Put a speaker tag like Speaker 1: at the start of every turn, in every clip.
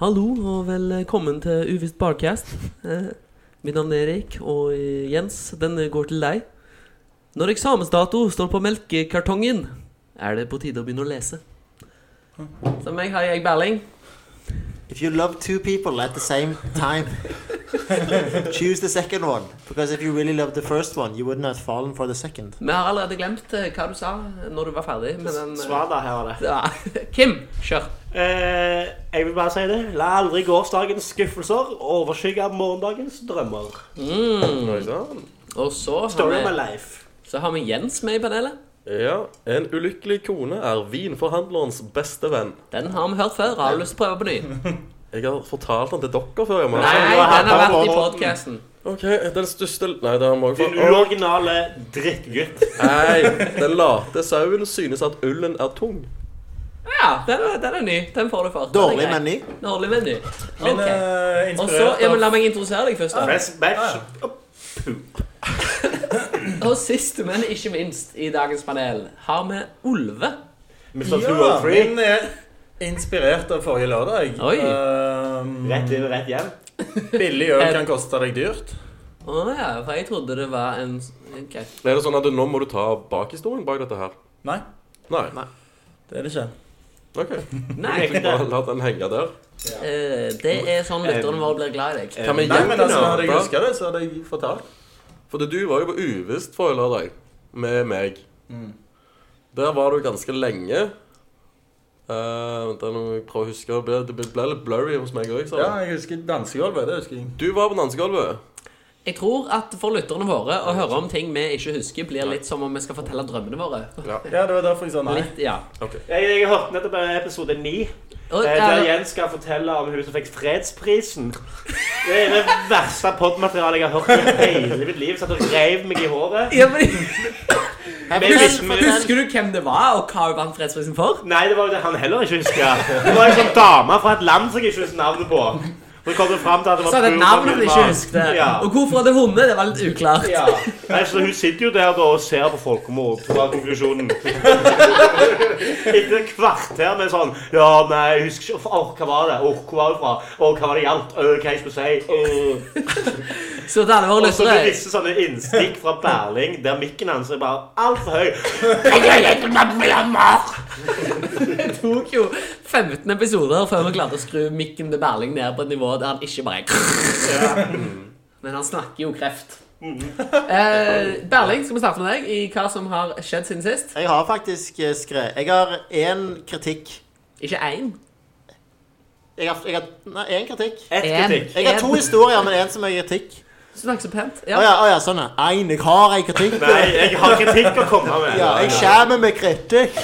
Speaker 1: Hallo og velkommen til Uvisst Barcast. Eh, Mitt navn er Erik, og eh, Jens, denne går til deg. Når eksamensdato står på melkekartongen, er det på tide å begynne å lese.
Speaker 2: Hm.
Speaker 1: Som meg har jeg Berling.
Speaker 3: If you love two people at the same time, choose the second one. Because if you really loved the first one, you wouldn't have fallen for the second.
Speaker 1: Vi har allerede glemt eh, hva du sa når du var ferdig, men den, eh,
Speaker 2: Svar da, her var det.
Speaker 1: ja. Kim, kjør.
Speaker 2: Eh, jeg vil bare si det. La aldri gårsdagens skuffelser overskygge morgendagens drømmer.
Speaker 4: Oi sann.
Speaker 1: Og så
Speaker 2: Story of my
Speaker 1: har,
Speaker 2: life.
Speaker 1: vi, så har vi Jens med i panelet.
Speaker 4: Ja. En ulykkelig kone er vinforhandlerens beste venn.
Speaker 1: Den har vi hørt før. Har du lyst til å prøve på ny?
Speaker 4: Jeg har fortalt den til dere før. Emma.
Speaker 1: Nei,
Speaker 2: du
Speaker 1: den
Speaker 2: har
Speaker 1: har
Speaker 2: hatt den
Speaker 1: vært i
Speaker 2: over.
Speaker 1: podkasten.
Speaker 4: Ok, Den største Nei, det har vi også
Speaker 2: Din
Speaker 4: fått.
Speaker 2: uoriginale drittgutt.
Speaker 4: Nei, Den late sauen synes at ullen er tung.
Speaker 1: Ja, den er, den er ny. Den får du for. Den er
Speaker 3: Dårlig
Speaker 1: grei.
Speaker 3: meny.
Speaker 1: Dårlig meny.
Speaker 5: Han
Speaker 1: Ok.
Speaker 5: er
Speaker 1: Og så,
Speaker 5: eh, inspirert
Speaker 1: ja, men La
Speaker 5: av
Speaker 1: meg introdusere deg først. da.
Speaker 2: Best batch.
Speaker 1: Og sist, men ikke minst, i dagens panel har vi Olve.
Speaker 2: Mr. Two
Speaker 5: Ja,
Speaker 2: World Free.
Speaker 5: min er inspirert av forrige lørdag.
Speaker 1: Oi.
Speaker 5: Ehm,
Speaker 2: Rett inn, rett hjem.
Speaker 5: billig øl kan koste deg dyrt.
Speaker 1: Å ja, for jeg trodde det var en Ok.
Speaker 4: Er det sånn at du, Nå må du ta bakhistorien bak dette her?
Speaker 5: Nei,
Speaker 4: Nei.
Speaker 5: det er det ikke.
Speaker 4: Ok,
Speaker 1: Nei.
Speaker 4: Bare la den henge der.
Speaker 1: eh, Det er sånn lytterne våre blir glad i deg.
Speaker 4: Kan vi
Speaker 5: Nei, men altså, Hadde jeg
Speaker 4: gjennomføre?
Speaker 5: huska det, så hadde jeg fortalt.
Speaker 4: For du var jo på Uvisst forrige lørdag med meg.
Speaker 5: Mm.
Speaker 4: Der var du ganske lenge. Eh, Vent, da, nå må jeg prøve å huske. Det ble, det ble litt blurry hos meg òg.
Speaker 5: Ja, jeg husker dansegulvet. Det husker jeg.
Speaker 4: Du var på dansegulvet.
Speaker 1: Jeg tror at for lytterne våre å høre om ting vi ikke husker, blir litt som om vi skal fortelle drømmene våre.
Speaker 5: Ja, det var derfor jeg sa nei.
Speaker 1: Litt, ja.
Speaker 2: Jeg, jeg hørte nettopp en episode 9,
Speaker 1: Og,
Speaker 2: eh, der
Speaker 1: ja,
Speaker 2: Jens skal fortelle om hun som fikk fredsprisen. Det er det verste podmaterialet jeg har hørt i hele mitt liv. Satt og reiv meg i håret.
Speaker 1: ja, men,
Speaker 2: Med
Speaker 1: husker,
Speaker 2: vitne-
Speaker 1: husker du hvem det var, og hva hun vant fredsprisen for?
Speaker 2: Nei, det var jo det han heller ikke husker. Det var en sånn dame fra et land som jeg ikke husker navnet på. Hun kom det frem til at det var
Speaker 1: Så hadde
Speaker 2: Burma
Speaker 1: navnet de ikke
Speaker 2: Myanmar.
Speaker 1: husket.
Speaker 2: Ja.
Speaker 1: Og hvorfor hadde hundet? Det var litt uklart.
Speaker 2: ja. Nei, så hun sitter jo der da og ser på folkemord, var konklusjonen. Etter et kvarter med sånn Ja, nei, jeg husker ikke Åh, hva var det? Åh, hvor var du fra? Åh, hva var det gjaldt? Åh, hva jeg skulle si? Åh.
Speaker 1: Så til alle våre
Speaker 2: Og så blir
Speaker 1: lyttere
Speaker 2: visse sånne innstikk fra Berling, der mikken hans er bare altfor høy.
Speaker 1: Det tok jo 15 episoder før vi klarte å skru mikken til Berling ned på et nivå der han ikke bare Men han snakker jo kreft. Eh, Berling, skal vi starte med deg i hva som har skjedd siden sist?
Speaker 3: Jeg har faktisk eh, skrevet Jeg har én kritikk.
Speaker 1: Ikke én.
Speaker 3: Jeg har, jeg har Nei, én kritikk.
Speaker 2: Ett
Speaker 1: En.
Speaker 2: kritikk.
Speaker 3: Jeg har to
Speaker 1: En.
Speaker 3: historier, men én som er kritikk.
Speaker 1: Snakk så pent.
Speaker 3: Å
Speaker 1: Ja.
Speaker 3: ja, å ja, sånn ja. Én, jeg har en kritikk.
Speaker 2: Nei, jeg har kritikk å komme med.
Speaker 3: Ja, jeg kommer med kritikk.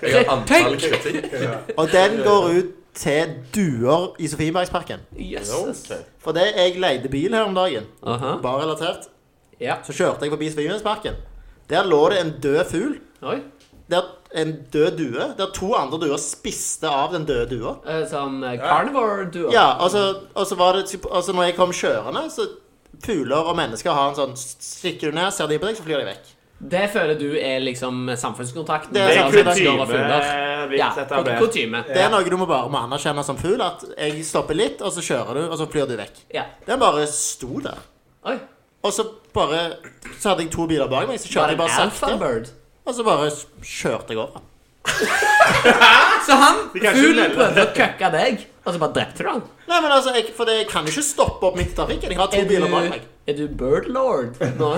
Speaker 4: Jeg har antall
Speaker 1: Tenk!
Speaker 4: kritikk.
Speaker 3: Og den går ut til duer i Sofiebergsparken.
Speaker 1: Jøsses.
Speaker 4: Ok.
Speaker 3: For det jeg leide bil her om dagen,
Speaker 1: Aha.
Speaker 3: bare relatert,
Speaker 1: Ja.
Speaker 3: så kjørte jeg forbi Sofiebergsparken. Der lå det en død fugl.
Speaker 1: Oi.
Speaker 3: Der en død due. Der to andre duer spiste av den døde dua.
Speaker 1: Eh, Sånn eh, carnivore duo.
Speaker 3: Ja, og så, og så var det typ- Altså, når jeg kom kjørende, så Fugler og mennesker har en sånn Stikker du ned, ser de på deg, så flyr de vekk.
Speaker 1: Det føler du er liksom samfunnskontakten?
Speaker 3: Det er
Speaker 2: Det
Speaker 1: som
Speaker 2: er
Speaker 3: sant,
Speaker 1: mennesker og
Speaker 2: kutyme
Speaker 1: fugler.
Speaker 2: vi
Speaker 1: Ja,
Speaker 2: etablerer.
Speaker 1: kutyme.
Speaker 3: Det er noe du må bare må anerkjenne som fugl, at jeg stopper litt, og så kjører du, og så flyr du vekk.
Speaker 1: Ja.
Speaker 3: Den bare sto der.
Speaker 1: Oi.
Speaker 3: Og så bare Så hadde jeg to biler bak meg, så
Speaker 1: Var det
Speaker 3: kjørte jeg
Speaker 1: en
Speaker 3: bare sakte.
Speaker 1: alfabird?
Speaker 3: Og så bare s- kjørte jeg over. den.
Speaker 1: Så han
Speaker 2: kan ikke
Speaker 1: fuglen
Speaker 2: melde.
Speaker 1: prøvde å køkke deg, og så bare drepte du han?
Speaker 3: Nei, men altså, jeg, for det- jeg kan jo ikke stoppe opp midt i trafikken. Jeg har to
Speaker 1: Er
Speaker 3: biler bak
Speaker 1: du,
Speaker 3: meg.
Speaker 1: er du bird lord nå?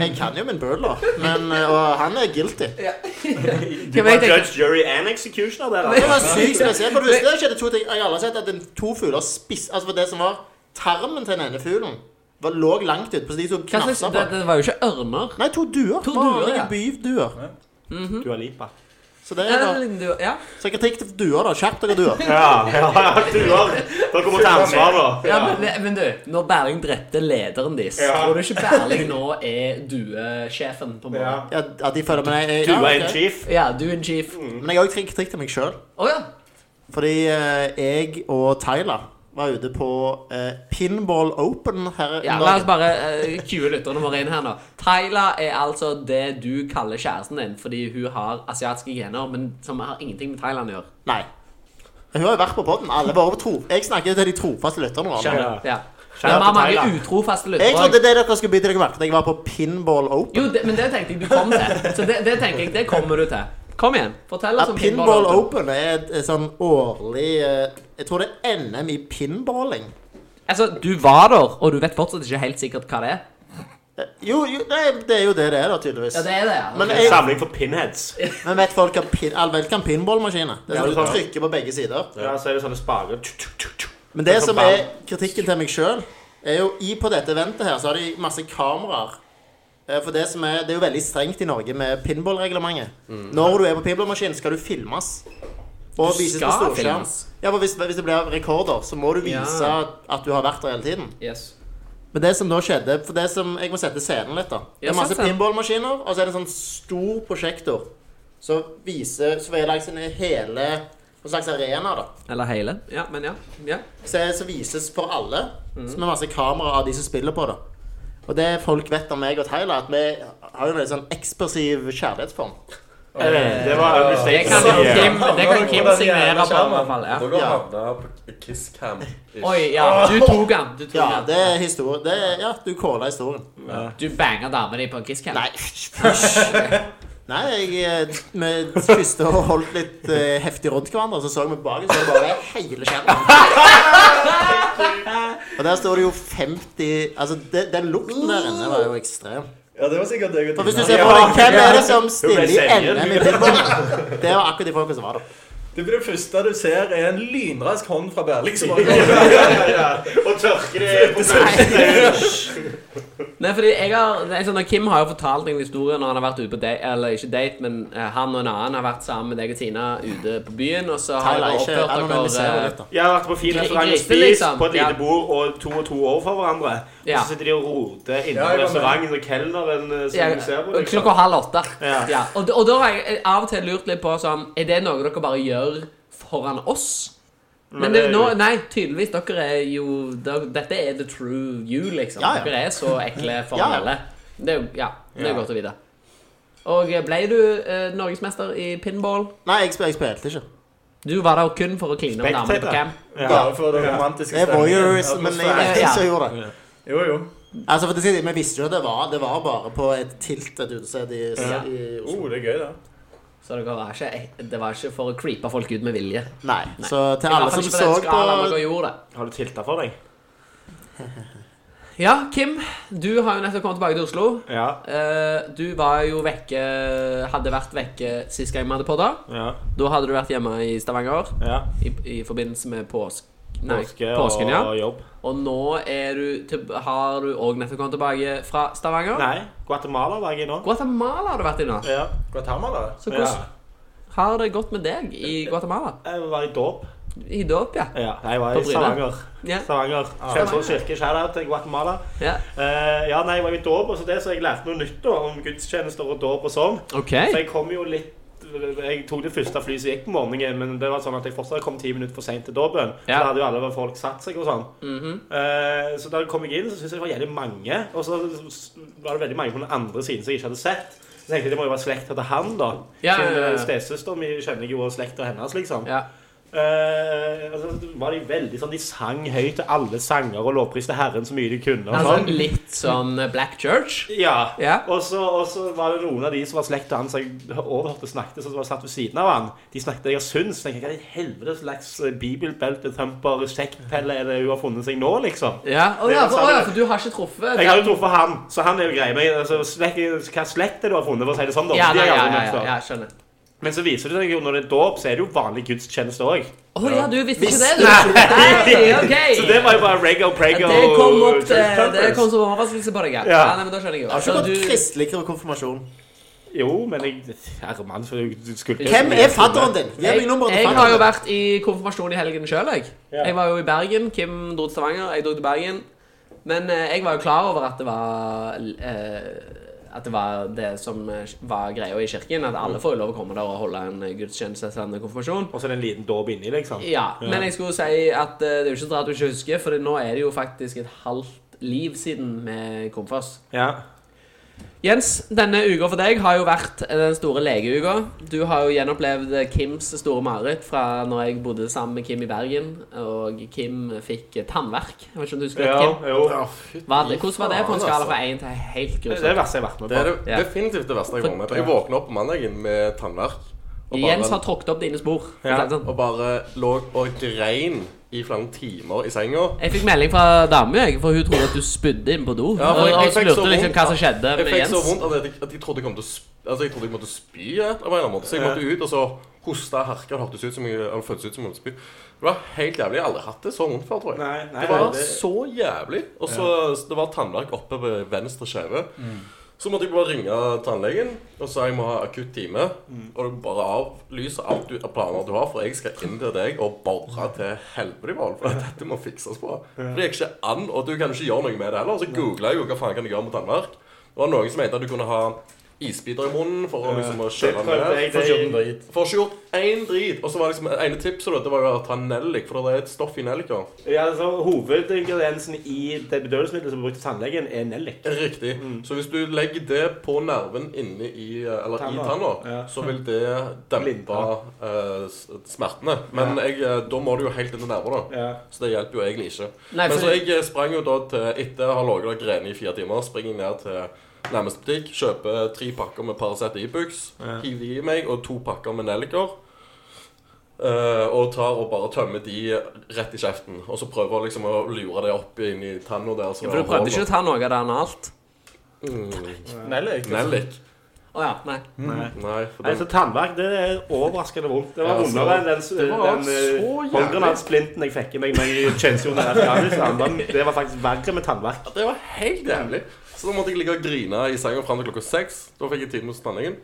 Speaker 3: Jeg kan jo min bødler, men, eh, og han er guilty.
Speaker 1: Hvem
Speaker 2: Var
Speaker 1: jeg tenker?
Speaker 2: Judge, jury and executioner der,
Speaker 3: Det
Speaker 2: altså.
Speaker 3: var sykt spesielt. For du husker det skjedde to ting. Jeg har aldri sett at en, to fugler spiste Altså, for det som var tarmen til den ene fuglen, var, lå langt ute. Så de tok
Speaker 1: Hva slags,
Speaker 3: knapser
Speaker 1: det,
Speaker 3: på.
Speaker 1: det var jo ikke ørner.
Speaker 3: Nei, to duer.
Speaker 1: To
Speaker 3: Vanlige
Speaker 1: duer, ja.
Speaker 3: Byduer.
Speaker 1: Mhm.
Speaker 2: Du er lipa.
Speaker 3: Så det
Speaker 1: Ja,
Speaker 3: er
Speaker 1: det
Speaker 3: da
Speaker 1: er en liten du- Ja.
Speaker 3: Så kritikk til duer, da. Skjerp dere, duer.
Speaker 2: Ja, ja, ja, du har Dere må ta ansvar, da.
Speaker 1: Ja, men, det- men du, når Berling drepte lederen deres,
Speaker 2: Ja.
Speaker 1: tror du ikke Berling nå er duesjefen på morgenen?
Speaker 3: Ja, at de føler med deg.
Speaker 2: Du er en
Speaker 3: ok.
Speaker 2: chief.
Speaker 1: Ja, du in chief. Å
Speaker 3: Men jeg har også kritikk til meg sjøl.
Speaker 1: ja.
Speaker 3: Fordi eh, jeg og Tyler var ute på eh, Pinball Open her i
Speaker 1: ja. La oss bare eh, cue lytterne våre inn her nå. Tyla er altså det du kaller kjæresten din fordi hun har asiatiske gener, men som har ingenting med Thailand å gjøre.
Speaker 3: Nei. Hun har jo vært på podden, Alle bare tro. Jeg snakker til de trofaste lytterne. Ramen.
Speaker 2: Kjære-
Speaker 1: Ja. Men
Speaker 2: kjære
Speaker 1: vi har
Speaker 2: til
Speaker 1: mange
Speaker 2: Thailand.
Speaker 1: utrofaste
Speaker 3: Jeg
Speaker 1: lyttere.
Speaker 3: trodde det dere skulle bytte dere merke til. Jeg var på pinball open.
Speaker 1: Jo, det, men det tenkte jeg du kom til. Så det, det tenker jeg, det kommer du til. Kom igjen. Fortell
Speaker 3: Ja,
Speaker 1: oss om
Speaker 3: pinball open er et, et sånn årlig eh, Jeg tror det er NM i pinballing.
Speaker 1: Altså, du var der, og du vet fortsatt ikke helt sikkert hva det er.
Speaker 3: Eh, Jo, jo nei, det er jo det det er, da, tydeligvis.
Speaker 1: Ja, det er det, ja.
Speaker 3: Men
Speaker 2: En
Speaker 3: jeg,
Speaker 2: samling for pinheads.
Speaker 3: men vet folk hva pin, alle vet hva en pinballmaskin er? Det er
Speaker 2: Ja,
Speaker 3: sånn du
Speaker 2: det er sant.
Speaker 3: trykker på begge sider.
Speaker 2: Ja, så er det sånne spager. Tju, tju, tju, tju.
Speaker 3: Men det
Speaker 2: Og så
Speaker 3: som
Speaker 2: ball.
Speaker 3: er kritikken til meg sjøl, er jo i på dette eventet her, så har de masse kameraer. Eh, For det som er Det er jo veldig strengt i Norge med pinballreglementet. Når du er på pinballmaskin, skal du filmes. Og
Speaker 1: Mm. Du
Speaker 3: vises på
Speaker 1: skal
Speaker 3: storskjerm.
Speaker 1: filmes.
Speaker 3: Ja, for hvis, hvis det blir rekorder, så må du vise
Speaker 1: Ja.
Speaker 3: at du har vært der hele tiden.
Speaker 1: Yes.
Speaker 3: Men det som da skjedde For det som, Jeg må sette scenen litt, da. Det
Speaker 1: Ja,
Speaker 3: er masse
Speaker 1: sett scenen.
Speaker 3: pinballmaskiner, og så er det en sånn stor prosjektor som viser Så er det liksom en hele En slags arena, da.
Speaker 1: Eller hele. Ja, men ja. ja.
Speaker 3: Så, så vises for alle. Som er masse kameraer av de som spiller på det. Og det folk vet om meg og Tyler, at vi har jo en sånn ekspressiv kjærlighetsform.
Speaker 2: Er Eh, det- Det var
Speaker 1: Det kan
Speaker 2: understatement.
Speaker 1: jo
Speaker 2: Ja.
Speaker 1: Kim, det kan Kim signere på, i hvert fall. Ja.
Speaker 4: Dere
Speaker 3: Ja.
Speaker 4: havna på Kiss Cam.
Speaker 1: Oi, ja. Du tok han. Du, tok
Speaker 3: Ja,
Speaker 1: han.
Speaker 3: det er historie. Det er, ja, du calla historien.
Speaker 1: du banga dama di på en kisscam.
Speaker 3: Nei, fysj. Nei, jeg eh, Vi spiste og holdt litt eh, heftig rundt hverandre, så så vi bak, så var det bare hele skjermen. Og der står det jo 50 Altså, det, den lukten der inne var jo ekstrem.
Speaker 5: Ja, det var sikkert deg
Speaker 3: For
Speaker 5: og
Speaker 3: hvis du
Speaker 5: Tina.
Speaker 3: ser på det, hvem er det som stiller i
Speaker 2: seriøs.
Speaker 3: NM i pinball? Det var akkurat de folka som var der.
Speaker 5: Det blir det første du ser, er en lynrask hånd fra Berling som bare
Speaker 2: Og tørke det på
Speaker 1: Nei, fordi jeg har nei, sånn, Kim har jo fortalt en historie når han har vært ute på date Eller ikke date, men eh, han og en annen har vært sammen med deg og Tina ute på byen, og så har
Speaker 3: Tyler,
Speaker 1: dere
Speaker 3: ikke
Speaker 1: oppført
Speaker 3: anonymiser
Speaker 1: dere
Speaker 3: litt, da.
Speaker 2: Jeg har vært på fin restaurant og
Speaker 1: Griste,
Speaker 2: spist
Speaker 1: liksom.
Speaker 2: på et lite
Speaker 1: Ja.
Speaker 2: bord og to og to overfor hverandre. Og
Speaker 1: Ja.
Speaker 2: så sitter de og roter inne
Speaker 5: Ja,
Speaker 2: på
Speaker 5: jeg var
Speaker 2: restauranten, og kelneren eh,
Speaker 1: Ja,
Speaker 2: som ser på deg.
Speaker 3: liksom.
Speaker 1: klokka halv åtte.
Speaker 2: Ja.
Speaker 1: Ja. Og, da- og da har jeg av og til lurt litt på sånn Er det noe dere bare gjør foran oss? Men det, nå, nei, tydeligvis. Dere er jo dere, Dette er the true you, liksom.
Speaker 3: Ja, ja.
Speaker 1: Dere er så ekle for
Speaker 3: Ja, ja.
Speaker 1: alle. Det er jo ja, det er
Speaker 2: Ja.
Speaker 1: godt å vite. Og ble du eh, norgesmester i pinball?
Speaker 3: Nei, jeg, spil, jeg spilte ikke.
Speaker 1: Du var der kun for å kline med damene på
Speaker 2: Spectator.
Speaker 1: camp.
Speaker 2: Ja.
Speaker 5: Bare for det romantiske
Speaker 3: Det er voyeurs, men jeg
Speaker 5: atmosfæren.
Speaker 3: vet ikke som gjorde det.
Speaker 5: Jo, jo.
Speaker 3: Altså, for det, skal jeg si, Vi visste jo at det var, det var bare på et tilt et utested i,
Speaker 1: Ja.
Speaker 3: i Oslo.
Speaker 5: Oh, det er gøy, da.
Speaker 1: Så dere var ikke, eh, det var ikke for å creepe folk ut med vilje.
Speaker 3: Nei, så
Speaker 1: I
Speaker 3: til alle
Speaker 1: hvert
Speaker 3: som
Speaker 1: fall ikke på
Speaker 3: så
Speaker 1: den skalaen
Speaker 3: på
Speaker 1: dere gjorde det.
Speaker 2: Har du tilta for deg?
Speaker 1: Ja, Kim, du har jo nettopp kommet tilbake til Oslo.
Speaker 2: Ja.
Speaker 1: Eh, du var jo vekke Hadde vært vekke sist gang vi hadde podda.
Speaker 2: ja.
Speaker 1: Da hadde du vært hjemme i Stavanger
Speaker 2: ja.
Speaker 1: i, i forbindelse med påsk... Nei,
Speaker 2: Påske
Speaker 1: påsken, ja.
Speaker 2: og jobb.
Speaker 1: Og nå er du til, har du òg nettopp kommet tilbake fra Stavanger.
Speaker 2: Nei, Guatemala var jeg i nå.
Speaker 1: Guatemala har du vært i nå.
Speaker 2: Ja.
Speaker 5: Guatemala?
Speaker 1: Så
Speaker 2: ja.
Speaker 1: hvordan har det gått med deg i Guatemala?
Speaker 2: Jeg var i dåp.
Speaker 1: I dåp, ja.
Speaker 2: Ja. Nei, jeg var
Speaker 1: På
Speaker 2: i
Speaker 1: Bryne.
Speaker 2: Stavanger.
Speaker 1: Ja.
Speaker 2: Stavanger.
Speaker 5: Ah.
Speaker 2: Kjønsvoll kirke. Shout-out til Guatemala.
Speaker 1: ja.
Speaker 2: Eh, ja, nei, jeg var i dåp, og så det så jeg lærte noe nytt da, om gudstjenester og dåp og sånn.
Speaker 1: OK.
Speaker 2: Så jeg kom jo litt Jeg tok det første flyet som gikk på morgenen, men det var sånn at jeg fortsatt kom ti minutter for seint til dåpen. Så
Speaker 1: Ja.
Speaker 2: Da hadde jo alle folk satt seg og sånn.
Speaker 1: Mhm.
Speaker 2: Eh, så da kom jeg inn, så syntes jeg det var jævlig mange. Og så var det veldig mange på den andre siden som jeg ikke hadde sett. Så tenkte jeg det må jo være slekta til han, da.
Speaker 1: Ja, ja,
Speaker 2: Siden,
Speaker 1: ja, ja.
Speaker 2: eh, Stesøster mi kjenner jeg jo og slekta hennes, liksom.
Speaker 1: Ja.
Speaker 2: Eh, og så var de veldig sånn De sang høyt til alle sanger og lovpriste Herren så mye de kunne. Og
Speaker 1: Altså
Speaker 2: sånn.
Speaker 1: litt sånn Black Church.
Speaker 2: Ja.
Speaker 1: Ja.
Speaker 2: Og, så, og så var det noen av de som var slekt til han, som jeg overhørte snakket, som var satt ved siden av han. De snakket jeg har syns. Tenkte jeg, hva i helvete slags eh, bibelbeltetømper, sekkpelle er det hun har funnet seg nå, liksom?
Speaker 1: Ja. Å
Speaker 2: Det
Speaker 1: ja,
Speaker 2: er
Speaker 1: for,
Speaker 2: sant,
Speaker 1: å, ja,
Speaker 2: det.
Speaker 1: for du har ikke truffet
Speaker 2: Jeg har jo truffet han, så han er jo grei. Men altså, slekt, hva slekt er det du har funnet, for å si det sånn, da?
Speaker 1: Ja,
Speaker 2: de
Speaker 1: nei,
Speaker 2: har jeg
Speaker 1: ja, ja,
Speaker 2: aldri møtt
Speaker 1: ja,
Speaker 2: før.
Speaker 1: ja, skjønner.
Speaker 2: Men så viser det seg jo, når det er dåp, så er det jo vanlig gudstjeneste òg.
Speaker 1: Å ja, du visste ikke det, du? Nei, ok.
Speaker 2: Så det var jo bare rego, prego
Speaker 1: Det kom opp
Speaker 2: church
Speaker 1: til,
Speaker 2: peppers.
Speaker 1: det kom som overraskelse på deg. Ja.
Speaker 2: Ja.
Speaker 1: Ja, nei, men da skjønner jeg jo.
Speaker 3: Har ikke
Speaker 1: Altså,
Speaker 3: gått
Speaker 1: du,
Speaker 3: kristelig til konfirmasjon.
Speaker 2: Jo, men jeg Herre mann, så du skulle
Speaker 3: Hvem er fadderen din? Gi meg
Speaker 1: jeg,
Speaker 3: nummeret
Speaker 1: jeg
Speaker 3: til
Speaker 1: har jo
Speaker 3: fadderen.
Speaker 1: vært i konfirmasjon i helgen sjøl, jeg.
Speaker 2: Ja.
Speaker 1: Jeg var jo i Bergen. Kim dro til Stavanger, jeg dro til Bergen. Men eh, jeg var jo klar over at det var eh, At det var det som eh, var greia i kirken. At alle får jo lov å komme der og holde en eh, gudstjeneste sende konfirmasjon.
Speaker 2: Og så er det en liten dåp inni, liksom.
Speaker 1: Ja, men jeg skulle si at eh, det er jo ikke så rart du ikke husker, for nå er det jo faktisk et halvt liv siden vi kom først.
Speaker 2: Ja.
Speaker 1: Jens, denne uka for deg har jo vært den store legeuka. Du har jo gjenopplevd Kims store mareritt fra når jeg bodde sammen med Kim i Bergen, og Kim fikk tannverk. Jeg vet ikke om du husker det,
Speaker 2: Ja,
Speaker 1: Kim?
Speaker 2: jo.
Speaker 1: Var det, hvordan var det på en skala
Speaker 4: for
Speaker 1: fra 1 til helt
Speaker 2: Det er det
Speaker 1: grusomt?
Speaker 2: verste jeg har vært med
Speaker 4: Det altså. er
Speaker 2: på.
Speaker 4: det,
Speaker 1: Ja.
Speaker 4: definitivt det verste jeg var med på. Jeg våkna opp på mandagen med tannverk. Og
Speaker 1: Jens har
Speaker 4: bare,
Speaker 1: tråkket opp dine spor. for å
Speaker 2: Ja.
Speaker 1: si det sånn.
Speaker 4: og bare lå og grein i flere timer i senga.
Speaker 1: Jeg fikk melding fra dama, jeg, for hun trodde at du spydde inn på do.
Speaker 4: Ja, for
Speaker 1: og
Speaker 4: jeg-
Speaker 1: jeg
Speaker 4: jeg fikk så
Speaker 1: lurte liksom
Speaker 4: vondt.
Speaker 1: hva som skjedde
Speaker 4: Jeg
Speaker 1: med
Speaker 4: fikk så
Speaker 1: Jens.
Speaker 4: vondt at jeg, at jeg trodde jeg kom til å sp altså, jeg trodde jeg måtte spy. ja, Av en eller annen måte. Så jeg måtte ut, og så hosta jeg herka og hørtes ut som jeg, eller føltes ut som jeg måtte spy. Det var helt jævlig. Jeg har aldri hatt det så vondt før, tror jeg.
Speaker 2: Nei, nei,
Speaker 4: det var
Speaker 2: det-
Speaker 4: så jævlig. Og så Det var tannverk oppe ved venstre skjeve. Så måtte jeg bare ringe tannlegen og sa jeg må ha akutt time.
Speaker 2: Mm.
Speaker 4: Og du bare avlyser alt du, av planer du har, for jeg skal inn til deg og bore til helvete. Val, for dette må fikses på. For det gikk ikke an, og du kan ikke gjøre noe med det heller. Så googla jeg jo hva faen kan jeg gjøre med tannverk. Det var noen som mente at du kunne ha isbiter i munnen for å liksom å
Speaker 2: Det
Speaker 4: kjøle
Speaker 2: prøvde jeg.
Speaker 4: ned.
Speaker 2: Det er
Speaker 5: Fortjent drit.
Speaker 4: Får ikke gjort én drit. Og så var liksom ene tipset da, det var jo å ta nellik, for det er et stoff i nelliker.
Speaker 2: ja, altså, hovedingrediensen i det bedøvelsesmiddelet som er brukt til tannlegen, er nellik.
Speaker 4: Riktig.
Speaker 2: Mm.
Speaker 4: Så hvis du legger det på nerven inne i eh, Eller
Speaker 2: Tanna.
Speaker 4: i tanna,
Speaker 2: Ja.
Speaker 4: så vil det dempe
Speaker 2: Lindre.
Speaker 4: eh, s- smertene. Men jeg, eh, da må du jo helt inn til nerver, da.
Speaker 2: Ja.
Speaker 4: Så det hjelper jo egentlig ikke.
Speaker 1: Nei,
Speaker 4: Men
Speaker 1: for-
Speaker 4: så jeg eh, sprang jo da til Etter å ha ligget og grenet i fire timer, springer jeg ned til nærmeste butikk, kjøper tre pakker med Paracet Ibux,
Speaker 2: Ja.
Speaker 4: hiver de i meg, og to pakker med nelliker. Eh, og tar og bare tømmer de rett i kjeften. Og så prøver liksom å lure det opp inn i tanna der. som
Speaker 1: For du
Speaker 4: har
Speaker 1: prøvde
Speaker 4: hull,
Speaker 1: ikke å
Speaker 4: da.
Speaker 1: ta noe av det analt?
Speaker 4: Mm.
Speaker 5: Nellik.
Speaker 4: Nellik.
Speaker 1: Å ja. Nei.
Speaker 2: Nei.
Speaker 4: Nei, for
Speaker 2: Nei, så
Speaker 4: den,
Speaker 2: tannverk det er overraskende vondt. Det var
Speaker 4: Ja, altså,
Speaker 2: vondere enn den,
Speaker 4: det var
Speaker 2: den,
Speaker 4: så
Speaker 2: eh,
Speaker 4: jævlig.
Speaker 2: håndgranatsplinten jeg fikk i meg når jeg tjenestegjorde i Afghanistan. Den- Det var faktisk verre med tannverk.
Speaker 4: det var helt jævlig. Så da måtte jeg ligge og grine i senga fram til klokka seks. Da fikk jeg time hos tannlegen.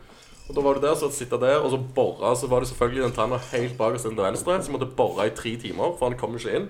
Speaker 4: Og da var du der, så sitte der, og så borre. Så var det selvfølgelig den tanna helt bak oss til venstre, så jeg måtte borre i tre timer, for han kom ikke inn.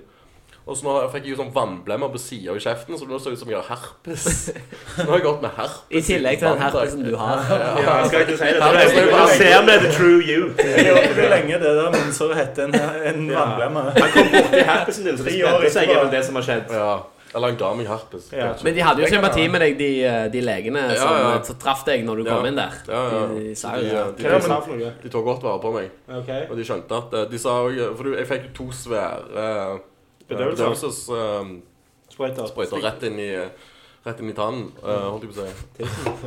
Speaker 4: Og så nå har- fikk jeg jo sånn vannblemmer på sida i kjeften, så nå ser det ut som jeg har herpes. Så nå har jeg gått med herpes.
Speaker 1: I tillegg til den herpesen du har.
Speaker 2: Ja, jeg skal ikke si det.
Speaker 4: Ja, det er-
Speaker 2: Jeg ser med the true you.
Speaker 5: Jeg jobbet lenge det der mensåret hette en, en
Speaker 2: Ja.
Speaker 5: vannblemme.
Speaker 2: Han kom borti herpesen din, så det
Speaker 5: Ti år
Speaker 2: spredte seg
Speaker 5: etterpå.
Speaker 2: er vel det som har skjedd.
Speaker 4: Ja. Eller han ga meg herpes.
Speaker 2: Ja.
Speaker 1: Men de hadde jo sympati med deg, de, eh, de legene
Speaker 4: Ja,
Speaker 1: som eh,
Speaker 4: ja.
Speaker 1: som traff deg når du
Speaker 4: Ja.
Speaker 1: kom inn der.
Speaker 4: Ja, ja.
Speaker 1: De, de sa
Speaker 4: Så
Speaker 1: jo
Speaker 4: de,
Speaker 2: Hva er det
Speaker 4: de,
Speaker 2: han sa for noe?
Speaker 4: de tok godt vare på meg.
Speaker 2: Ok.
Speaker 4: Og de skjønte at eh, De sa òg For du- jeg fikk jo to svære
Speaker 2: Bedøvelser.
Speaker 4: bedøvelses... eh,
Speaker 2: Sprøyter.
Speaker 4: sprøyta rett inn i, rett inn i tannen,
Speaker 2: Mm.
Speaker 4: eh, holdt jeg på å si.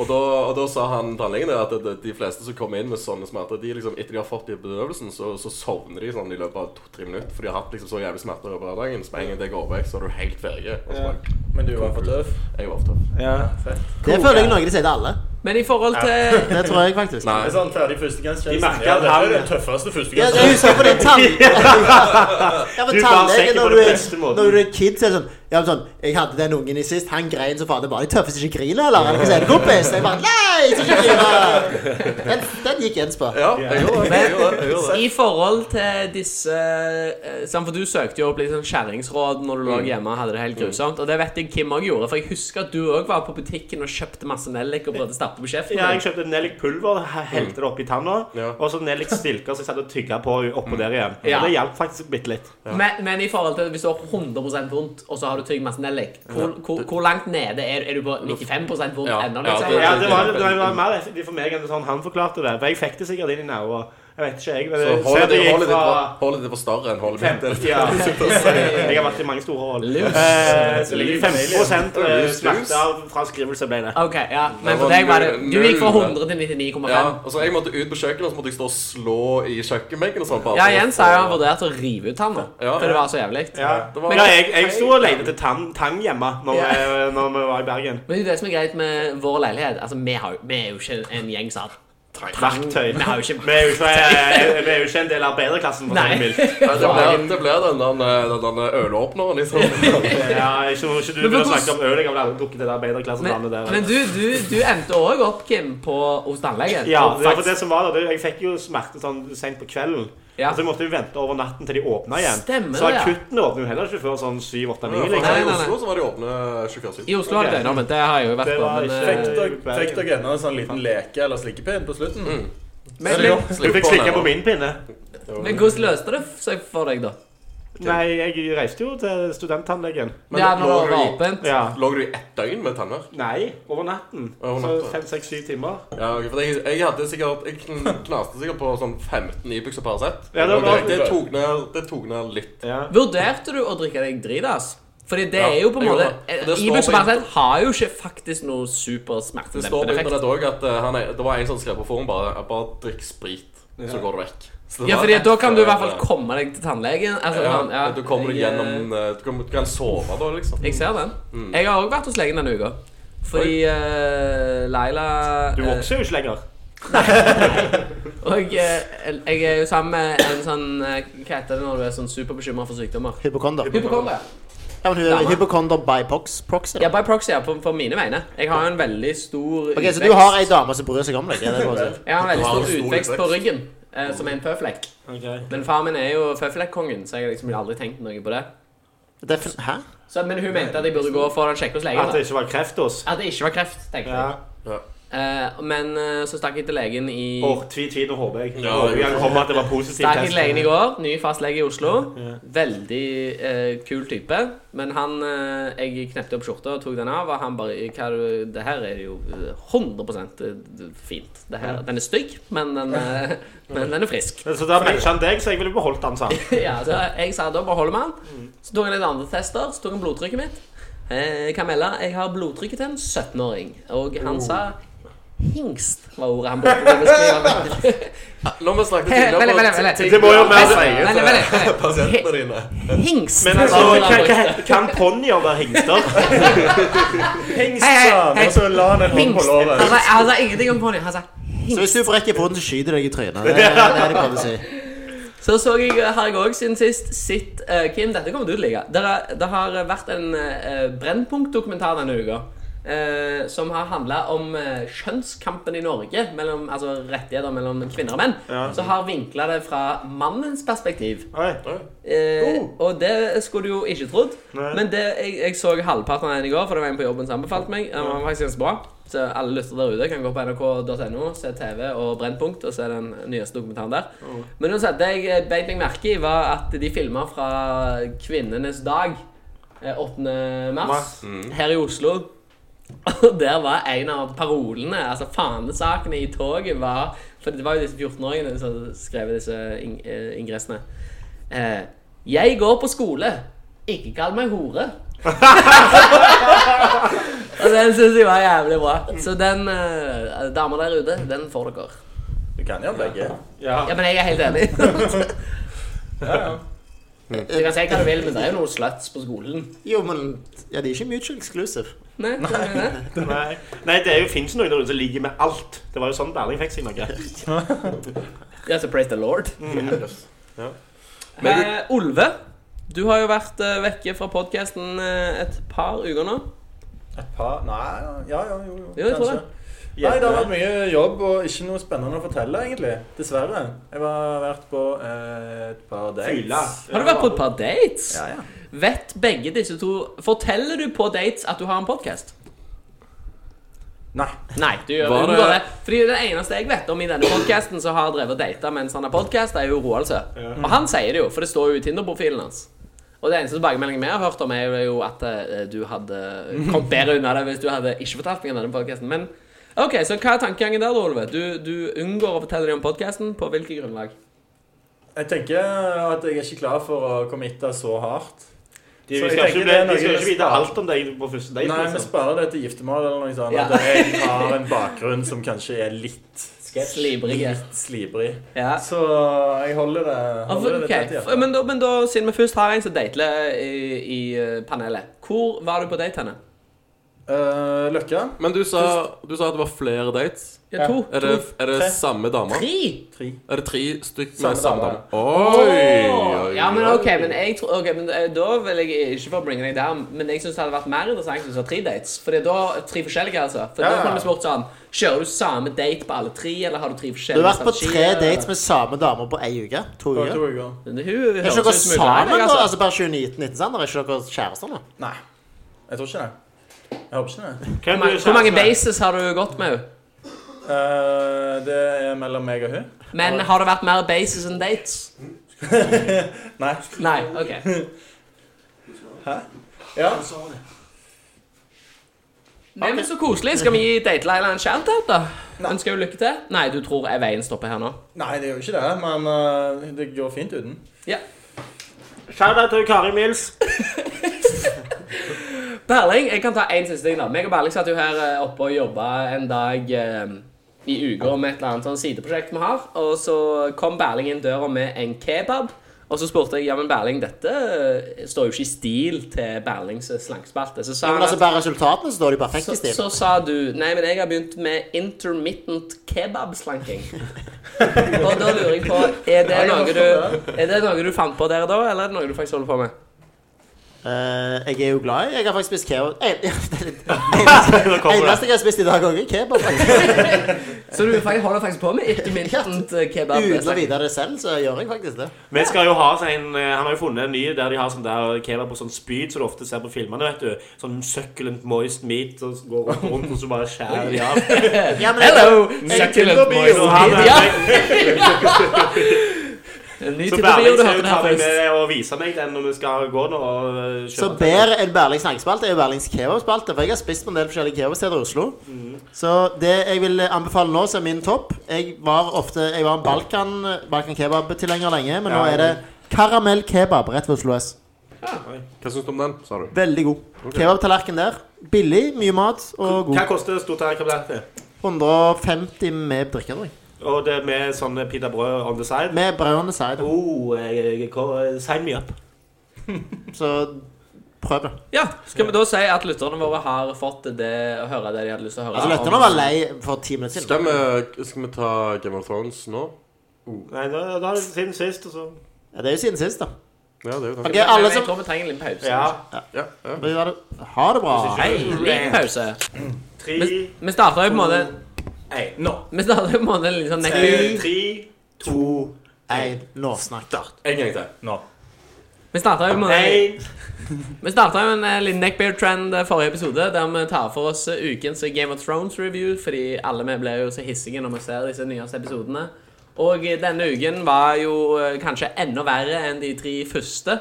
Speaker 4: Og da, og da sa han tannlegen det at de, de fleste som kommer inn med sånne smerter, de liksom, etter de har fått de bedøvelsen, så, så sovner de sånn i løpet av to-tre minutter. For de har hatt liksom så jævlig smerter over hverdagen. Så med en gang det går vekk, så er du helt ferdig. Og så
Speaker 2: Ja.
Speaker 4: bare,
Speaker 5: Men du var for tøff.
Speaker 4: jeg var ofte
Speaker 2: Ja.
Speaker 3: Det føler jeg er noe de sier til alle.
Speaker 1: Men i forhold til
Speaker 3: Det tror jeg faktisk.
Speaker 4: Nei.
Speaker 5: Det er sånn ferdig
Speaker 2: De
Speaker 5: førstegangstjeneste.
Speaker 2: merker
Speaker 5: Ja,
Speaker 2: at
Speaker 5: dette
Speaker 2: han-
Speaker 5: er den tøffeste
Speaker 3: Ja, jeg
Speaker 5: førstegangstjenesten.
Speaker 3: husker på den tann... Ja, men
Speaker 2: Du var
Speaker 3: tannlegen
Speaker 2: sikker på
Speaker 3: når
Speaker 2: den
Speaker 3: du er,
Speaker 2: beste måten.
Speaker 3: når du er kid, så er det sånn Ja, men sånn Jeg hadde den ungen i sist, han grein så faen. Det var de tøffeste som ikke griner, eller? Eller hva sier du, kompis? Jeg bare Nei, jeg skal ikke grine! Den, den gikk Jens på.
Speaker 4: Ja, jeg gjorde det. Jeg gjorde det, jeg gjorde det.
Speaker 1: I forhold til disse eh, sant, For du søkte jo opp litt sånn skjæringsråd når du lå hjemme og hadde det helt grusomt. Og det vet jeg Kim òg gjorde, for jeg husker at du òg var på butikken og kjøpte masse nellik og prøvde å stappe på kjeften.
Speaker 2: Ja, jeg
Speaker 1: din.
Speaker 2: kjøpte nellikpulver, he- helte det oppi tanna,
Speaker 4: Ja.
Speaker 2: og så nellikstilker som jeg satt og tygga på oppå der igjen.
Speaker 1: Ja.
Speaker 2: Og det hjalp faktisk bitte litt.
Speaker 1: men, men i forhold til hvis du har 100 vondt, og så har du tygd masse nellik, hvor, hvor, hvor langt nede er du? Er du på 95 vondt
Speaker 4: Ja,
Speaker 1: ennå?
Speaker 4: ja,
Speaker 1: Liksom?
Speaker 2: Ja, det var, det var mer effektivt for meg enn sånn han forklarte det. For jeg fikk det sikkert inn i nerver. Jeg vet ikke, jeg. Men
Speaker 4: Så
Speaker 2: jeg ser
Speaker 4: hålet
Speaker 2: det
Speaker 4: ditt
Speaker 2: gikk
Speaker 4: hålet ditt
Speaker 2: fra
Speaker 4: var- hålet ditt var større enn hålet mitt.
Speaker 2: 50 ja. Jeg har vært i mange store hull. Eh, så ligger 5
Speaker 4: Lus,
Speaker 2: smerter eh, fra skrivelse ble det.
Speaker 1: Ok, ja,
Speaker 4: Det
Speaker 1: Men for
Speaker 4: var
Speaker 1: deg var det
Speaker 4: null-
Speaker 1: Du gikk fra
Speaker 4: null.
Speaker 1: 100 til 99,5.
Speaker 4: Ja, og så Jeg måtte ut på kjøkkenet og så måtte jeg stå og slå i kjøkkenbenken. og sånn, bare
Speaker 1: Ja,
Speaker 4: for å
Speaker 1: Jens
Speaker 4: få-
Speaker 1: har jo vurdert å rive ut tanna.
Speaker 4: Ja.
Speaker 1: For det var så jævlig.
Speaker 2: Ja.
Speaker 4: Det var-
Speaker 2: Men ja, jeg, jeg sto og lette til tang, tang hjemme når, jeg- når vi var i Bergen.
Speaker 1: Men det er jo det som er greit med vår leilighet. Altså, Vi, har, jo- vi er jo ikke en gjeng som har trang.
Speaker 2: Verktøy.
Speaker 1: Vi har jo ikke
Speaker 2: Vi er jo ikke, eh, vi er jo ikke en del av arbeiderklassen. for å si
Speaker 1: Nei.
Speaker 2: det mildt.
Speaker 4: Nei, det blir- Det blir den der- den der ølåpneren, liksom.
Speaker 2: Ja, ikke, ikke du
Speaker 1: Men
Speaker 2: begynner å
Speaker 1: hvordan-
Speaker 2: snakke om øl. Jeg har vel aldri drukket det der arbeiderklasselandet
Speaker 1: Men,
Speaker 2: der.
Speaker 1: men du, du, du endte òg opp, Kim, på, hos tannlegen.
Speaker 2: Ja,
Speaker 1: Og
Speaker 2: det var
Speaker 1: faktisk-
Speaker 2: for det som var da, det- Jeg fikk jo smerte sånn sent på kvelden.
Speaker 1: Ja.
Speaker 2: Og så måtte vi vente over natten til de åpna igjen.
Speaker 1: Stemmer
Speaker 2: så
Speaker 1: det, ja.
Speaker 2: akuttene åpner jo heller ikke før sånn 7-8-9.
Speaker 4: For
Speaker 1: Nei,
Speaker 4: her I
Speaker 1: nei, nei.
Speaker 4: Oslo så var de åpne 24-7.
Speaker 1: I Oslo har det
Speaker 2: Ok.
Speaker 1: døgnet, men det har jeg jo vært
Speaker 2: Det
Speaker 1: på.
Speaker 2: var
Speaker 1: Men,
Speaker 2: ikke-
Speaker 1: eh,
Speaker 5: Fikk dere- fikk dere ennå en sånn liten leke- eller slikkepinn på slutten?
Speaker 1: men,
Speaker 5: Seriøst?
Speaker 1: men,
Speaker 2: Du fikk slikke på min pinne.
Speaker 1: men hvordan løste det seg for deg, da?
Speaker 4: til?
Speaker 2: Nei, jeg reiste jo til studenttannlegen.
Speaker 4: Men
Speaker 6: ja, når
Speaker 4: lå
Speaker 6: det var
Speaker 4: du i-
Speaker 6: åpent.
Speaker 2: Ja.
Speaker 4: Lå du i ett døgn med tenner?
Speaker 2: Nei, over natten.
Speaker 4: Ja, over
Speaker 2: Så
Speaker 4: natten.
Speaker 2: fem, seks, syv timer.
Speaker 4: Ja, ok, for jeg, jeg hadde sikkert Jeg kn- knaste sikkert på sånn 15 Ibux og Paracet.
Speaker 2: Ja, det var bra.
Speaker 4: det, det, tok ned, det tok ned litt.
Speaker 2: Ja.
Speaker 1: Vurderte du å drikke deg dritas? Fordi det
Speaker 4: Ja,
Speaker 1: er jo på en
Speaker 4: jeg
Speaker 1: måte
Speaker 4: gjorde det. Og det står
Speaker 1: Ibux
Speaker 4: på
Speaker 1: og Paracet sånn, har jo ikke faktisk noe super
Speaker 4: Det står på
Speaker 1: smertedempende effekt.
Speaker 4: internett òg at eh, han er, det var en som skrev på forum bare Bare drikk sprit, så går det vekk. Så det
Speaker 1: Ja,
Speaker 4: var
Speaker 1: fordi
Speaker 4: rett
Speaker 1: da kan du i hvert fall
Speaker 4: før-
Speaker 1: komme deg til tannlegen. Altså,
Speaker 4: ja,
Speaker 1: sånn, ja,
Speaker 4: Du kommer deg
Speaker 1: jeg,
Speaker 4: gjennom eh, du, kan, du kan sove da, liksom.
Speaker 1: Jeg ser den. Jeg har òg vært hos legen denne uka. Fordi eh, Laila
Speaker 2: Du
Speaker 1: eh,
Speaker 2: vokser jo ikke lenger.
Speaker 1: Og eh, jeg er jo sammen med en sånn eh, Hva heter det når du er sånn superbekymra for sykdommer?
Speaker 3: Hypokonder.
Speaker 1: Hypokonder.
Speaker 3: Ja, men hun er
Speaker 1: Dame.
Speaker 3: hypokonder by pox, proxy. da.
Speaker 1: Ja, by proxy, ja, på, på mine vegne. Jeg har jo en veldig stor
Speaker 3: Ok, Så du har ei dame som bryr seg om deg? Er det bare å si?
Speaker 1: Jeg har en veldig
Speaker 4: Du har en
Speaker 1: stor
Speaker 4: stor
Speaker 1: utvekst på
Speaker 4: utvekst.
Speaker 1: ryggen, eh, som er en føflekk. Men far min er jo føflekkongen, så jeg har liksom aldri tenkt noe på det.
Speaker 3: Det er fin- Hæ?
Speaker 1: Så, men hun mente at jeg burde gå og få den sjekket hos legen.
Speaker 2: At det
Speaker 1: da.
Speaker 2: ikke var kreft hos.
Speaker 1: At det ikke var kreft, tenkte
Speaker 2: Ja.
Speaker 1: jeg. Eh, men eh, så stakk jeg til legen i
Speaker 2: Åh, tvi, tvi, nå håper jeg.
Speaker 4: Ja,
Speaker 2: Ja, jeg kan komme at det var positiv
Speaker 1: Stakk jeg
Speaker 2: test.
Speaker 1: til legen i går. Ny fastlege i Oslo. Veldig eh, kul type. Men han eh, Jeg knepte opp skjorta og tok den av, og han bare hva, er det- Det her er jo eh, 100 fint. Det her, den er stygg, men den, eh, men den er frisk.
Speaker 2: Men Så da matcha han deg, så jeg ville beholdt han, sa han.
Speaker 1: Ja, så jeg sa da beholder vi den. Så tok han litt andre tester. Så tok han blodtrykket mitt. Eh, Jeg kan melde jeg har blodtrykket til en 17-åring. Og han sa Oh. hingst, var ordet han brukte. til å beskrive meg.
Speaker 4: Når vi snakket
Speaker 1: Vent litt,
Speaker 4: tidligere
Speaker 1: vent litt, vent litt.
Speaker 2: Det må jo være
Speaker 1: Vent
Speaker 4: sier
Speaker 1: litt, vent litt, vent
Speaker 4: til
Speaker 1: litt.
Speaker 4: pasientene dine.
Speaker 1: Hingst.
Speaker 2: Men
Speaker 1: var
Speaker 2: altså,
Speaker 1: ordet han
Speaker 2: kan,
Speaker 1: brukte.
Speaker 2: kan, kan ponnier være hingster?
Speaker 1: Hei, hei,
Speaker 5: Hengst, sa han,
Speaker 1: hei.
Speaker 5: og så la han en hånd på
Speaker 1: Hingst.
Speaker 5: låret.
Speaker 1: Han sa, han sa ingenting om ponni. Han sa
Speaker 3: Så hvis
Speaker 1: hingst.
Speaker 3: du brekker foten, så skyter jeg deg i trynet. Det er det er det jeg prøver å si.
Speaker 1: Så så jeg, eh, har jeg òg siden sist sitt eh, Kim, dette kommer du til å like. Det, er- det har vært en eh, Brennpunkt-dokumentar denne uka. eh, som har handla om eh, kjønnskampen i Norge, mellom, altså rettigheter mellom kvinner og menn. Så har vinkla det fra mannens perspektiv.
Speaker 2: Oi.
Speaker 1: Eh, Og det skulle du jo ikke trodd. Men det, jeg, jeg så halvparten av den i går, for det var en på jobben som anbefalte meg. Den var faktisk ganske bra. Så alle lyttere der ute kan gå på nrk.no, se TV og Brennpunkt og se den nyeste dokumentaren der. Men uansett, det jeg eh, beit meg merke i, var at de filma fra kvinnenes dag. eh, 8. mars, Mm. her i Oslo. Og der var en av parolene, altså fanesakene i toget, var For det var jo disse 14-åringene som skrev disse ing eh, ingressene. Eh, jeg går på skole. Ikke kall meg hore. og den syns jeg var jævlig bra. Så den eh, dama der ute, den får dere.
Speaker 5: Du kan jo begge.
Speaker 2: Ja.
Speaker 1: Ja, men jeg er helt enig. Du kan si hva du vil, men det er jo noen sluts på skolen.
Speaker 3: Jo, men ja, de er ikke mutual exclusive.
Speaker 1: Nei, det er det.
Speaker 2: Nei. Nei, det er jo finnes noen der ute som ligger med alt. Det var jo sånn Berling fikk sin noe.
Speaker 1: Ja, så praise the lord.
Speaker 4: Ja.
Speaker 1: Mm, Eh, Olve, du har jo vært eh, vekke fra podkasten eh, et par uker nå.
Speaker 5: Et par Nei, ja, ja, jo,
Speaker 1: Jo,
Speaker 5: jo.
Speaker 1: jeg tror
Speaker 5: kanskje.
Speaker 1: det.
Speaker 5: Nei, det har vært mye jobb og ikke noe spennende å fortelle, egentlig. Dessverre. Jeg har vært på eh, et par
Speaker 2: Fylla.
Speaker 5: dates.
Speaker 1: Har du vært på et par dates?
Speaker 5: Ja, ja.
Speaker 1: Vet begge disse to Forteller du på dates at du har en podkast?
Speaker 5: Nei.
Speaker 1: Nei, du gjør
Speaker 4: Var det-
Speaker 1: unngår det. Fordi det eneste jeg vet om i denne podkasten som har drevet og data mens han har podkast, sånn er jo Roald Sø. Og han sier det jo, for det står jo i Tinder-profilen hans. Og det eneste tilbakemeldingen vi har hørt om, er jo at eh, du hadde kommet bedre unna det hvis du hadde ikke fortalt meg om denne podkasten. Men OK, så hva er tankegangen der, da, Olve? Du, du unngår å fortelle dem om podkasten. På hvilket grunnlag?
Speaker 5: Jeg tenker at jeg er ikke klar for å committe så hardt.
Speaker 2: De
Speaker 5: Så jeg
Speaker 2: skal ikke,
Speaker 5: tenker
Speaker 2: bli,
Speaker 5: det er
Speaker 2: de skal
Speaker 5: noe-
Speaker 2: ikke vite alt om deg på første date.
Speaker 5: Nei, vi
Speaker 2: liksom.
Speaker 5: sparer det til giftermål eller noe sånt.
Speaker 1: Ja.
Speaker 5: At jeg har en bakgrunn som kanskje er litt
Speaker 1: Slibrig.
Speaker 5: Litt slibrig.
Speaker 1: Ja.
Speaker 5: Så jeg holder det,
Speaker 1: Ja, for-
Speaker 5: holder det
Speaker 1: ok,
Speaker 5: tett i
Speaker 1: for-
Speaker 5: hjertet.
Speaker 1: men, da, men da, siden vi først har en som dater i, i eh, panelet, hvor var du på date henne?
Speaker 5: Eh, Løkka?
Speaker 4: Men du sa, du sa at det var flere dates.
Speaker 1: Ja, to.
Speaker 4: Er det,
Speaker 1: to.
Speaker 4: er det
Speaker 5: Tre.
Speaker 4: samme dame?
Speaker 1: Tre?
Speaker 5: Tre.
Speaker 4: Er det tre stykker
Speaker 5: Samme
Speaker 4: med samme
Speaker 5: dame.
Speaker 4: dame? Oi, oi, oi!
Speaker 1: Ja, men ok, men jeg tror Ok, men eh, da vil jeg ikke få bringe deg down, men jeg syns det hadde vært mer interessant hvis du har tre dates. For det er da tre forskjellige, altså. For
Speaker 5: Ja,
Speaker 1: da
Speaker 5: ja.
Speaker 1: kunne vi spurt sånn Kjører du samme date på alle tre, eller har du tre
Speaker 3: Du
Speaker 1: forskjellige
Speaker 3: har vært på tre
Speaker 1: strategier,
Speaker 3: dates med samme dame på ei uke. sånn, To
Speaker 5: På
Speaker 3: uker.
Speaker 5: to uker.
Speaker 1: eller? Men Hun
Speaker 3: Er
Speaker 1: høres ut
Speaker 3: ikke dere
Speaker 1: som hun klarer
Speaker 3: sammen,
Speaker 1: deg,
Speaker 3: da?
Speaker 1: altså.
Speaker 3: Altså bare 29-19 sant? Er ikke dere kjærester nå?
Speaker 5: Nei. Jeg tror ikke det. Jeg håper ikke det.
Speaker 1: Hvor
Speaker 2: Hvem
Speaker 1: mange-
Speaker 2: blir du
Speaker 1: Hvor mange
Speaker 2: kjæreste med?
Speaker 1: bases har du gått med henne?
Speaker 5: Eh, det er mellom meg og hun.
Speaker 1: Men har det vært mer bases enn dates?
Speaker 5: Skal Nei.
Speaker 1: Nei, OK.
Speaker 5: Ja.
Speaker 1: Nei, men Så koselig. Skal vi gi Datelila en shout-out, da? Ønsker jo lykke til. Nei, du tror jeg veien stopper her nå?
Speaker 5: Nei, det gjør jo ikke det, men eh, det går fint uten.
Speaker 1: Ja.
Speaker 2: Shout-out til Kari Mills.
Speaker 1: Berling, jeg kan ta én siste ting. da. Meg og Berling satt jo her eh, oppe og jobba en dag eh, i uka med et eller annet sånn sideprosjekt vi har. Og så kom Berling inn døra med en kebab. Og så spurte jeg ja, men Berling, dette eh, står jo ikke i stil til Berlings eh, slangspalte. Så sa
Speaker 3: Men
Speaker 1: han
Speaker 3: altså,
Speaker 1: at,
Speaker 3: bare resultatene så står de perfekt
Speaker 1: så,
Speaker 3: i stil.
Speaker 1: så sa du Nei, men jeg har begynt med intermittent kebabslanking. og da lurer jeg på er det,
Speaker 5: jeg har
Speaker 1: noe
Speaker 5: forstått
Speaker 1: du, er det noe du fant på der da, eller er det noe du faktisk holder på med?
Speaker 3: Eh, jeg er jo glad i Jeg har faktisk spist kebab. Eh, det er litt-
Speaker 2: Nå kommer det.
Speaker 3: Eneste jeg har spist i dag òg, er kebab.
Speaker 1: Så du faktisk- holder faktisk på med intermittent eh,
Speaker 3: Uten å
Speaker 1: kebabslanking?
Speaker 3: vite det selv, så gjør jeg faktisk det.
Speaker 2: Vi skal jo ha seg en, eh, Han har jo funnet en ny der de har sånn der kebab på sånn spyd som du ofte ser på filmene. vet du Sånn succulent moist meat som går rundt, rundt og så bare skjærer de av.
Speaker 3: Ja, men
Speaker 1: Hello,
Speaker 3: Tinder
Speaker 1: succulent
Speaker 3: bio.
Speaker 1: boys.
Speaker 2: Så han er-
Speaker 1: Ja. Ny
Speaker 2: Så
Speaker 1: Tinder-bio,
Speaker 2: Berling
Speaker 1: du
Speaker 2: skal
Speaker 1: hørte
Speaker 2: jo
Speaker 1: det
Speaker 2: ta
Speaker 1: her
Speaker 2: meg
Speaker 1: først.
Speaker 2: med og vise meg den når vi skal gå nå og eh, kjøpe
Speaker 3: Så bedre enn Berlings snakkespalte er jo Berlings kebabspalte. For jeg har spist på en del forskjellige kebabsteder i Oslo. Så det jeg vil anbefale nå, som er min topp Jeg var ofte Jeg var en Balkan, Balkan kebab-tilhenger lenge, men nå
Speaker 2: Ja.
Speaker 3: er det karamell kebab rett ved Oslo S.
Speaker 4: Hva syns du om den, sa du?
Speaker 3: Veldig god. Kebabtallerken der. Billig, mye mat og
Speaker 2: Hva
Speaker 3: god.
Speaker 2: koster stort her kabinettet?
Speaker 3: 150 med drikke, tror jeg.
Speaker 2: Og det med sånn pitabrød on the side?
Speaker 3: Med brødende side.
Speaker 2: Oh, eh, hva- sign me up.
Speaker 3: Så prøv det.
Speaker 1: Ja, skal vi da si at lytterne våre har fått det å høre det de hadde lyst til å høre?
Speaker 3: Altså,
Speaker 1: om-
Speaker 3: Løtterne var lei for ti minutter siden.
Speaker 4: Skal vi, skal vi ta Game of Thrones nå?
Speaker 2: Nei, da, da er det siden sist, og så
Speaker 3: Ja, det er jo siden sist, da.
Speaker 4: Ja, det er jo
Speaker 3: Ok,
Speaker 4: det.
Speaker 1: Men
Speaker 3: alle
Speaker 1: Jeg
Speaker 3: som
Speaker 1: tror vi trenger en liten pause.
Speaker 2: Ja.
Speaker 4: Ja, ja.
Speaker 3: Men Ha det- ha det bra.
Speaker 1: Hei, liten pause.
Speaker 2: Tre,
Speaker 1: Vi starter jo på en måte
Speaker 2: en,
Speaker 5: Nå.
Speaker 1: Vi starter jo på en måte litt sånn
Speaker 2: eh,
Speaker 1: negativ
Speaker 2: tre,
Speaker 3: To, én, nå snakk.
Speaker 4: En gang til.
Speaker 5: Nå.
Speaker 1: Vi starter jo på en måte
Speaker 2: en
Speaker 1: Vi startet jo en eh, liten neckbeard-trend eh, forrige episode, der vi tar for oss eh, ukens Game of Thrones-review, fordi alle vi blir jo så hissige når vi ser disse nyeste episodene. Og eh, denne uken var jo eh, kanskje enda verre enn de tre første.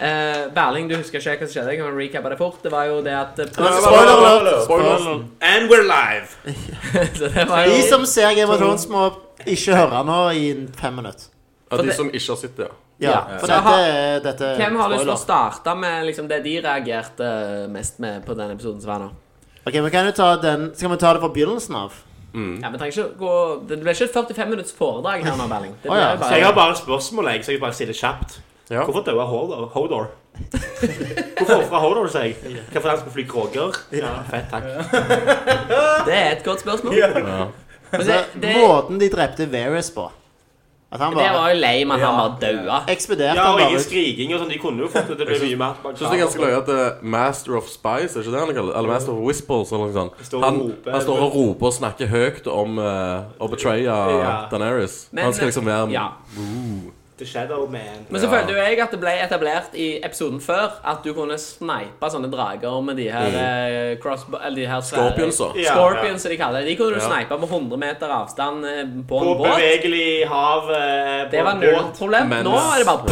Speaker 1: Eh, Berling, du husker ikke hva som skjedde? Jeg kan recappe det fort. Det var jo det at eh, på,
Speaker 3: Spoiler alert!
Speaker 4: Spoiler.
Speaker 2: And we're live!
Speaker 1: så det var
Speaker 3: De
Speaker 1: jo,
Speaker 3: som ser Game of Thrones, må ikke høre nå i fem minutter.
Speaker 4: Ja, de
Speaker 1: det-
Speaker 4: som ikke har sett det, ja.
Speaker 3: Ja,
Speaker 1: Ja. Så
Speaker 3: for dette,
Speaker 1: ha-
Speaker 3: dette er
Speaker 1: Hvem har lyst til å
Speaker 3: spoiler.
Speaker 1: starte med liksom, det de reagerte eh, mest med på den episoden som var nå?
Speaker 3: Ok, men kan du ta den Skal vi ta det fra begynnelsen av?
Speaker 1: Ja, vi trenger ikke å gå Det ble ikke et 45 minutts foredrag her nå, Berling. Det
Speaker 3: Å ja,
Speaker 1: ble
Speaker 2: Så jeg
Speaker 1: bare...
Speaker 2: har bare spørsmål, jeg, så jeg bare stiller kjapt.
Speaker 4: Ja.
Speaker 2: Hvorfor daua Hodor? Hodor? Hvorfor ofra Hodor seg? Hvorfor han skulle fly kråker? Ja, fett, takk.
Speaker 1: Det er et godt spørsmål. Men
Speaker 3: Altså,
Speaker 1: det, det,
Speaker 3: måten de drepte Varys på At han
Speaker 1: det
Speaker 3: bare
Speaker 1: var jo lame at han
Speaker 2: Ja.
Speaker 1: var daua.
Speaker 3: ekspederte
Speaker 2: Ja,
Speaker 3: han
Speaker 2: og ingen
Speaker 3: bare ut.
Speaker 2: skriking og sånn. De kunne jo fått det. Det ble mye mer
Speaker 4: Jeg synes det er ganske løye at eh, Master of Spies, er ikke det han kaller det? Eller Master of Whispers, eller noe sånt.
Speaker 2: står og
Speaker 4: Han,
Speaker 2: roper.
Speaker 4: han står og roper og snakker høyt om eh, å betraye
Speaker 2: Ja.
Speaker 4: Daenerys.
Speaker 1: Men-
Speaker 4: Han skal liksom være
Speaker 1: Ja.
Speaker 2: The Shadow Man.
Speaker 1: Men så
Speaker 4: Ja.
Speaker 1: følte jo jeg at det ble etablert i episoden før at du kunne snipe sånne drager med de her mm. crossbow... Eller de her svære-
Speaker 4: Scorpions, da.
Speaker 2: Ja,
Speaker 1: Scorpions,
Speaker 2: ja.
Speaker 1: som de kaller det. De kunne du
Speaker 4: Ja.
Speaker 1: snipe på 100 meter avstand eh, på
Speaker 2: På
Speaker 1: en båt.
Speaker 2: bevegelig hav eh, på
Speaker 1: Det var
Speaker 2: en
Speaker 1: null
Speaker 2: båt.
Speaker 1: problem.
Speaker 4: Mens-
Speaker 1: Nå er det bare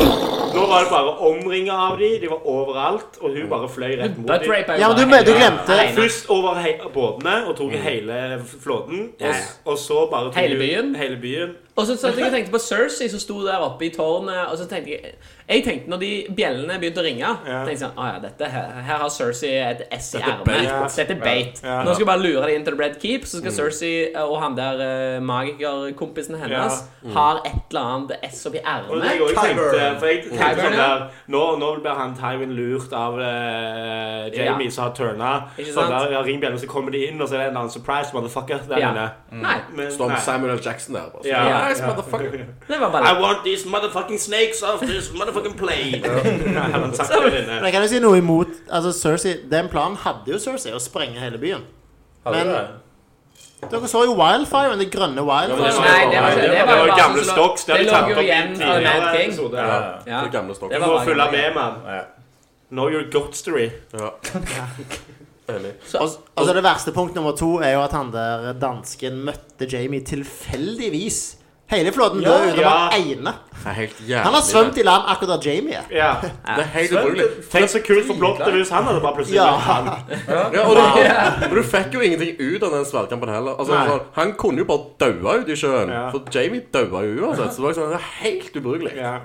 Speaker 2: Nå var det bare omringa av de, de var overalt, og hun bare fløy rett mot
Speaker 1: Butt
Speaker 2: dem.
Speaker 1: rape er
Speaker 3: Ja,
Speaker 1: jo
Speaker 3: men du,
Speaker 1: bare
Speaker 3: du
Speaker 1: helt-
Speaker 3: glemte
Speaker 1: Alene. Mm.
Speaker 2: Først over he båtene og tok hele f- flåten, og,
Speaker 1: Ja, ja.
Speaker 2: s- og så bare tok
Speaker 1: Hele
Speaker 2: hun-
Speaker 1: byen?
Speaker 2: Hele byen.
Speaker 1: Og så satt jeg og tenkte på Cersei som sto der oppe i tårnet, og så tenkte jeg Jeg tenkte når de bjellene begynte å ringe,
Speaker 2: Ja.
Speaker 1: tenkte jeg sånn Å ja, dette her, her har Cersei et S i
Speaker 4: Dette er
Speaker 1: ermet.
Speaker 2: bait.
Speaker 1: Dette er bait.
Speaker 2: Ja. Mm.
Speaker 1: Nå skal jeg bare lure dem inn til The Red Keep, så skal Cersei og han der eh, magikerkompisen hennes har et eller annet S oppi
Speaker 2: Mm. Og det jeg
Speaker 1: ermet.
Speaker 2: også tenkte, for jeg tenkte
Speaker 1: Tyburn,
Speaker 2: sånn
Speaker 1: ja.
Speaker 2: der Nå, nå blir han Tywin lurt av eh, Jamie
Speaker 1: Ja.
Speaker 2: som har turna.
Speaker 1: Ikke
Speaker 2: Sånn
Speaker 1: sant?
Speaker 2: der, ja, ringbjellen, så kommer de inn, og så er det en eller annen surprise motherfucker der
Speaker 1: Ja. Mm.
Speaker 2: inne.
Speaker 1: Nei,
Speaker 2: Men,
Speaker 4: Står
Speaker 2: nei.
Speaker 4: med Samuel L. Jackson der. Bare.
Speaker 2: Ja.
Speaker 1: Ja.
Speaker 4: Nice, motherfucker.
Speaker 1: det var bare
Speaker 2: I want these motherfucking snakes off this motherfucking plane. Nei, han satt der
Speaker 3: Men
Speaker 2: inne.
Speaker 3: jeg kan jo si noe imot Altså, Cersei Den planen hadde jo Cersei, å sprenge hele byen.
Speaker 5: Hadde
Speaker 3: Men-
Speaker 5: du det?
Speaker 3: Dere så jo wildfiren, det grønne
Speaker 4: Ja,
Speaker 3: wildfiren.
Speaker 4: men
Speaker 1: Nei, det var ikke
Speaker 2: Det
Speaker 1: Det
Speaker 2: var jo
Speaker 1: bare sånn
Speaker 2: gamle
Speaker 1: som lå-
Speaker 2: stocks. Det har
Speaker 1: det
Speaker 2: de
Speaker 1: lå
Speaker 2: tatt
Speaker 1: jo
Speaker 2: opp i
Speaker 1: igjen fra
Speaker 2: tidligere
Speaker 1: Mad King.
Speaker 2: episode.
Speaker 5: Ja.
Speaker 1: ja.
Speaker 4: Det er gamle stokken.
Speaker 1: Det
Speaker 2: Du
Speaker 1: var
Speaker 2: må
Speaker 1: bare
Speaker 2: følge
Speaker 1: gøy.
Speaker 2: med, mann.
Speaker 5: Ja.
Speaker 2: Know your godstory.
Speaker 4: Ja. Enig.
Speaker 3: Og, altså Det verste punkt nummer to er jo at han der dansken møtte Jamie tilfeldigvis Hele flåten
Speaker 2: Ja,
Speaker 3: dør uten
Speaker 2: ja.
Speaker 3: bare ene.
Speaker 4: Det er helt jævlig.
Speaker 3: Han har svømt i land akkurat der Jamie er.
Speaker 2: Ja.
Speaker 4: Det er helt ubrukelig.
Speaker 2: Tenk så kult for plottet hvis han hadde bare plutselig
Speaker 3: Ja.
Speaker 2: vært han.
Speaker 4: Ja, og, du, og du fikk jo ingenting ut av den sverdkampen heller. Altså,
Speaker 2: Nei.
Speaker 4: sånn, han kunne jo bare daua ute i sjøen.
Speaker 2: Ja.
Speaker 4: For Jamie daua jo uansett. Så det var sånn, det var helt ubrukelig.
Speaker 2: Ja.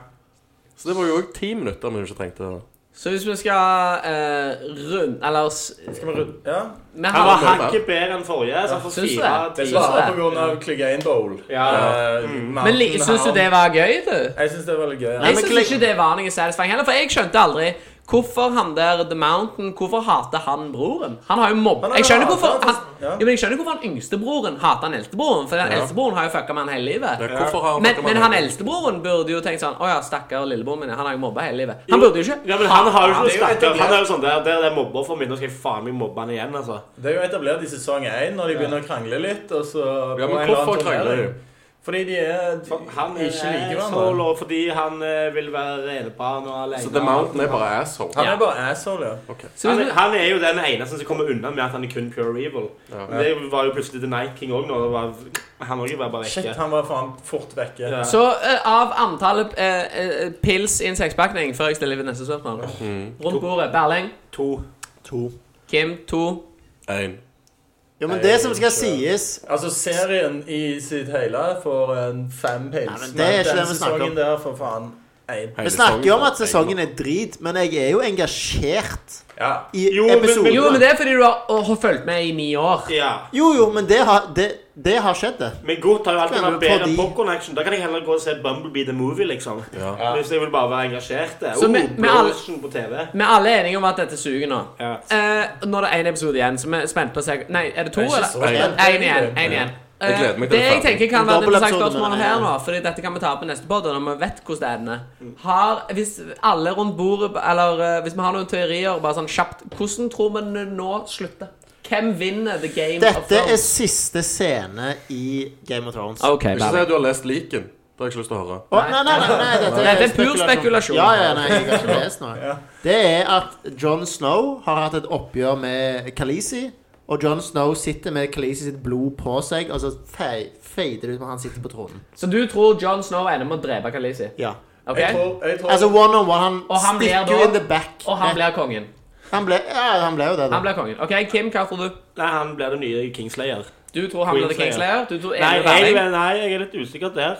Speaker 4: Så det var jo òg ti minutter vi ikke trengte.
Speaker 1: Så hvis vi skal eh, runde Eller s-
Speaker 2: Skal vi runde?
Speaker 5: Ja.
Speaker 1: vi
Speaker 2: Han var
Speaker 1: har,
Speaker 2: hakket bedre enn forrige. Så han får
Speaker 1: Syns du
Speaker 2: fire
Speaker 1: det?
Speaker 2: ti.
Speaker 5: Det var
Speaker 1: det.
Speaker 5: på grunn av Clegane Bowl.
Speaker 2: Ja. Mm.
Speaker 5: Eh, maten
Speaker 1: Men li- syns du
Speaker 5: her.
Speaker 1: det var gøy, du?
Speaker 5: Jeg syns det var litt gøy. Ja.
Speaker 3: Nei,
Speaker 1: Jeg
Speaker 3: men
Speaker 1: syns
Speaker 3: Clay-
Speaker 1: ikke det var noe satisfying heller, for jeg skjønte aldri hvorfor han der The Mountain Hvorfor hater han broren? Han har jo mobb...
Speaker 5: Han har
Speaker 1: Jeg skjønner
Speaker 5: hatet
Speaker 1: hvorfor
Speaker 5: han for-
Speaker 2: altså.
Speaker 1: han,
Speaker 5: ja.
Speaker 1: jo, men jeg skjønner hvorfor han yngstebroren hater han eldstebroren, for den eldstebroren har jo fucka med han hele livet.
Speaker 4: Ja, hvorfor har
Speaker 1: Men,
Speaker 4: fucker man
Speaker 1: men han
Speaker 4: det?
Speaker 1: eldstebroren burde jo tenkt sånn Å ja, stakkar lillebroren min. Han har jo mobba hele livet.
Speaker 2: Jo,
Speaker 1: Han burde jo ikke
Speaker 2: Ja, men han har jo ikke noe
Speaker 5: Det er jo
Speaker 2: stakkar.
Speaker 5: etablert.
Speaker 2: Han er jo sånn der, der er det mobbeofferet mitt. Nå skal jeg faen meg mobbe han igjen, altså.
Speaker 5: Det er jo etablert i sesong én når de begynner å krangle litt. Og så
Speaker 4: Ja, men
Speaker 5: på en eller annen
Speaker 4: hvorfor krangler
Speaker 5: turnering.
Speaker 4: de?
Speaker 5: Fordi de er de,
Speaker 2: Han er
Speaker 5: ikke liker hverandre.
Speaker 2: asshole og fordi han eh, vil være enebarn og alene.
Speaker 4: Så The Mountain er bare asshole.
Speaker 5: Han er bare asshole, ja.
Speaker 1: Så
Speaker 2: Han,
Speaker 1: hvis
Speaker 2: er-
Speaker 1: vi-
Speaker 2: han er jo den eneste som kommer unna med at han er kun pure evil.
Speaker 4: Ja.
Speaker 2: Det var jo plutselig The Night King òg nå. det var- Han også var bare
Speaker 5: Shit,
Speaker 2: vekke.
Speaker 5: han var faen fort vekke.
Speaker 2: Ja.
Speaker 1: Så eh, av antallet eh, eh, pils i en sekspakning Før jeg stiller ved neste spørsmål
Speaker 2: Mm.
Speaker 1: Rundt bordet. Berling.
Speaker 2: To.
Speaker 1: Kim. To.
Speaker 4: En.
Speaker 3: Jo, men det som skal sies
Speaker 5: Altså, serien i sitt hele får en fem pils.
Speaker 3: Nei, men det
Speaker 5: men
Speaker 3: er ikke
Speaker 5: den
Speaker 3: det vi snakker om.
Speaker 5: sesongen der får faen én.
Speaker 4: Hele
Speaker 3: Vi snakker jo om
Speaker 4: sesongen.
Speaker 3: at sesongen er drit, men jeg er jo engasjert
Speaker 5: Ja.
Speaker 3: i
Speaker 2: Jo, men-
Speaker 3: episoden.
Speaker 1: Jo, men det er fordi du har, å, har fulgt med i ni år.
Speaker 2: Ja.
Speaker 3: Jo, jo, men det har, det, det har skjedd, det.
Speaker 2: Men godt har jo alltid
Speaker 3: Kan
Speaker 2: vært
Speaker 3: du ta
Speaker 2: bedre enn
Speaker 3: de?
Speaker 2: popcorn action. Da kan jeg heller gå og se Bumblebee the Movie, liksom.
Speaker 4: Ja.
Speaker 2: Hvis jeg vil bare være engasjert. det.
Speaker 1: Så
Speaker 2: oh,
Speaker 1: med- med alle-
Speaker 2: Blåsen på TV.
Speaker 1: Vi er alle enige om at dette suger nå.
Speaker 2: Ja.
Speaker 1: Eh, nå er det én episode igjen, så vi er spent på å se Nei, er det to,
Speaker 5: Det er ikke
Speaker 1: eller?
Speaker 5: så
Speaker 4: Nei.
Speaker 5: spent,
Speaker 1: Én igjen.
Speaker 5: egentlig.
Speaker 1: En igjen.
Speaker 4: Jeg
Speaker 1: Eh,
Speaker 4: gleder meg til
Speaker 1: det
Speaker 4: det
Speaker 1: jeg
Speaker 4: ferdig.
Speaker 1: tenker kan
Speaker 3: En
Speaker 1: være et interessant
Speaker 3: dobbeltepisode,
Speaker 1: spørsmål
Speaker 3: mener
Speaker 1: her
Speaker 3: jeg.
Speaker 1: nå, Fordi dette kan vi ta opp i neste podd, når vi vet hvordan det ender. Har, hvis alle rundt bordet Eller eh, hvis vi har noen teorier, bare sånn kjapt Hvordan tror vi det nå slutter? Hvem vinner the game of
Speaker 3: Dette er
Speaker 1: thrones?
Speaker 3: siste scene i Game of Thrones.
Speaker 1: Ah, OK,
Speaker 4: Ikke si
Speaker 1: Berling.
Speaker 4: at du har lest Liken. Det har jeg ikke lyst til å høre.
Speaker 3: Å, nei, nei, nei, nei, dette
Speaker 1: Dette er pur spekulasjon.
Speaker 3: Ja, ja, nei, jeg har ikke lest noe. Det er at Jon Snow har hatt et oppgjør med Khaleesi, og Jon Snow sitter med Khaleesi sitt blod på seg, og så fe- fader det ut når han sitter på tronen.
Speaker 1: Så du tror Jon Snow ender med å drepe Khaleesi?
Speaker 3: Ja.
Speaker 1: Ok?
Speaker 5: Jeg tror, jeg tror
Speaker 3: Altså one on one.
Speaker 1: Og han
Speaker 3: Han,
Speaker 1: blir
Speaker 3: stikker
Speaker 1: da-
Speaker 3: jo in the back.
Speaker 1: Og han blir kongen.
Speaker 3: han ble, ja, han ble jo det, da.
Speaker 1: Han blir kongen. OK, Kim, hva tror du?
Speaker 2: Nei, han blir den nye Kingslayer.
Speaker 1: Du tror han blir the
Speaker 2: Queenslayer.
Speaker 1: Kingslayer? Du tror
Speaker 2: Nei,
Speaker 1: Emil
Speaker 2: jeg,
Speaker 1: Berling?
Speaker 2: nei, jeg er litt usikker der.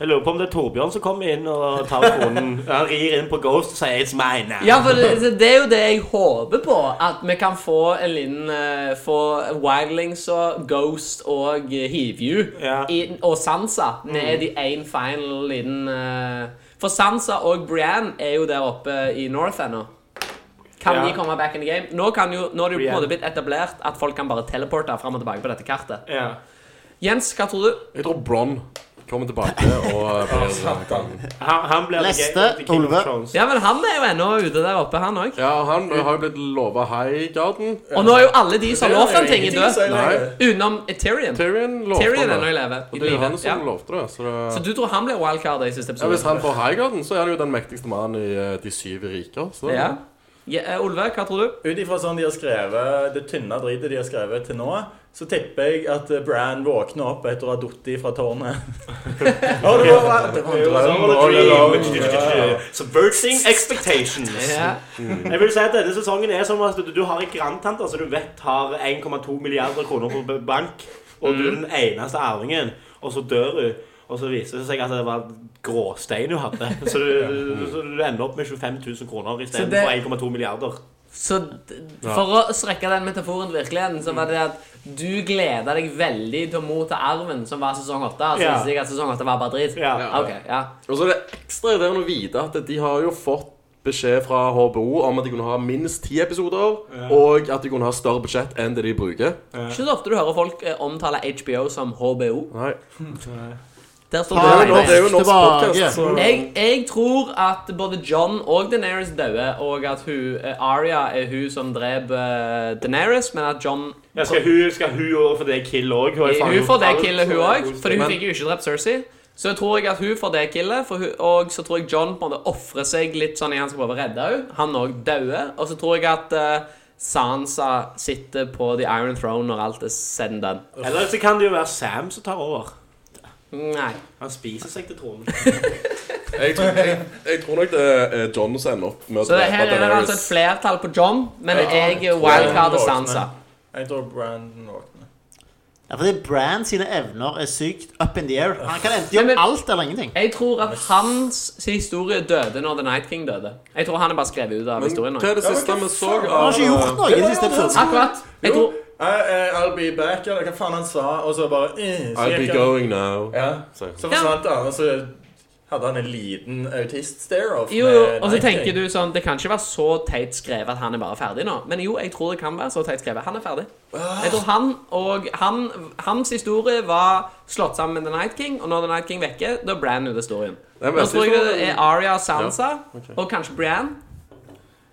Speaker 2: Jeg lurer på om det er Torbjørn som kommer inn og tar kronen. Han rir inn på Ghost og sier 'It's mine now'.
Speaker 1: Ja, for det, det er jo det jeg håper på. At vi kan få en liten eh, Få Wildlings og Ghost og Hivju
Speaker 2: Ja.
Speaker 1: i- og Sansa ned i én final liten eh, For Sansa og Brienne er jo der oppe i North ennå. Kan
Speaker 2: Ja.
Speaker 1: de komme back in the game? Nå, kan jo, nå er det jo på en
Speaker 2: Brienne.
Speaker 1: måte blitt etablert at folk kan bare teleporte fram og tilbake på dette kartet.
Speaker 2: Ja.
Speaker 1: Jens, hva tror du?
Speaker 4: Jeg tror Bron kommer tilbake og eh, blir
Speaker 2: Han, han blir
Speaker 3: Neste,
Speaker 2: the- the King of
Speaker 3: Olve.
Speaker 2: Thrones.
Speaker 1: Ja, men han er jo ennå ute der oppe, han òg.
Speaker 4: Ja, han har jo blitt lova Highgarden.
Speaker 1: Og nå er jo alle de som har lovt en ting,
Speaker 5: ingenting å si
Speaker 1: død.
Speaker 5: lenger.
Speaker 1: Utenom Tyrion.
Speaker 4: Tyrion lovte
Speaker 1: Tyrion
Speaker 4: han
Speaker 1: er nå i
Speaker 4: det.
Speaker 1: live.
Speaker 4: Og det er jo han
Speaker 1: Ja.
Speaker 4: som lovte det. Så
Speaker 1: Så
Speaker 4: det
Speaker 1: du tror han blir wildcard i siste
Speaker 4: ja, Hvis
Speaker 1: episode?
Speaker 4: han får Highgarden, så er han jo den mektigste mannen i eh, De syv riker. Så
Speaker 1: Ja. Ja, eh, Olve, hva tror du?
Speaker 5: Ut ifra sånn de har skrevet, det tynne dritet de har skrevet til nå, så tipper jeg at eh, Bran våkner opp etter å ha falt fra tårnet. Å, det var,
Speaker 4: altså,
Speaker 5: det var en
Speaker 2: altså,
Speaker 5: drøm all along. Ja.
Speaker 2: Subverting expectations.
Speaker 1: Ja.
Speaker 2: Jeg vil si at Denne sesongen er som at du, du har en grandtante som du vet har 1,2 milliarder kroner på b- bank, og du er den eneste arvingen, og så dør hun. Og så viser det seg at det var gråstein hun hadde. Så du, så du ender opp med 25 000 kroner
Speaker 1: Så det-
Speaker 2: istedenfor 1,2 milliarder.
Speaker 1: Så d- for å strekke den metaforen til virkeligheten, så var det at du gleda deg veldig til å motta arven som var sesong åtte. Og så
Speaker 2: Ja.
Speaker 1: viste det seg at sesong åtte var bare drit.
Speaker 2: Ja.
Speaker 1: Ok, ja.
Speaker 4: Og så er det ekstra irriterende å vite at de har jo fått beskjed fra HBO om at de kunne ha minst ti episoder, og at de kunne ha større budsjett enn det de bruker.
Speaker 1: Ikke så ofte du hører folk eh, omtale HBO som HBO.
Speaker 4: Nei.
Speaker 1: Der
Speaker 4: Det
Speaker 1: står
Speaker 4: er
Speaker 1: det
Speaker 4: jo, det er jo norsk
Speaker 3: Tilbake.
Speaker 4: podcast, så
Speaker 1: Jeg, jeg tror at både John og Daenerys døde, og at hun, eh, Arya er hun som dreper eh, Daenerys, men at John
Speaker 2: Ja, skal hun, skal hun og få det kill òg?
Speaker 1: Eh, Hun får det killet, hun òg, Fordi hun
Speaker 4: Men-
Speaker 1: fikk jo ikke drept Cersei. Så jeg tror jeg at hun får det killet, for hun, og så tror jeg John på en måte ofrer seg litt sånn i han skal prøve å redde henne. Han òg dauer. Og så tror jeg at eh, Sansa sitter på The Iron Throne når alt er said and done.
Speaker 2: Eller så kan det jo være Sam som tar over.
Speaker 1: Nei.
Speaker 2: Han spiser seg til tronen.
Speaker 4: Jeg, tror- jeg, jeg tror nok det er eh, John som ender opp med å
Speaker 1: Så det, her
Speaker 4: drepe
Speaker 1: er det altså et
Speaker 4: Daenerys.
Speaker 1: flertall på John, men
Speaker 5: Ja,
Speaker 1: jeg
Speaker 5: jeg
Speaker 1: er
Speaker 5: tror
Speaker 1: wildcard
Speaker 5: han
Speaker 1: og
Speaker 5: våkner.
Speaker 1: Sansa.
Speaker 5: Jeg tror Brandon våkner.
Speaker 3: Ja, fordi Brand sine evner er sykt up in the air. Han kan enten
Speaker 1: Men-
Speaker 3: gjøre alt eller ingenting.
Speaker 1: Jeg tror at hans historie døde når The Night King døde. Jeg tror han er bare skrevet ut av
Speaker 4: Men
Speaker 1: historien.
Speaker 4: hva
Speaker 1: nå.
Speaker 4: er det
Speaker 5: Ja, men
Speaker 4: siste
Speaker 5: hva
Speaker 4: vi så av
Speaker 5: faen?
Speaker 4: eh,
Speaker 3: Han har ikke gjort noe i den siste episoden.
Speaker 1: Akkurat. Jeg
Speaker 5: Jo,
Speaker 1: tror
Speaker 5: eh, eh, I'll be back, eller hva faen han sa, og så bare eh, så
Speaker 4: I'll be
Speaker 5: gikk han-
Speaker 4: going now.
Speaker 5: Ja,
Speaker 4: Så-
Speaker 5: så forsvant han, og så hadde han en liten autist-stare-off.
Speaker 1: Jo, jo,
Speaker 5: med
Speaker 1: og så
Speaker 5: Night
Speaker 1: tenker
Speaker 5: King.
Speaker 1: du sånn Det kan ikke være så teit skrevet at han er bare ferdig nå. Men jo, jeg tror det kan være så teit skrevet. Han er ferdig. Jeg tror han og han, Hans historie var slått sammen med The Night King, og når The Night King vekker, da er Bran ute av historien.
Speaker 4: Nei, men
Speaker 1: Nå
Speaker 4: jeg
Speaker 1: tror jeg
Speaker 4: synes
Speaker 1: det er Aria og Sansa,
Speaker 4: eh, Ja, ok.
Speaker 1: og kanskje Brian.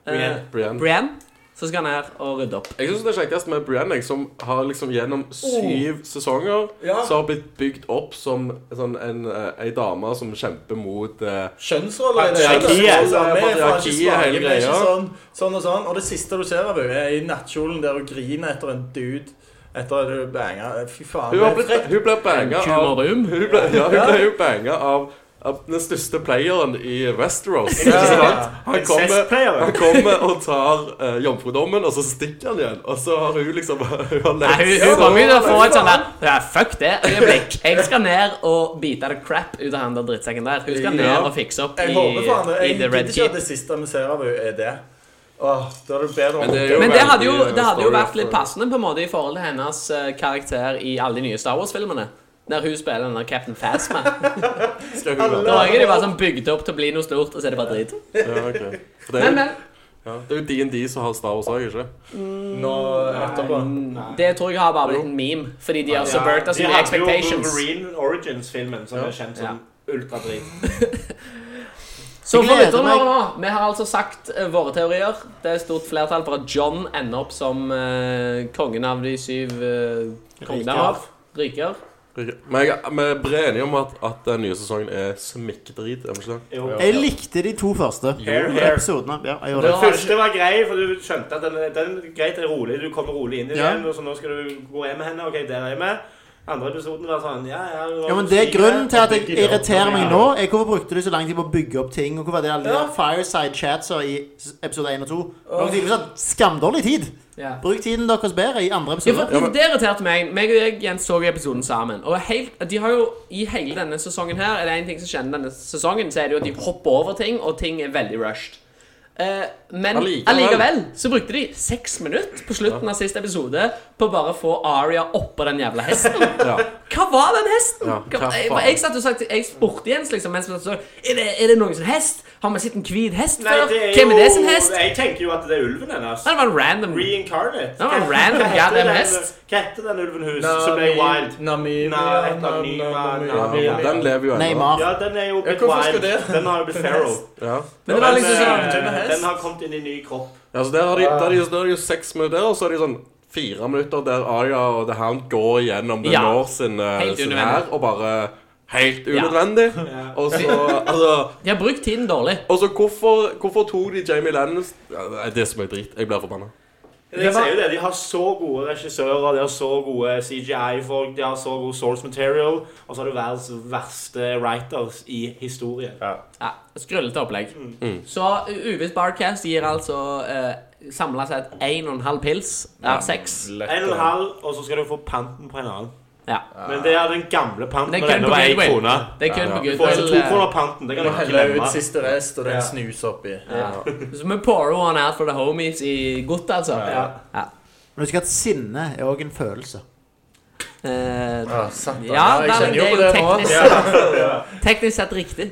Speaker 2: Brienne.
Speaker 4: Brienne.
Speaker 1: Brian. Så skal han her og rydde opp.
Speaker 4: Jeg synes det er kjekkest med Brienne, jeg, som har liksom gjennom syv sesonger
Speaker 5: Oh. Ja.
Speaker 4: Så har blitt bygd opp som sånn en, eh, ei dame som kjemper mot eh,
Speaker 5: Kjønnsroller i det
Speaker 4: Patriarkiet.
Speaker 5: hele tatt. Altså, Vi er faen
Speaker 4: Patriarkiet,
Speaker 5: ikke svake,
Speaker 4: hele
Speaker 5: vi er ikke
Speaker 4: greia.
Speaker 5: sånn, sånn og sånn. Og det siste du ser av henne, er i nattkjolen der hun griner etter en dude. Etter at hun banga. Fy faen.
Speaker 4: Hun,
Speaker 5: det
Speaker 4: har
Speaker 5: er
Speaker 4: blitt,
Speaker 5: frekt.
Speaker 4: hun ble banga av
Speaker 1: Tjumarum.
Speaker 4: Hun ble, ja, hun ble jo banga av, av den største playeren i Westeros.
Speaker 5: Ja.
Speaker 4: Ikke sant? Han kommer,
Speaker 2: Incest-player.
Speaker 4: han kommer og tar eh, jomfrudommen, og så stikker han igjen. Og så har hun liksom Hun har
Speaker 1: Nei,
Speaker 4: lest
Speaker 1: hun, hun kommer jo til å få et sånn der ja, Fuck det. Øyeblikk. Jeg skal ned og bite the crap ut av han der drittsekken der. Hun skal ned
Speaker 4: Ja.
Speaker 1: og fikse opp i,
Speaker 5: Jeg håper faen det.
Speaker 1: i The
Speaker 5: Jeg gidder
Speaker 1: Red
Speaker 5: ikke
Speaker 1: Keep.
Speaker 5: at det siste vi ser av henne, er det. Åh, da er det bedre
Speaker 4: Men det er jo-
Speaker 1: Men det hadde jo,
Speaker 4: veldig,
Speaker 1: det hadde jo
Speaker 4: story
Speaker 1: vært litt
Speaker 4: for-
Speaker 1: passende på en måte i forhold til hennes eh, karakter i alle de nye Star Wars-filmene. Der hun spiller den der Captain Phasma.
Speaker 4: Skal hun være-
Speaker 1: Da er det jo bare sånn bygd opp til å bli noe stort, og så er det bare drit.
Speaker 4: Ja, ok. For Det
Speaker 1: Men,
Speaker 4: er jo-
Speaker 1: men.
Speaker 4: ja, det er jo DND som har Star Wars òg, ikke
Speaker 5: Nå etterpå.
Speaker 1: Det tror jeg har bare blitt en meme, fordi de har subverta
Speaker 2: Mm. de
Speaker 1: sine
Speaker 2: hadde jo
Speaker 1: altså, expectations.
Speaker 2: Wolverine Origins-filmen, som
Speaker 4: Ja.
Speaker 2: er kjent som ultradrit.
Speaker 1: Så for
Speaker 3: Jeg gleder
Speaker 1: lytterne
Speaker 3: meg.
Speaker 1: våre nå, vi har altså sagt eh, våre teorier. Det er et stort flertall for at John ender opp som eh, kongen av de syv uh, kongene
Speaker 3: Riker.
Speaker 1: av Ryker.
Speaker 4: det? Men jeg, vi er bre enige om at, at den nye sesongen er smikkedrit. Er vi ikke det?
Speaker 2: Jo.
Speaker 3: Jeg likte de to første
Speaker 2: Hair, hair.
Speaker 3: episodene. Ja, jeg gjorde
Speaker 1: Da
Speaker 3: det.
Speaker 2: Den
Speaker 1: har
Speaker 2: første var grei, for du skjønte at den, den er greit, det er rolig, du kommer rolig inn i
Speaker 3: Ja.
Speaker 2: den, og så nå skal du gå hjem med henne, ok, der er jeg med. Andre episoden var sånn, ja, ja. hun var
Speaker 3: Ja, men det er
Speaker 2: syk,
Speaker 3: Grunnen
Speaker 2: ja.
Speaker 3: til at jeg irriterer meg nå, er hvorfor brukte du så lang tid på å bygge opp ting? Og hvorfor var det alle de der fireside chatser i s- episode 1 og 2? Dere har tydeligvis hatt skamdårlig tid.
Speaker 1: Ja.
Speaker 3: Bruk tiden deres bedre i andre
Speaker 1: Ja, for,
Speaker 3: episoder.
Speaker 1: Det irriterte meg. Meg og jeg Jens så episoden sammen. Og helt, de har jo, I hele denne sesongen her Er det en ting som kjenner denne sesongen, så er det jo at de hopper over ting, og ting er veldig rushed. Eh, men
Speaker 4: Allikevel.
Speaker 1: allikevel så brukte de seks minutter på slutten av siste episode på bare å få Aria oppå den jævla hesten.
Speaker 4: Ja.
Speaker 1: Hva var den hesten?
Speaker 4: Ja,
Speaker 1: hva,
Speaker 4: hva
Speaker 1: jeg,
Speaker 4: faen?
Speaker 1: jeg satt og sagt, jeg spurte Jens liksom mens vi satt og så Er det, er det noen som hest? Har vi sett en hvit hest
Speaker 2: Nei,
Speaker 1: før?
Speaker 2: det er
Speaker 1: Hvem er det
Speaker 2: jo-
Speaker 1: som hest? Nei,
Speaker 2: Jeg tenker jo at det er ulven hennes.
Speaker 1: Det var en random
Speaker 2: Reincarnate.
Speaker 1: var en
Speaker 2: Hva-
Speaker 1: random
Speaker 2: hva heter
Speaker 1: goddamn
Speaker 2: den-
Speaker 1: hest.
Speaker 2: Hva heter den ulven hus
Speaker 5: Nami-
Speaker 2: som ble wild?
Speaker 5: Namibia,
Speaker 2: Nei, et
Speaker 5: Nam-
Speaker 2: Namibia,
Speaker 5: Namibia.
Speaker 2: Namibia.
Speaker 5: Ja.
Speaker 4: Den lever jo ennå.
Speaker 3: Neymar.
Speaker 2: Ja, den er jo blitt
Speaker 5: hvorfor
Speaker 2: wild.
Speaker 5: skulle det?
Speaker 2: Den har jo blitt feral.
Speaker 4: Ja.
Speaker 1: Men det var liksom sånn
Speaker 5: Tynne
Speaker 2: eh,
Speaker 5: hest.
Speaker 2: Den har kommet inn i ny kropp.
Speaker 4: Ja, så Altså, der har de, der er de, der er det jo seks minutter, og så er det sånn fire minutter der Arya og The Hound går gjennom The
Speaker 1: Ja.
Speaker 4: North sin, eh,
Speaker 1: Helt
Speaker 4: sin
Speaker 1: unødvendig.
Speaker 4: her, og bare Helt unødvendig. Og så altså,
Speaker 1: De har brukt tiden dårlig.
Speaker 4: og så hvorfor, hvorfor tok de Jamie Lennons ja, Det er det som er drit. Jeg blir forbanna.
Speaker 2: Jeg sier jo det, De har så gode regissører, de har så gode CGI-folk, de har så god source material, og så har du verdens verste writers i historien.
Speaker 1: Ja, Skrullete opplegg.
Speaker 4: Mm.
Speaker 1: Så Uvis Barcast gir altså eh, samla sett én og en halv pils av seks.
Speaker 2: En og en halv, og så skal du få panten på en annen.
Speaker 1: Ja.
Speaker 2: Men det er den gamle panten.
Speaker 1: Det er kun
Speaker 2: og denne
Speaker 1: på
Speaker 2: var én
Speaker 1: Goodwill.
Speaker 2: krone.
Speaker 1: Det er kun
Speaker 4: Ja.
Speaker 1: på eh,
Speaker 2: Du får ikke to
Speaker 1: Goodwill.
Speaker 2: kroner panten. Det kan du
Speaker 5: Nå
Speaker 2: ikke
Speaker 5: heller jeg ut
Speaker 2: glemme.
Speaker 5: siste rest, og det er
Speaker 2: Ja.
Speaker 5: en snus oppi.
Speaker 1: eh, Så vi pourer one out for the homies i godt, altså.
Speaker 2: Ja.
Speaker 1: Ja.
Speaker 3: Men husk at sinne er òg en følelse.
Speaker 1: Eh,
Speaker 5: Ja, sant, da.
Speaker 1: ja,
Speaker 5: jeg
Speaker 1: nei, men
Speaker 5: kjenner jo
Speaker 1: det er
Speaker 5: på
Speaker 1: jo
Speaker 5: det nå.
Speaker 1: teknisk.
Speaker 5: Ja.
Speaker 1: teknisk sett riktig.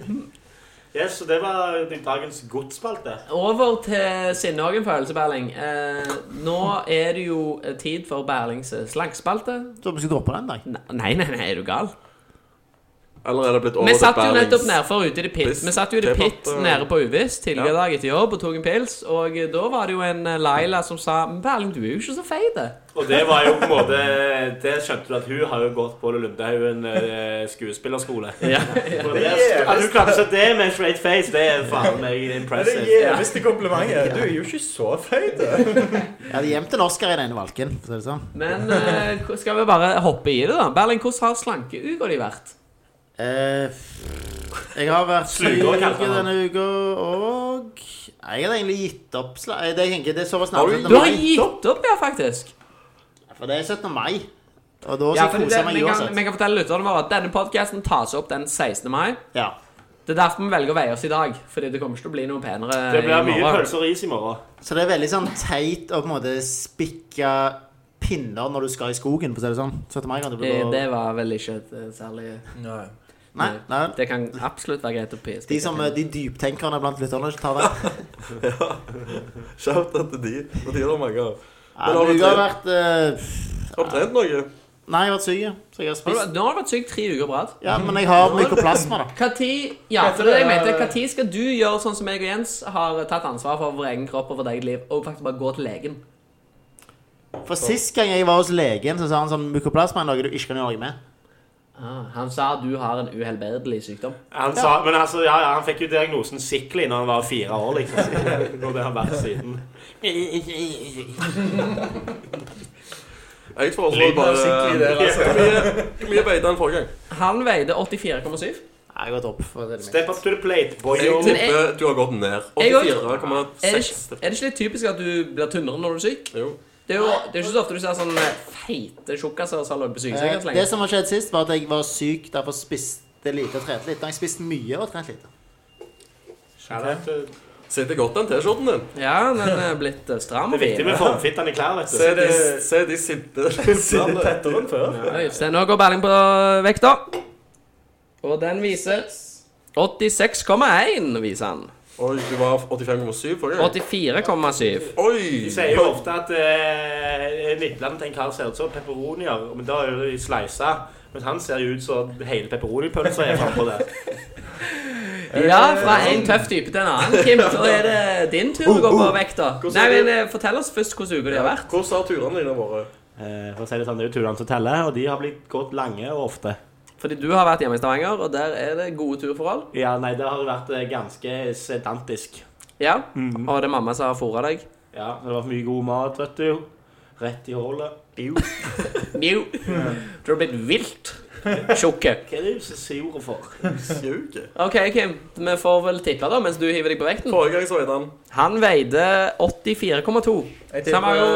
Speaker 2: Yes, så det var dagens godsspalte.
Speaker 1: Over til Sinnhagen følelse, Berling. Eh, nå er det jo eh, tid for Berlings eh, slangspalte.
Speaker 3: Så vi skal droppe den en dag.
Speaker 1: Nei, nei, nei, er du gal?
Speaker 4: Eller er det blitt
Speaker 1: Vi
Speaker 4: over
Speaker 1: satt jo
Speaker 4: Berlings-
Speaker 1: nettopp nedfor ute i det pit.
Speaker 4: Piss.
Speaker 1: Vi satt jo i det
Speaker 4: Kebab,
Speaker 1: pit
Speaker 4: eh,
Speaker 1: nede på Uvis tidligere i
Speaker 4: ja.
Speaker 1: dag etter jobb og tok en pils, og da var det jo en eh, Laila som sa «Men Berling, du er jo ikke så feit.
Speaker 2: Og det var jo på en måte Det skjønte du at hun har jo gått på Lundehaugen eh, skuespillerskole.
Speaker 1: Ja.
Speaker 2: Og det er- At hun klarte seg det med en straight face, det er faen meg
Speaker 5: Men Det
Speaker 2: impressive.
Speaker 5: er gjeveste komplimentet. Du er jo ikke så feit. du.
Speaker 3: Jeg hadde gjemt en Oscar i den ene valken. for å si det sånn.
Speaker 1: Men eh, skal vi bare hoppe i det, da? Berling, hvordan har slankeuka di vært?
Speaker 3: Eh, jeg har vært syk
Speaker 2: Slugger, kaller han.
Speaker 3: denne uka, og Nei, Jeg hadde egentlig gitt opp sla... eh, Det jeg tenker, det er såpass
Speaker 4: Har
Speaker 3: snart
Speaker 4: du
Speaker 3: 17.
Speaker 1: Du har
Speaker 3: mai.
Speaker 1: gitt opp, ja, faktisk.
Speaker 3: For det er 17. mai. Og da skal
Speaker 1: Ja,
Speaker 3: jeg
Speaker 1: for det,
Speaker 3: kose meg
Speaker 1: vi, kan,
Speaker 3: uansett.
Speaker 1: vi kan fortelle lytterne våre at denne podcasten tas opp den 16. mai.
Speaker 3: Ja.
Speaker 1: Det er derfor vi velger å veie oss i dag. Fordi det kommer ikke til å bli noe penere
Speaker 2: Det
Speaker 1: i
Speaker 2: blir mye
Speaker 1: morgen.
Speaker 2: pølser og ris i morgen.
Speaker 3: Så det er veldig sånn teit å på en måte spikke pinner når du skal i skogen, for å si det sånn. 17. mai kan du bli
Speaker 1: Eh, Det var vel ikke et eh, særlig
Speaker 3: Nei, nei.
Speaker 1: Det kan absolutt være greit å pisse.
Speaker 3: De, som, de dyptenkerne blant lytterne ikke tar det.
Speaker 4: Shout out til de. Og de er det mange av.
Speaker 3: Ja,
Speaker 4: har du
Speaker 3: men jeg har
Speaker 4: trent?
Speaker 3: vært eh,
Speaker 4: Har du trent noe?
Speaker 3: Nei, jeg har vært syk, ja. så jeg har
Speaker 1: Har du,
Speaker 3: spist.
Speaker 1: nå har du vært syk tre uker på rad.
Speaker 3: Ja, men jeg har mykoplasma, da.
Speaker 1: Hva tid- Ja, for det er det jeg mente. Hva tid skal du gjøre sånn som jeg og Jens har tatt ansvar for vår egen kropp og vårt eget liv, og faktisk bare gå til legen?
Speaker 3: For sist gang jeg var hos legen, så sa han sånn mykoplasma er noe du ikke kan gjøre noe med.
Speaker 1: Ah, han sa du har en uhelbredelig sykdom.
Speaker 2: Han, sa, men altså, ja, ja, han fikk jo diagnosen sickly når han var fire år, liksom. Og det har vært siden.
Speaker 4: Jeg tror også
Speaker 2: Lyden
Speaker 4: bare
Speaker 2: er skikkelig der, altså.
Speaker 4: Hvor mye, hvor mye veide han forrige gang?
Speaker 1: Han veide 84,7.
Speaker 3: Nei, Jeg har gått opp. For det
Speaker 2: Step up to the plate, boy.
Speaker 4: Jeg
Speaker 1: Men
Speaker 4: tipper du har gått ned.
Speaker 1: Jeg òg.
Speaker 4: 84,6.
Speaker 1: Er det, ikke, er det ikke litt typisk at du blir tynnere når du er syk?
Speaker 4: Jo.
Speaker 1: Det er jo det er ikke så ofte du ser sånn eh, feite tjukkaser som har ligget på
Speaker 3: Eh,
Speaker 1: sykesenga så
Speaker 3: Det
Speaker 1: lenge.
Speaker 3: som har skjedd sist, var at jeg var syk, derfor spiste lite og trente litt. Da har jeg spist mye og trent lite.
Speaker 2: Det
Speaker 4: Sitter godt, den T-skjorten din.
Speaker 1: Ja, den er blitt eh, stram
Speaker 2: er
Speaker 1: og fin.
Speaker 2: viktig med formfittene klær, vet
Speaker 4: Se
Speaker 2: du.
Speaker 4: de, se de sinte
Speaker 5: Siden tettere enn før.
Speaker 1: Oi, Se, nå går Berling på vekta. Og den viser 86,1, viser han.
Speaker 4: Oi, du var 85,7 forrige gang.
Speaker 1: 84,7.
Speaker 4: Oi!
Speaker 2: De sier jo ofte at eh, Midtland til en kar ser ut som pepperonier, men da er det jo sleisa. Men han ser jo ut som hele pepperonipølsa er frampå der.
Speaker 1: Ja, fra en tøff type til en annen. Kim, så er det din tur å gå på vekta. Nei, men eh, Fortell oss først hvordan uka de har vært.
Speaker 4: Hvordan har turene dine vært?
Speaker 2: Eh, for å si det sånn, det er jo turene som teller, og de har blitt gått lange og ofte.
Speaker 1: Fordi du har vært hjemme i Stavanger, og der er det gode turforhold.
Speaker 2: Ja, nei, det har vært eh, ganske sedantisk.
Speaker 1: Ja, Og det er mamma som har fôra deg.
Speaker 2: Ja, det har vært mye god mat, vet du. Rett i hullet. Hva
Speaker 1: Mjau. Du har blitt vilt tjukke.
Speaker 2: er det du så sur for?
Speaker 4: Sjuke.
Speaker 1: OK, Kim. Vi får vel tippe, da, mens du hiver deg på vekten.
Speaker 4: Forrige gang så veide han
Speaker 1: Han veide 84,2.
Speaker 5: Jeg
Speaker 1: Så han var jo-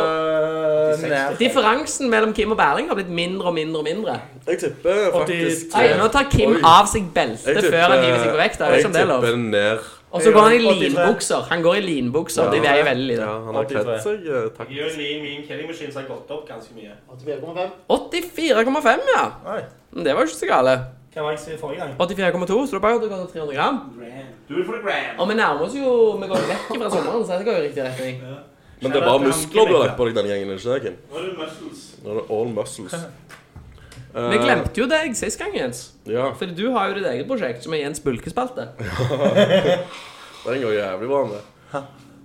Speaker 4: Eh,
Speaker 5: tipper nær
Speaker 1: Differansen mellom Kim og Berling har blitt mindre og mindre og mindre.
Speaker 4: Jeg tipper faktisk
Speaker 1: Nei, nå tar Kim
Speaker 4: Oi.
Speaker 1: av seg beltet før han hiver seg på vekta. Jeg vet
Speaker 4: jeg
Speaker 1: ikke om det er lov.
Speaker 4: tipper ned.
Speaker 1: Og så går han i
Speaker 5: 83.
Speaker 1: linbukser. Han går i linbukser. De veier veldig
Speaker 4: Ja,
Speaker 1: lite.
Speaker 4: han har
Speaker 5: 83.
Speaker 4: kledd seg eh, takk.
Speaker 2: Min, min kellingmaskin har gått opp ganske mye.
Speaker 3: 84,5.
Speaker 1: 84,5, ja.
Speaker 5: Oi.
Speaker 1: Men Det var jo ikke så gale.
Speaker 2: Hva var det jeg sa forrige gang?
Speaker 1: 84,2, så det bare at du går til 300 gram.
Speaker 2: Do it for the gram.
Speaker 1: Og vi nærmer oss jo Vi går jo vekk fra sommeren, så dette går jo i riktig retning.
Speaker 4: Men det er bare muskler du har lagt på deg denne gangen, ikke det, Kim?
Speaker 2: Nå er det muscles.
Speaker 4: Nå er det all muscles. Eh,
Speaker 1: Vi glemte jo deg sist gang, Jens.
Speaker 4: Ja,
Speaker 1: Fordi du har jo ditt eget prosjekt, som er Jens Bulkespalte.
Speaker 4: den går jævlig bra med.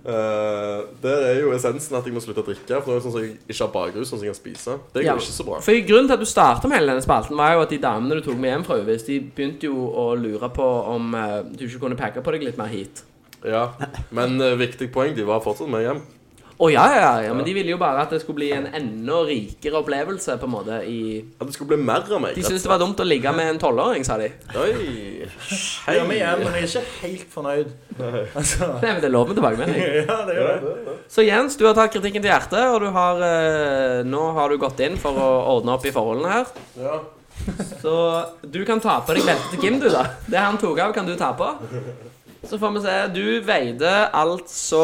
Speaker 4: Eh, der er jo essensen at jeg må slutte å drikke. For det er sånn at jeg ikke har bakrus, sånn at jeg kan spise. Det går
Speaker 1: Ja.
Speaker 4: ikke så bra.
Speaker 1: For Grunnen til at du starta med hele denne spalten, var jo at de damene du tok med hjem fra Uvis, de begynte jo å lure på om eh, du ikke kunne pakke på deg litt mer hit.
Speaker 4: Ja, Men eh, viktig poeng, de var fortsatt med hjem.
Speaker 1: Å ja, ja, ja, ja, men de ville jo bare at det skulle bli en enda rikere opplevelse, på en måte, i
Speaker 4: At det skulle bli mer av meg.
Speaker 1: De syntes det var dumt å ligge med en tolvåring, sa de.
Speaker 4: Oi!
Speaker 5: Jeg gjør meg igjen, men jeg er ikke helt fornøyd. Altså,
Speaker 1: Nei, men det er lov med tilbakemelding.
Speaker 5: ja, det gjør det.
Speaker 1: Så Jens, du har tatt kritikken til hjertet, og du har eh, Nå har du gått inn for å ordne opp i forholdene her.
Speaker 4: Ja.
Speaker 1: Så du kan ta på deg beltet til Kim, du, da. Det han tok av, kan du ta på. Så får vi se. Du veide altså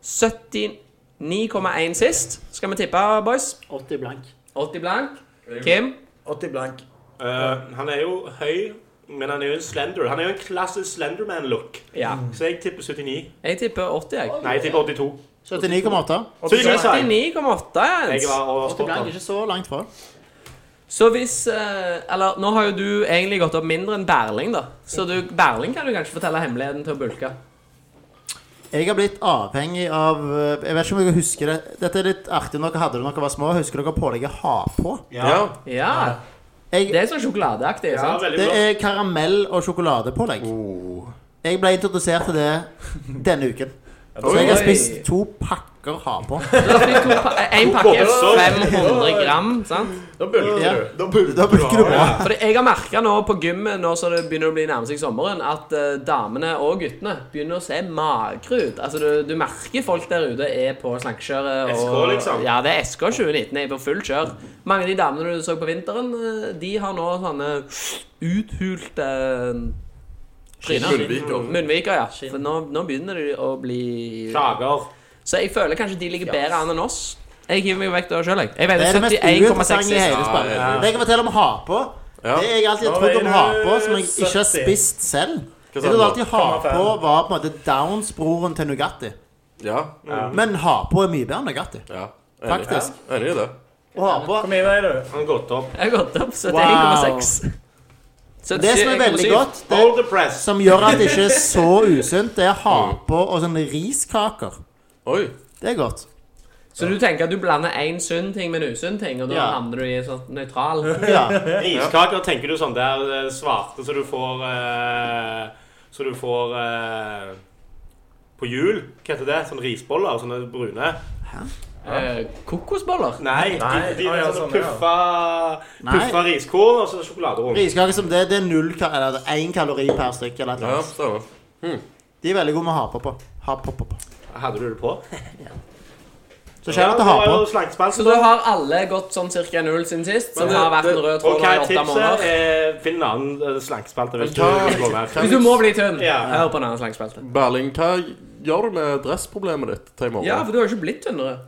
Speaker 1: 79,1 sist. Skal vi tippe, boys?
Speaker 3: 80 blank.
Speaker 1: 80 blank. Kim?
Speaker 5: 80 blank.
Speaker 2: Eh, han er jo høy, men han er jo en slender. Han er jo en klassisk Slenderman-look.
Speaker 1: Ja.
Speaker 2: Så jeg tipper 79.
Speaker 1: Jeg tipper 80, jeg.
Speaker 2: Nei, jeg tipper 82.
Speaker 3: 79,8.
Speaker 2: Så hyggelig, sa jeg.
Speaker 1: 79,8,
Speaker 2: Jeg
Speaker 1: Jens.
Speaker 2: var
Speaker 3: 80 blank,
Speaker 2: overspurt.
Speaker 3: ikke så langt fra.
Speaker 1: Så hvis eh, Eller nå har jo du egentlig gått opp mindre enn Berling, da. Så du, Berling kan du kanskje fortelle hemmeligheten til å bulke.
Speaker 3: Jeg har blitt avhengig av eh, Jeg vet ikke om dere husker det. Dette er litt artig når dere hadde det da dere var små. Husker dere pålegget ha på?
Speaker 4: ja.
Speaker 1: Ja. Det
Speaker 3: Jeg,
Speaker 1: er sånn sjokoladeaktig.
Speaker 2: Ja,
Speaker 1: sant?
Speaker 2: veldig
Speaker 3: det
Speaker 2: bra.
Speaker 3: er karamell- og sjokoladepålegg. Jeg ble introdusert til det denne uken. Så jeg har spist to pakker har på.
Speaker 1: Da fikk hun pa- En pakke er 500 gram, sant?
Speaker 4: Da bulker
Speaker 3: Ja.
Speaker 4: du.
Speaker 3: Da bul- da bulker du bra.
Speaker 1: Fordi jeg har merket nå på gymmet, nå som det begynner å bli nærmest seg sommeren, at eh, damene og guttene begynner å se magre ut. Altså, du, du merker folk der ute er på slankekjøret. og-
Speaker 2: SK, liksom.
Speaker 1: Ja, det er SK 2019. Jeg er på full kjør. Mange av de damene du så på vinteren, eh, de har nå sånne uthulte eh, tryner.
Speaker 4: Munnviker.
Speaker 1: Munnviker, ja. For nå, nå begynner de å bli
Speaker 2: Klager.
Speaker 1: Så jeg føler kanskje de ligger bedre an enn oss. Jeg hiver meg vekk da sjøl, jeg. Jeg
Speaker 3: Det
Speaker 1: veier
Speaker 3: er det mest
Speaker 1: 71,6
Speaker 3: uinteressante i hele
Speaker 1: i
Speaker 3: spillet.
Speaker 4: Ja, ja.
Speaker 3: Det jeg kan fortelle om ha på,
Speaker 4: Ja.
Speaker 3: det jeg alltid har trodd om
Speaker 5: Nå
Speaker 3: ha
Speaker 5: er
Speaker 3: på,
Speaker 5: du
Speaker 3: som jeg ikke har
Speaker 5: 70.
Speaker 3: spist selv Jeg
Speaker 4: sa du
Speaker 3: trodde
Speaker 4: nå?
Speaker 3: alltid ha på
Speaker 5: 0,5.
Speaker 3: var på en måte Downs-broren til Nugatti.
Speaker 4: Ja.
Speaker 3: Men ha på er mye bedre enn Nugatti.
Speaker 4: ja. Enig.
Speaker 3: Faktisk.
Speaker 4: Enig i det.
Speaker 3: Og ha på
Speaker 5: Hvor mye veier du?
Speaker 2: Han har gått opp.
Speaker 1: Jeg har gått opp 71,6. Så
Speaker 3: Det som er veldig
Speaker 1: 77,7.
Speaker 3: godt, det
Speaker 2: Hold the press.
Speaker 3: som gjør at det ikke er så usunt, det er ha på og sånne riskaker.
Speaker 4: Oi.
Speaker 3: Det er godt.
Speaker 1: Så du tenker at du blander én sunn ting med en usunn ting, og da
Speaker 3: Ja.
Speaker 1: havner du i en sånn nøytral
Speaker 3: Ja.
Speaker 2: Iskaker tenker du sånn der eh, svarte så du får eh, Så du får eh, På jul. Hva heter det? Sånne risboller? Sånne brune?
Speaker 1: eh, kokosboller?
Speaker 2: Nei, de,
Speaker 5: Nei,
Speaker 2: de
Speaker 5: ah,
Speaker 2: er
Speaker 5: ja,
Speaker 2: sånne
Speaker 5: sånn, ja.
Speaker 2: puffa,
Speaker 3: Nei.
Speaker 2: puffa riskorn og så sjokolade rundt.
Speaker 3: Riskaker som det, det er null ka- Eller én kalori per stykke. Eller et eller
Speaker 4: Ja,
Speaker 3: annet.
Speaker 4: stemmer.
Speaker 3: De er veldig gode med ha på. på. Ha på, på, på.
Speaker 2: Hadde du det på?
Speaker 3: Så skjer det at ha på.
Speaker 1: Så da har alle gått sånn ca. null siden sist, som
Speaker 4: Men det-
Speaker 1: har vært en rød tråd
Speaker 2: OK,
Speaker 1: nå i åtte
Speaker 2: tipset
Speaker 1: måneder?
Speaker 2: er finn en annen eh, slankespalte hvis du
Speaker 4: Hva-
Speaker 2: vil gå mer.
Speaker 1: Hvis du må bli tynn,
Speaker 2: Ja.
Speaker 1: hør på en annen slagspalte.
Speaker 4: Berling, hva gjør du med dressproblemet ditt til i morgen?
Speaker 1: Ja, for du har jo ikke blitt tynnere.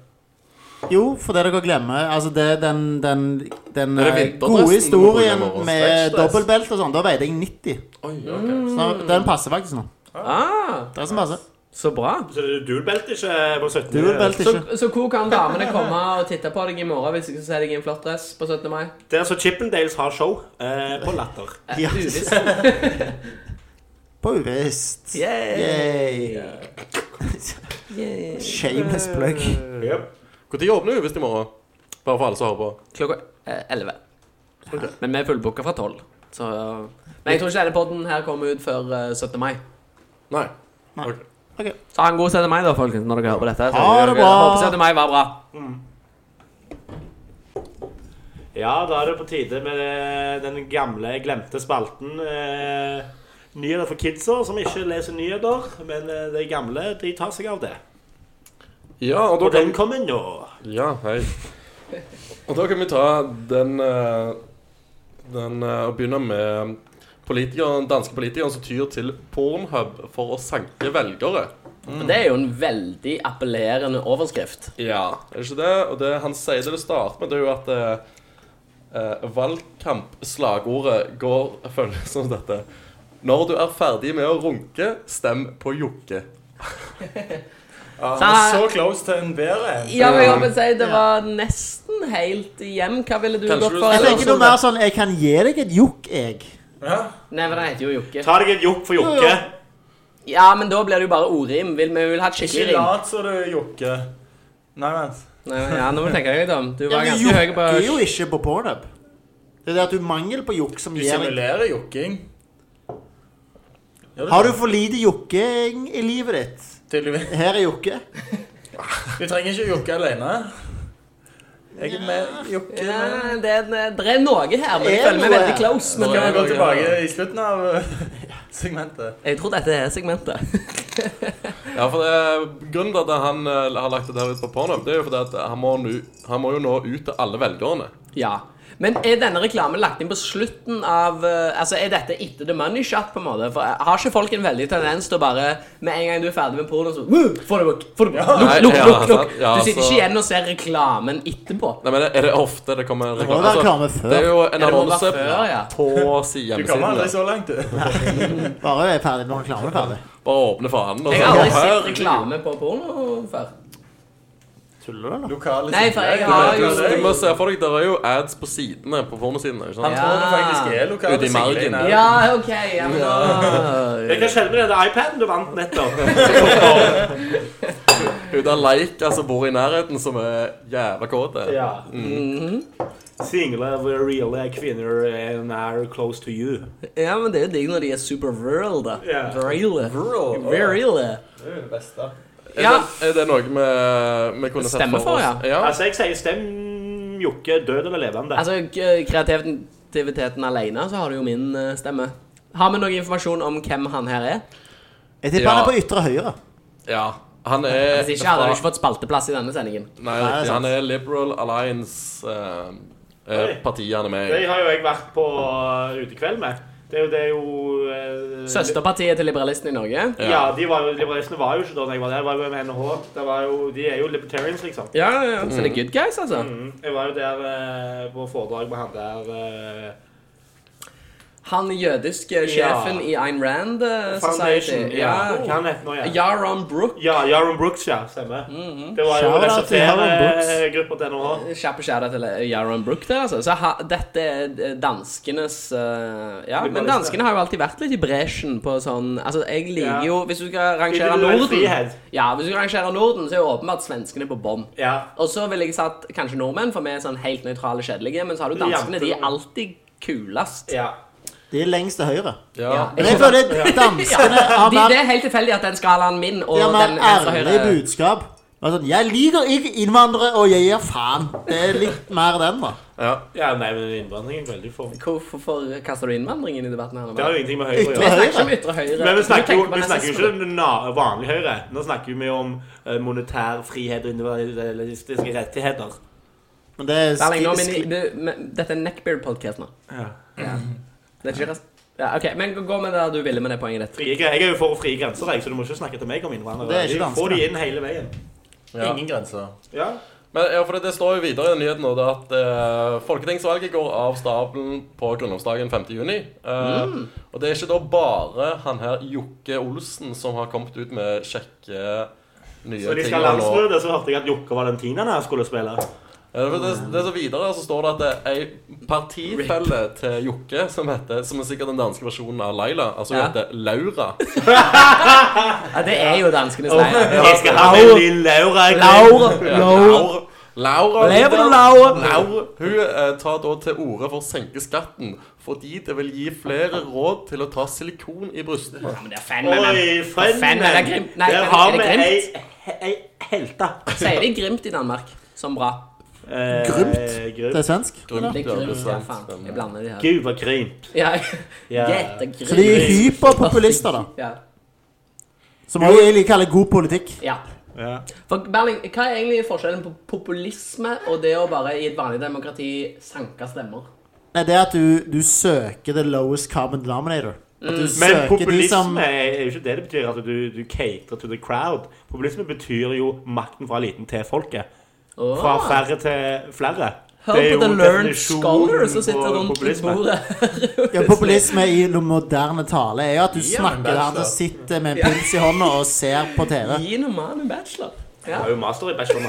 Speaker 3: Jo, for det dere glemmer Altså, det, den, den, den
Speaker 4: Er det vinterdressen
Speaker 3: eh, gode
Speaker 4: du må
Speaker 3: historien
Speaker 4: bruke nå, og
Speaker 3: med
Speaker 4: stretchdress?
Speaker 3: dobbeltbelte og sånn, da veide jeg 90.
Speaker 4: Oi, ok.
Speaker 1: Mm.
Speaker 3: Så nå- den passer faktisk nå.
Speaker 1: Ah,
Speaker 3: Det er som passer.
Speaker 1: så bra.
Speaker 2: Så dualbelte ikke på 17.
Speaker 3: Dualbelte
Speaker 1: Så,
Speaker 3: ikke.
Speaker 1: så hvor kan damene komme og titte på deg i morgen hvis jeg skal se deg i en flott dress på 17. mai?
Speaker 2: Det er altså Chippendales har show eh, på Latter.
Speaker 1: Eh,
Speaker 3: Ja.
Speaker 1: Uvisst.
Speaker 3: På uvisst.
Speaker 1: Yay.
Speaker 3: Yay.
Speaker 1: Yay.
Speaker 3: Shameless plug.
Speaker 4: Når åpner Uvisst i morgen? Bare for alle som hører på.
Speaker 1: Klokka eh, 11. Men vi er fullbooka fra 12. Så Men jeg tror ikke denne podden her kommer ut før eh, 17. mai.
Speaker 4: Nei.
Speaker 3: Nei.
Speaker 4: Ok.
Speaker 1: Så ha en god 17. mai, da, folkens, når dere hører på dette. Så
Speaker 3: Ha det bra.
Speaker 1: Håper 17. mai var bra.
Speaker 2: Ja, da er det på tide med eh, den gamle, glemte spalten. Eh, nyheter for kidser som ikke leser nyheter, men eh, de gamle de tar seg av det.
Speaker 4: Ja, og da
Speaker 2: Og
Speaker 4: kan
Speaker 2: den kommer nå.
Speaker 4: Ja, hei. Og da kan vi ta den eh, Den eh, og begynne med politikeren, danske politikeren som tyr til Pornhub for å sanke velgere.
Speaker 1: Mm. For det er jo en veldig appellerende overskrift.
Speaker 4: Ja, er det ikke det? Og det han sier det det starter med, det er jo at eh, eh, valgkampslagordet går følger som dette. Når du er ferdig med å runke, stem på Jokke.
Speaker 5: Ja,
Speaker 1: Sa-
Speaker 5: så close til en bedre en.
Speaker 1: Ja, men jeg vil si det var nesten helt hjem. Hva ville du
Speaker 4: Kanskje
Speaker 1: gått
Speaker 4: du-
Speaker 1: for?
Speaker 3: Jeg
Speaker 1: eller?
Speaker 3: tenker noe mer sånn Jeg kan gi deg et jokk, jeg.
Speaker 5: Ja.
Speaker 1: Nei, men den heter jo Jokke.
Speaker 2: Ta deg en jokk for jokke.
Speaker 1: Ja, men da blir det jo bare ordrim. Vil vi vil ha et
Speaker 5: Ikke
Speaker 1: skikkelig rim?
Speaker 5: lat som du jokker. Nei, vent.
Speaker 1: Nei, men- ja, nå må du tenke deg litt om. Du
Speaker 3: Ja,
Speaker 1: var
Speaker 3: men
Speaker 1: ganske høy
Speaker 3: jokk
Speaker 1: på
Speaker 3: er jo ikke på pornhub. Det er det at du mangel på jokk som
Speaker 5: Du
Speaker 3: gir deg
Speaker 5: simulerer jokking. Gjør
Speaker 3: Har du
Speaker 5: det?
Speaker 3: for lite jokking i livet ditt?
Speaker 5: Tydeligvis.
Speaker 3: Her er jokke.
Speaker 5: Du trenger ikke jokke alene. Jeg er med jokke.
Speaker 1: Ja, det, er- det er noe her, men jeg
Speaker 3: Er
Speaker 1: føler meg
Speaker 3: noe
Speaker 1: veldig
Speaker 3: her?
Speaker 1: close. Men
Speaker 5: Skal vi
Speaker 1: det,
Speaker 5: gå tilbake i slutten av eh, segmentet?
Speaker 1: jeg tror dette er segmentet.
Speaker 4: Ja, for det er Grunnen til at han eh, har lagt det der ut på Pornhub, det er jo fordi at han må, nu, han må jo nå ut til alle velgerne.
Speaker 1: Ja. Men er denne reklamen lagt inn på slutten av eh, Altså, Er dette etter The Money Shot? på en måte? For eh, Har ikke folk en veldig tendens til å bare Med en gang du er ferdig med porno, så «Woo! Få det bort! få det bort, Lukk,
Speaker 4: Nei,
Speaker 1: lukk,
Speaker 4: ja,
Speaker 1: lukk! lukk.
Speaker 4: sant. Ja,
Speaker 1: Du sitter
Speaker 4: så-
Speaker 1: ikke igjen og ser reklamen etterpå.
Speaker 4: Nei, men Er det ofte det kommer
Speaker 3: må jo
Speaker 4: reklame?
Speaker 3: være reklame før.
Speaker 4: det er jo en
Speaker 1: det må være
Speaker 4: annonse
Speaker 1: før, ja.
Speaker 4: på si-
Speaker 5: Du kommer aldri
Speaker 4: hjemmesiden.
Speaker 5: så langt, du.
Speaker 3: Bare jeg er ferdig når reklamen er ferdig.
Speaker 4: Bare åpne fanen. og
Speaker 1: Jeg
Speaker 4: så-
Speaker 1: har aldri
Speaker 4: Herregud.
Speaker 1: sett reklame på porno før.
Speaker 3: Tuller du, eller?
Speaker 5: Lokale
Speaker 1: Nei, for jeg
Speaker 5: sider.
Speaker 1: har
Speaker 4: Du,
Speaker 1: jo-
Speaker 4: du må se for deg, der er jo ads på sidene, på pornosidene. ikke
Speaker 5: Han
Speaker 4: sant?
Speaker 5: tror det faktisk er
Speaker 4: Ute i
Speaker 5: lokale
Speaker 4: margen.
Speaker 5: sider.
Speaker 1: Ja, OK. Ja, men da
Speaker 2: Jeg kan skjelle med den iPaden du vant nettopp.
Speaker 4: Hun der Leik, altså bor i nærheten, som er jævla kåte.
Speaker 2: Ja.
Speaker 1: Mhm.
Speaker 2: Single reale eh, kvinner and are close to you.
Speaker 1: Ja, men det er jo digg når de er super virile, da.
Speaker 2: Ja.
Speaker 1: Virile.
Speaker 5: Rural.
Speaker 1: Virile.
Speaker 5: Det er jo det beste.
Speaker 4: Er,
Speaker 1: Ja.
Speaker 4: det, er det noe vi, vi kunne sett
Speaker 1: Stemme
Speaker 4: for
Speaker 1: for,
Speaker 4: oss?
Speaker 1: ja.
Speaker 4: ja.
Speaker 2: Altså, jeg sier stem Jokke, død eller levende.
Speaker 1: Altså, k- kreativiteten alene, så har du jo min eh, stemme. Har vi noe informasjon om hvem han her er?
Speaker 3: Jeg
Speaker 4: Ja.
Speaker 3: tipper han er på ytre høyre.
Speaker 4: ja. Han er
Speaker 1: Hvis ikke hadde du ikke fått spalteplass i denne sendingen.
Speaker 4: Nei,
Speaker 3: Nei,
Speaker 4: riktig. Han
Speaker 3: sant.
Speaker 4: er Liberal
Speaker 2: Oi.
Speaker 4: Alliance-partiet han er med
Speaker 2: Det
Speaker 4: i.
Speaker 2: har jo jeg vært på eh, utekveld med. Det er jo, det er jo eh,
Speaker 1: Søsterpartiet til liberalistene i Norge.
Speaker 4: Ja.
Speaker 2: Ja, de var jo, liberalistene var jo ikke da jeg var der. Jeg var jo med NHH. Det var jo, de er jo libertarians, liksom.
Speaker 1: Ja, ja, ja. Så det er good guys, altså.
Speaker 2: Mm. Jeg var jo der eh, på foredrag med han der eh,
Speaker 1: Han jødiske sjefen i Ayn Rand eh,
Speaker 2: Foundation.
Speaker 1: Society.
Speaker 2: Ja.
Speaker 1: Ja.
Speaker 2: Hva han heter nå igjen? Ja.
Speaker 1: Jaron Brook.
Speaker 2: Jaron Brooks, ja. Stemmer. Det var jo
Speaker 3: Shout out til Jaron Brooks.
Speaker 2: reservegruppa til NHH.
Speaker 1: Kjappe skjæra til Jaron Brook der, altså. Så ha, dette er danskenes eh, Ja, men danskene har jo alltid vært litt i bresjen på sånn Altså, jeg
Speaker 2: Ja.
Speaker 1: liker jo Hvis du skal rangere
Speaker 2: Individuell
Speaker 1: Norden
Speaker 2: frihet.
Speaker 1: Ja, hvis du skal rangere Norden, så er jo åpenbart svenskene på bånn.
Speaker 2: Ja.
Speaker 1: Og så ville jeg satt kanskje nordmenn, for vi er sånn helt nøytrale, kjedelige. Men så har du danskene. De er alltid kulest.
Speaker 2: ja.
Speaker 3: De er lengst til høyre.
Speaker 4: Ja.
Speaker 1: Ja.
Speaker 3: Men jeg føler danskene har
Speaker 1: De,
Speaker 3: mer,
Speaker 1: det er helt tilfeldig at den skalaen min og
Speaker 3: de har
Speaker 1: den
Speaker 3: mer
Speaker 1: venstre
Speaker 3: ærlig
Speaker 1: høyre
Speaker 3: budskap. Men sånn, jeg liker ikke innvandrere, og jeg gir faen. Det er litt mer den, da.
Speaker 4: Ja.
Speaker 2: ja, nei, men innvandring er veldig for
Speaker 1: Hvorfor kaster du innvandringen inn i debatten her? nå?
Speaker 2: Det har jo ingenting med høyre å
Speaker 3: Ytre
Speaker 1: Vi snakker ikke om ytre
Speaker 2: gjøre.
Speaker 1: høyre.
Speaker 2: Men vi snakker
Speaker 1: Du
Speaker 2: jo
Speaker 1: tenker på
Speaker 2: vi snakker jo
Speaker 1: nazisme.
Speaker 2: ikke na- vanlig høyre. Nå snakker vi om eh, monetær frihet og individualistiske rettigheter.
Speaker 3: Men det er
Speaker 1: Erling, nå, men,
Speaker 3: skri- skri-
Speaker 1: du, men, dette er Neckbeard-podkast nå.
Speaker 2: Ja.
Speaker 1: Det er ikke ras- ja, ok, Men gå- gå med det du ville med det poenget ditt.
Speaker 2: Frie, gre- jeg er jo for frie grenser, jeg, så du må ikke snakke til meg om innvandrere.
Speaker 3: Det er ikke
Speaker 2: Vi
Speaker 3: danskene.
Speaker 2: Får de inn hele veien.
Speaker 4: Ja.
Speaker 5: Ingen grenser.
Speaker 2: Ja.
Speaker 4: Men ja, for det, det står jo videre i den nyheten nå det at eh, folketingsvalget går av stabelen på grunnlovsdagen 5. juni. Eh,
Speaker 1: Mm.
Speaker 4: Og det er ikke da bare han her Jokke Olsen som har kommet ut med kjekke nye
Speaker 2: Så de
Speaker 4: ting.
Speaker 2: skal
Speaker 4: og nå-
Speaker 2: landsmøte, så hørte jeg at Jokke Valentinerne her skulle spille.
Speaker 4: Ja, for det, det som videre så står det at det er ei partifelle til Jokke som heter, som er sikkert den danske versjonen av Laila, altså hun
Speaker 1: Ja.
Speaker 4: heter Laura.
Speaker 1: Ja, Det er jo danskenes leir.
Speaker 2: Jeg skal ha med lille Laura. jeg.
Speaker 4: Ja, Laura. Laura,
Speaker 1: Lever du,
Speaker 4: Laura? Laura. Hun eh, tar da til orde for å senke skatten fordi det vil gi flere råd til å ta silikon i brystene.
Speaker 1: Ja, men det er fan med meg.
Speaker 2: Oi, friend,
Speaker 1: Fan, er det Grimt? Nei,
Speaker 2: Der
Speaker 1: er det-
Speaker 2: har
Speaker 1: er det
Speaker 2: vi
Speaker 1: Grimt?
Speaker 2: ei, ei helte.
Speaker 1: Sier de grimt i Danmark? Som bra.
Speaker 2: Eh,
Speaker 3: Grymt? Det
Speaker 2: Grymt.
Speaker 3: er svensk?
Speaker 1: Det er
Speaker 4: Grumt, ja, det er
Speaker 1: grimt, ja,
Speaker 4: sant,
Speaker 1: faen. Jeg
Speaker 4: men-
Speaker 1: blander de her.
Speaker 2: Gud, hva grymt.
Speaker 1: Ja,
Speaker 2: Ja.
Speaker 3: Så de er
Speaker 1: Gjettegrimt.
Speaker 3: hyperpopulister, da.
Speaker 1: Ja.
Speaker 3: Som også jeg liker å kalle god politikk.
Speaker 1: ja.
Speaker 2: Ja.
Speaker 1: For Berling, Hva er egentlig forskjellen på populisme og det å bare i et vanlig demokrati sanke stemmer?
Speaker 3: Nei, det er at du, du søker the lowest common denominator. At du
Speaker 2: Men
Speaker 3: søker de som
Speaker 2: populisme er jo ikke det det betyr at du, du cater to the crowd. Populisme betyr jo makten fra eliten til folket.
Speaker 1: Åh.
Speaker 2: Fra færre til flere.
Speaker 1: Hør
Speaker 2: Det er
Speaker 1: på
Speaker 2: jo
Speaker 1: The Learned
Speaker 2: definisjonen
Speaker 1: Scholar som sitter
Speaker 2: på
Speaker 1: rundt i
Speaker 2: populisme.
Speaker 1: bordet.
Speaker 3: ja, Populisme i den moderne tale er jo at du snakker til han
Speaker 5: bachelor.
Speaker 3: som sitter med en pils i hånda og ser på TV.
Speaker 1: Gi noen mann en bachelor.
Speaker 2: Jeg
Speaker 1: Ja,
Speaker 2: har jo master i bachelor.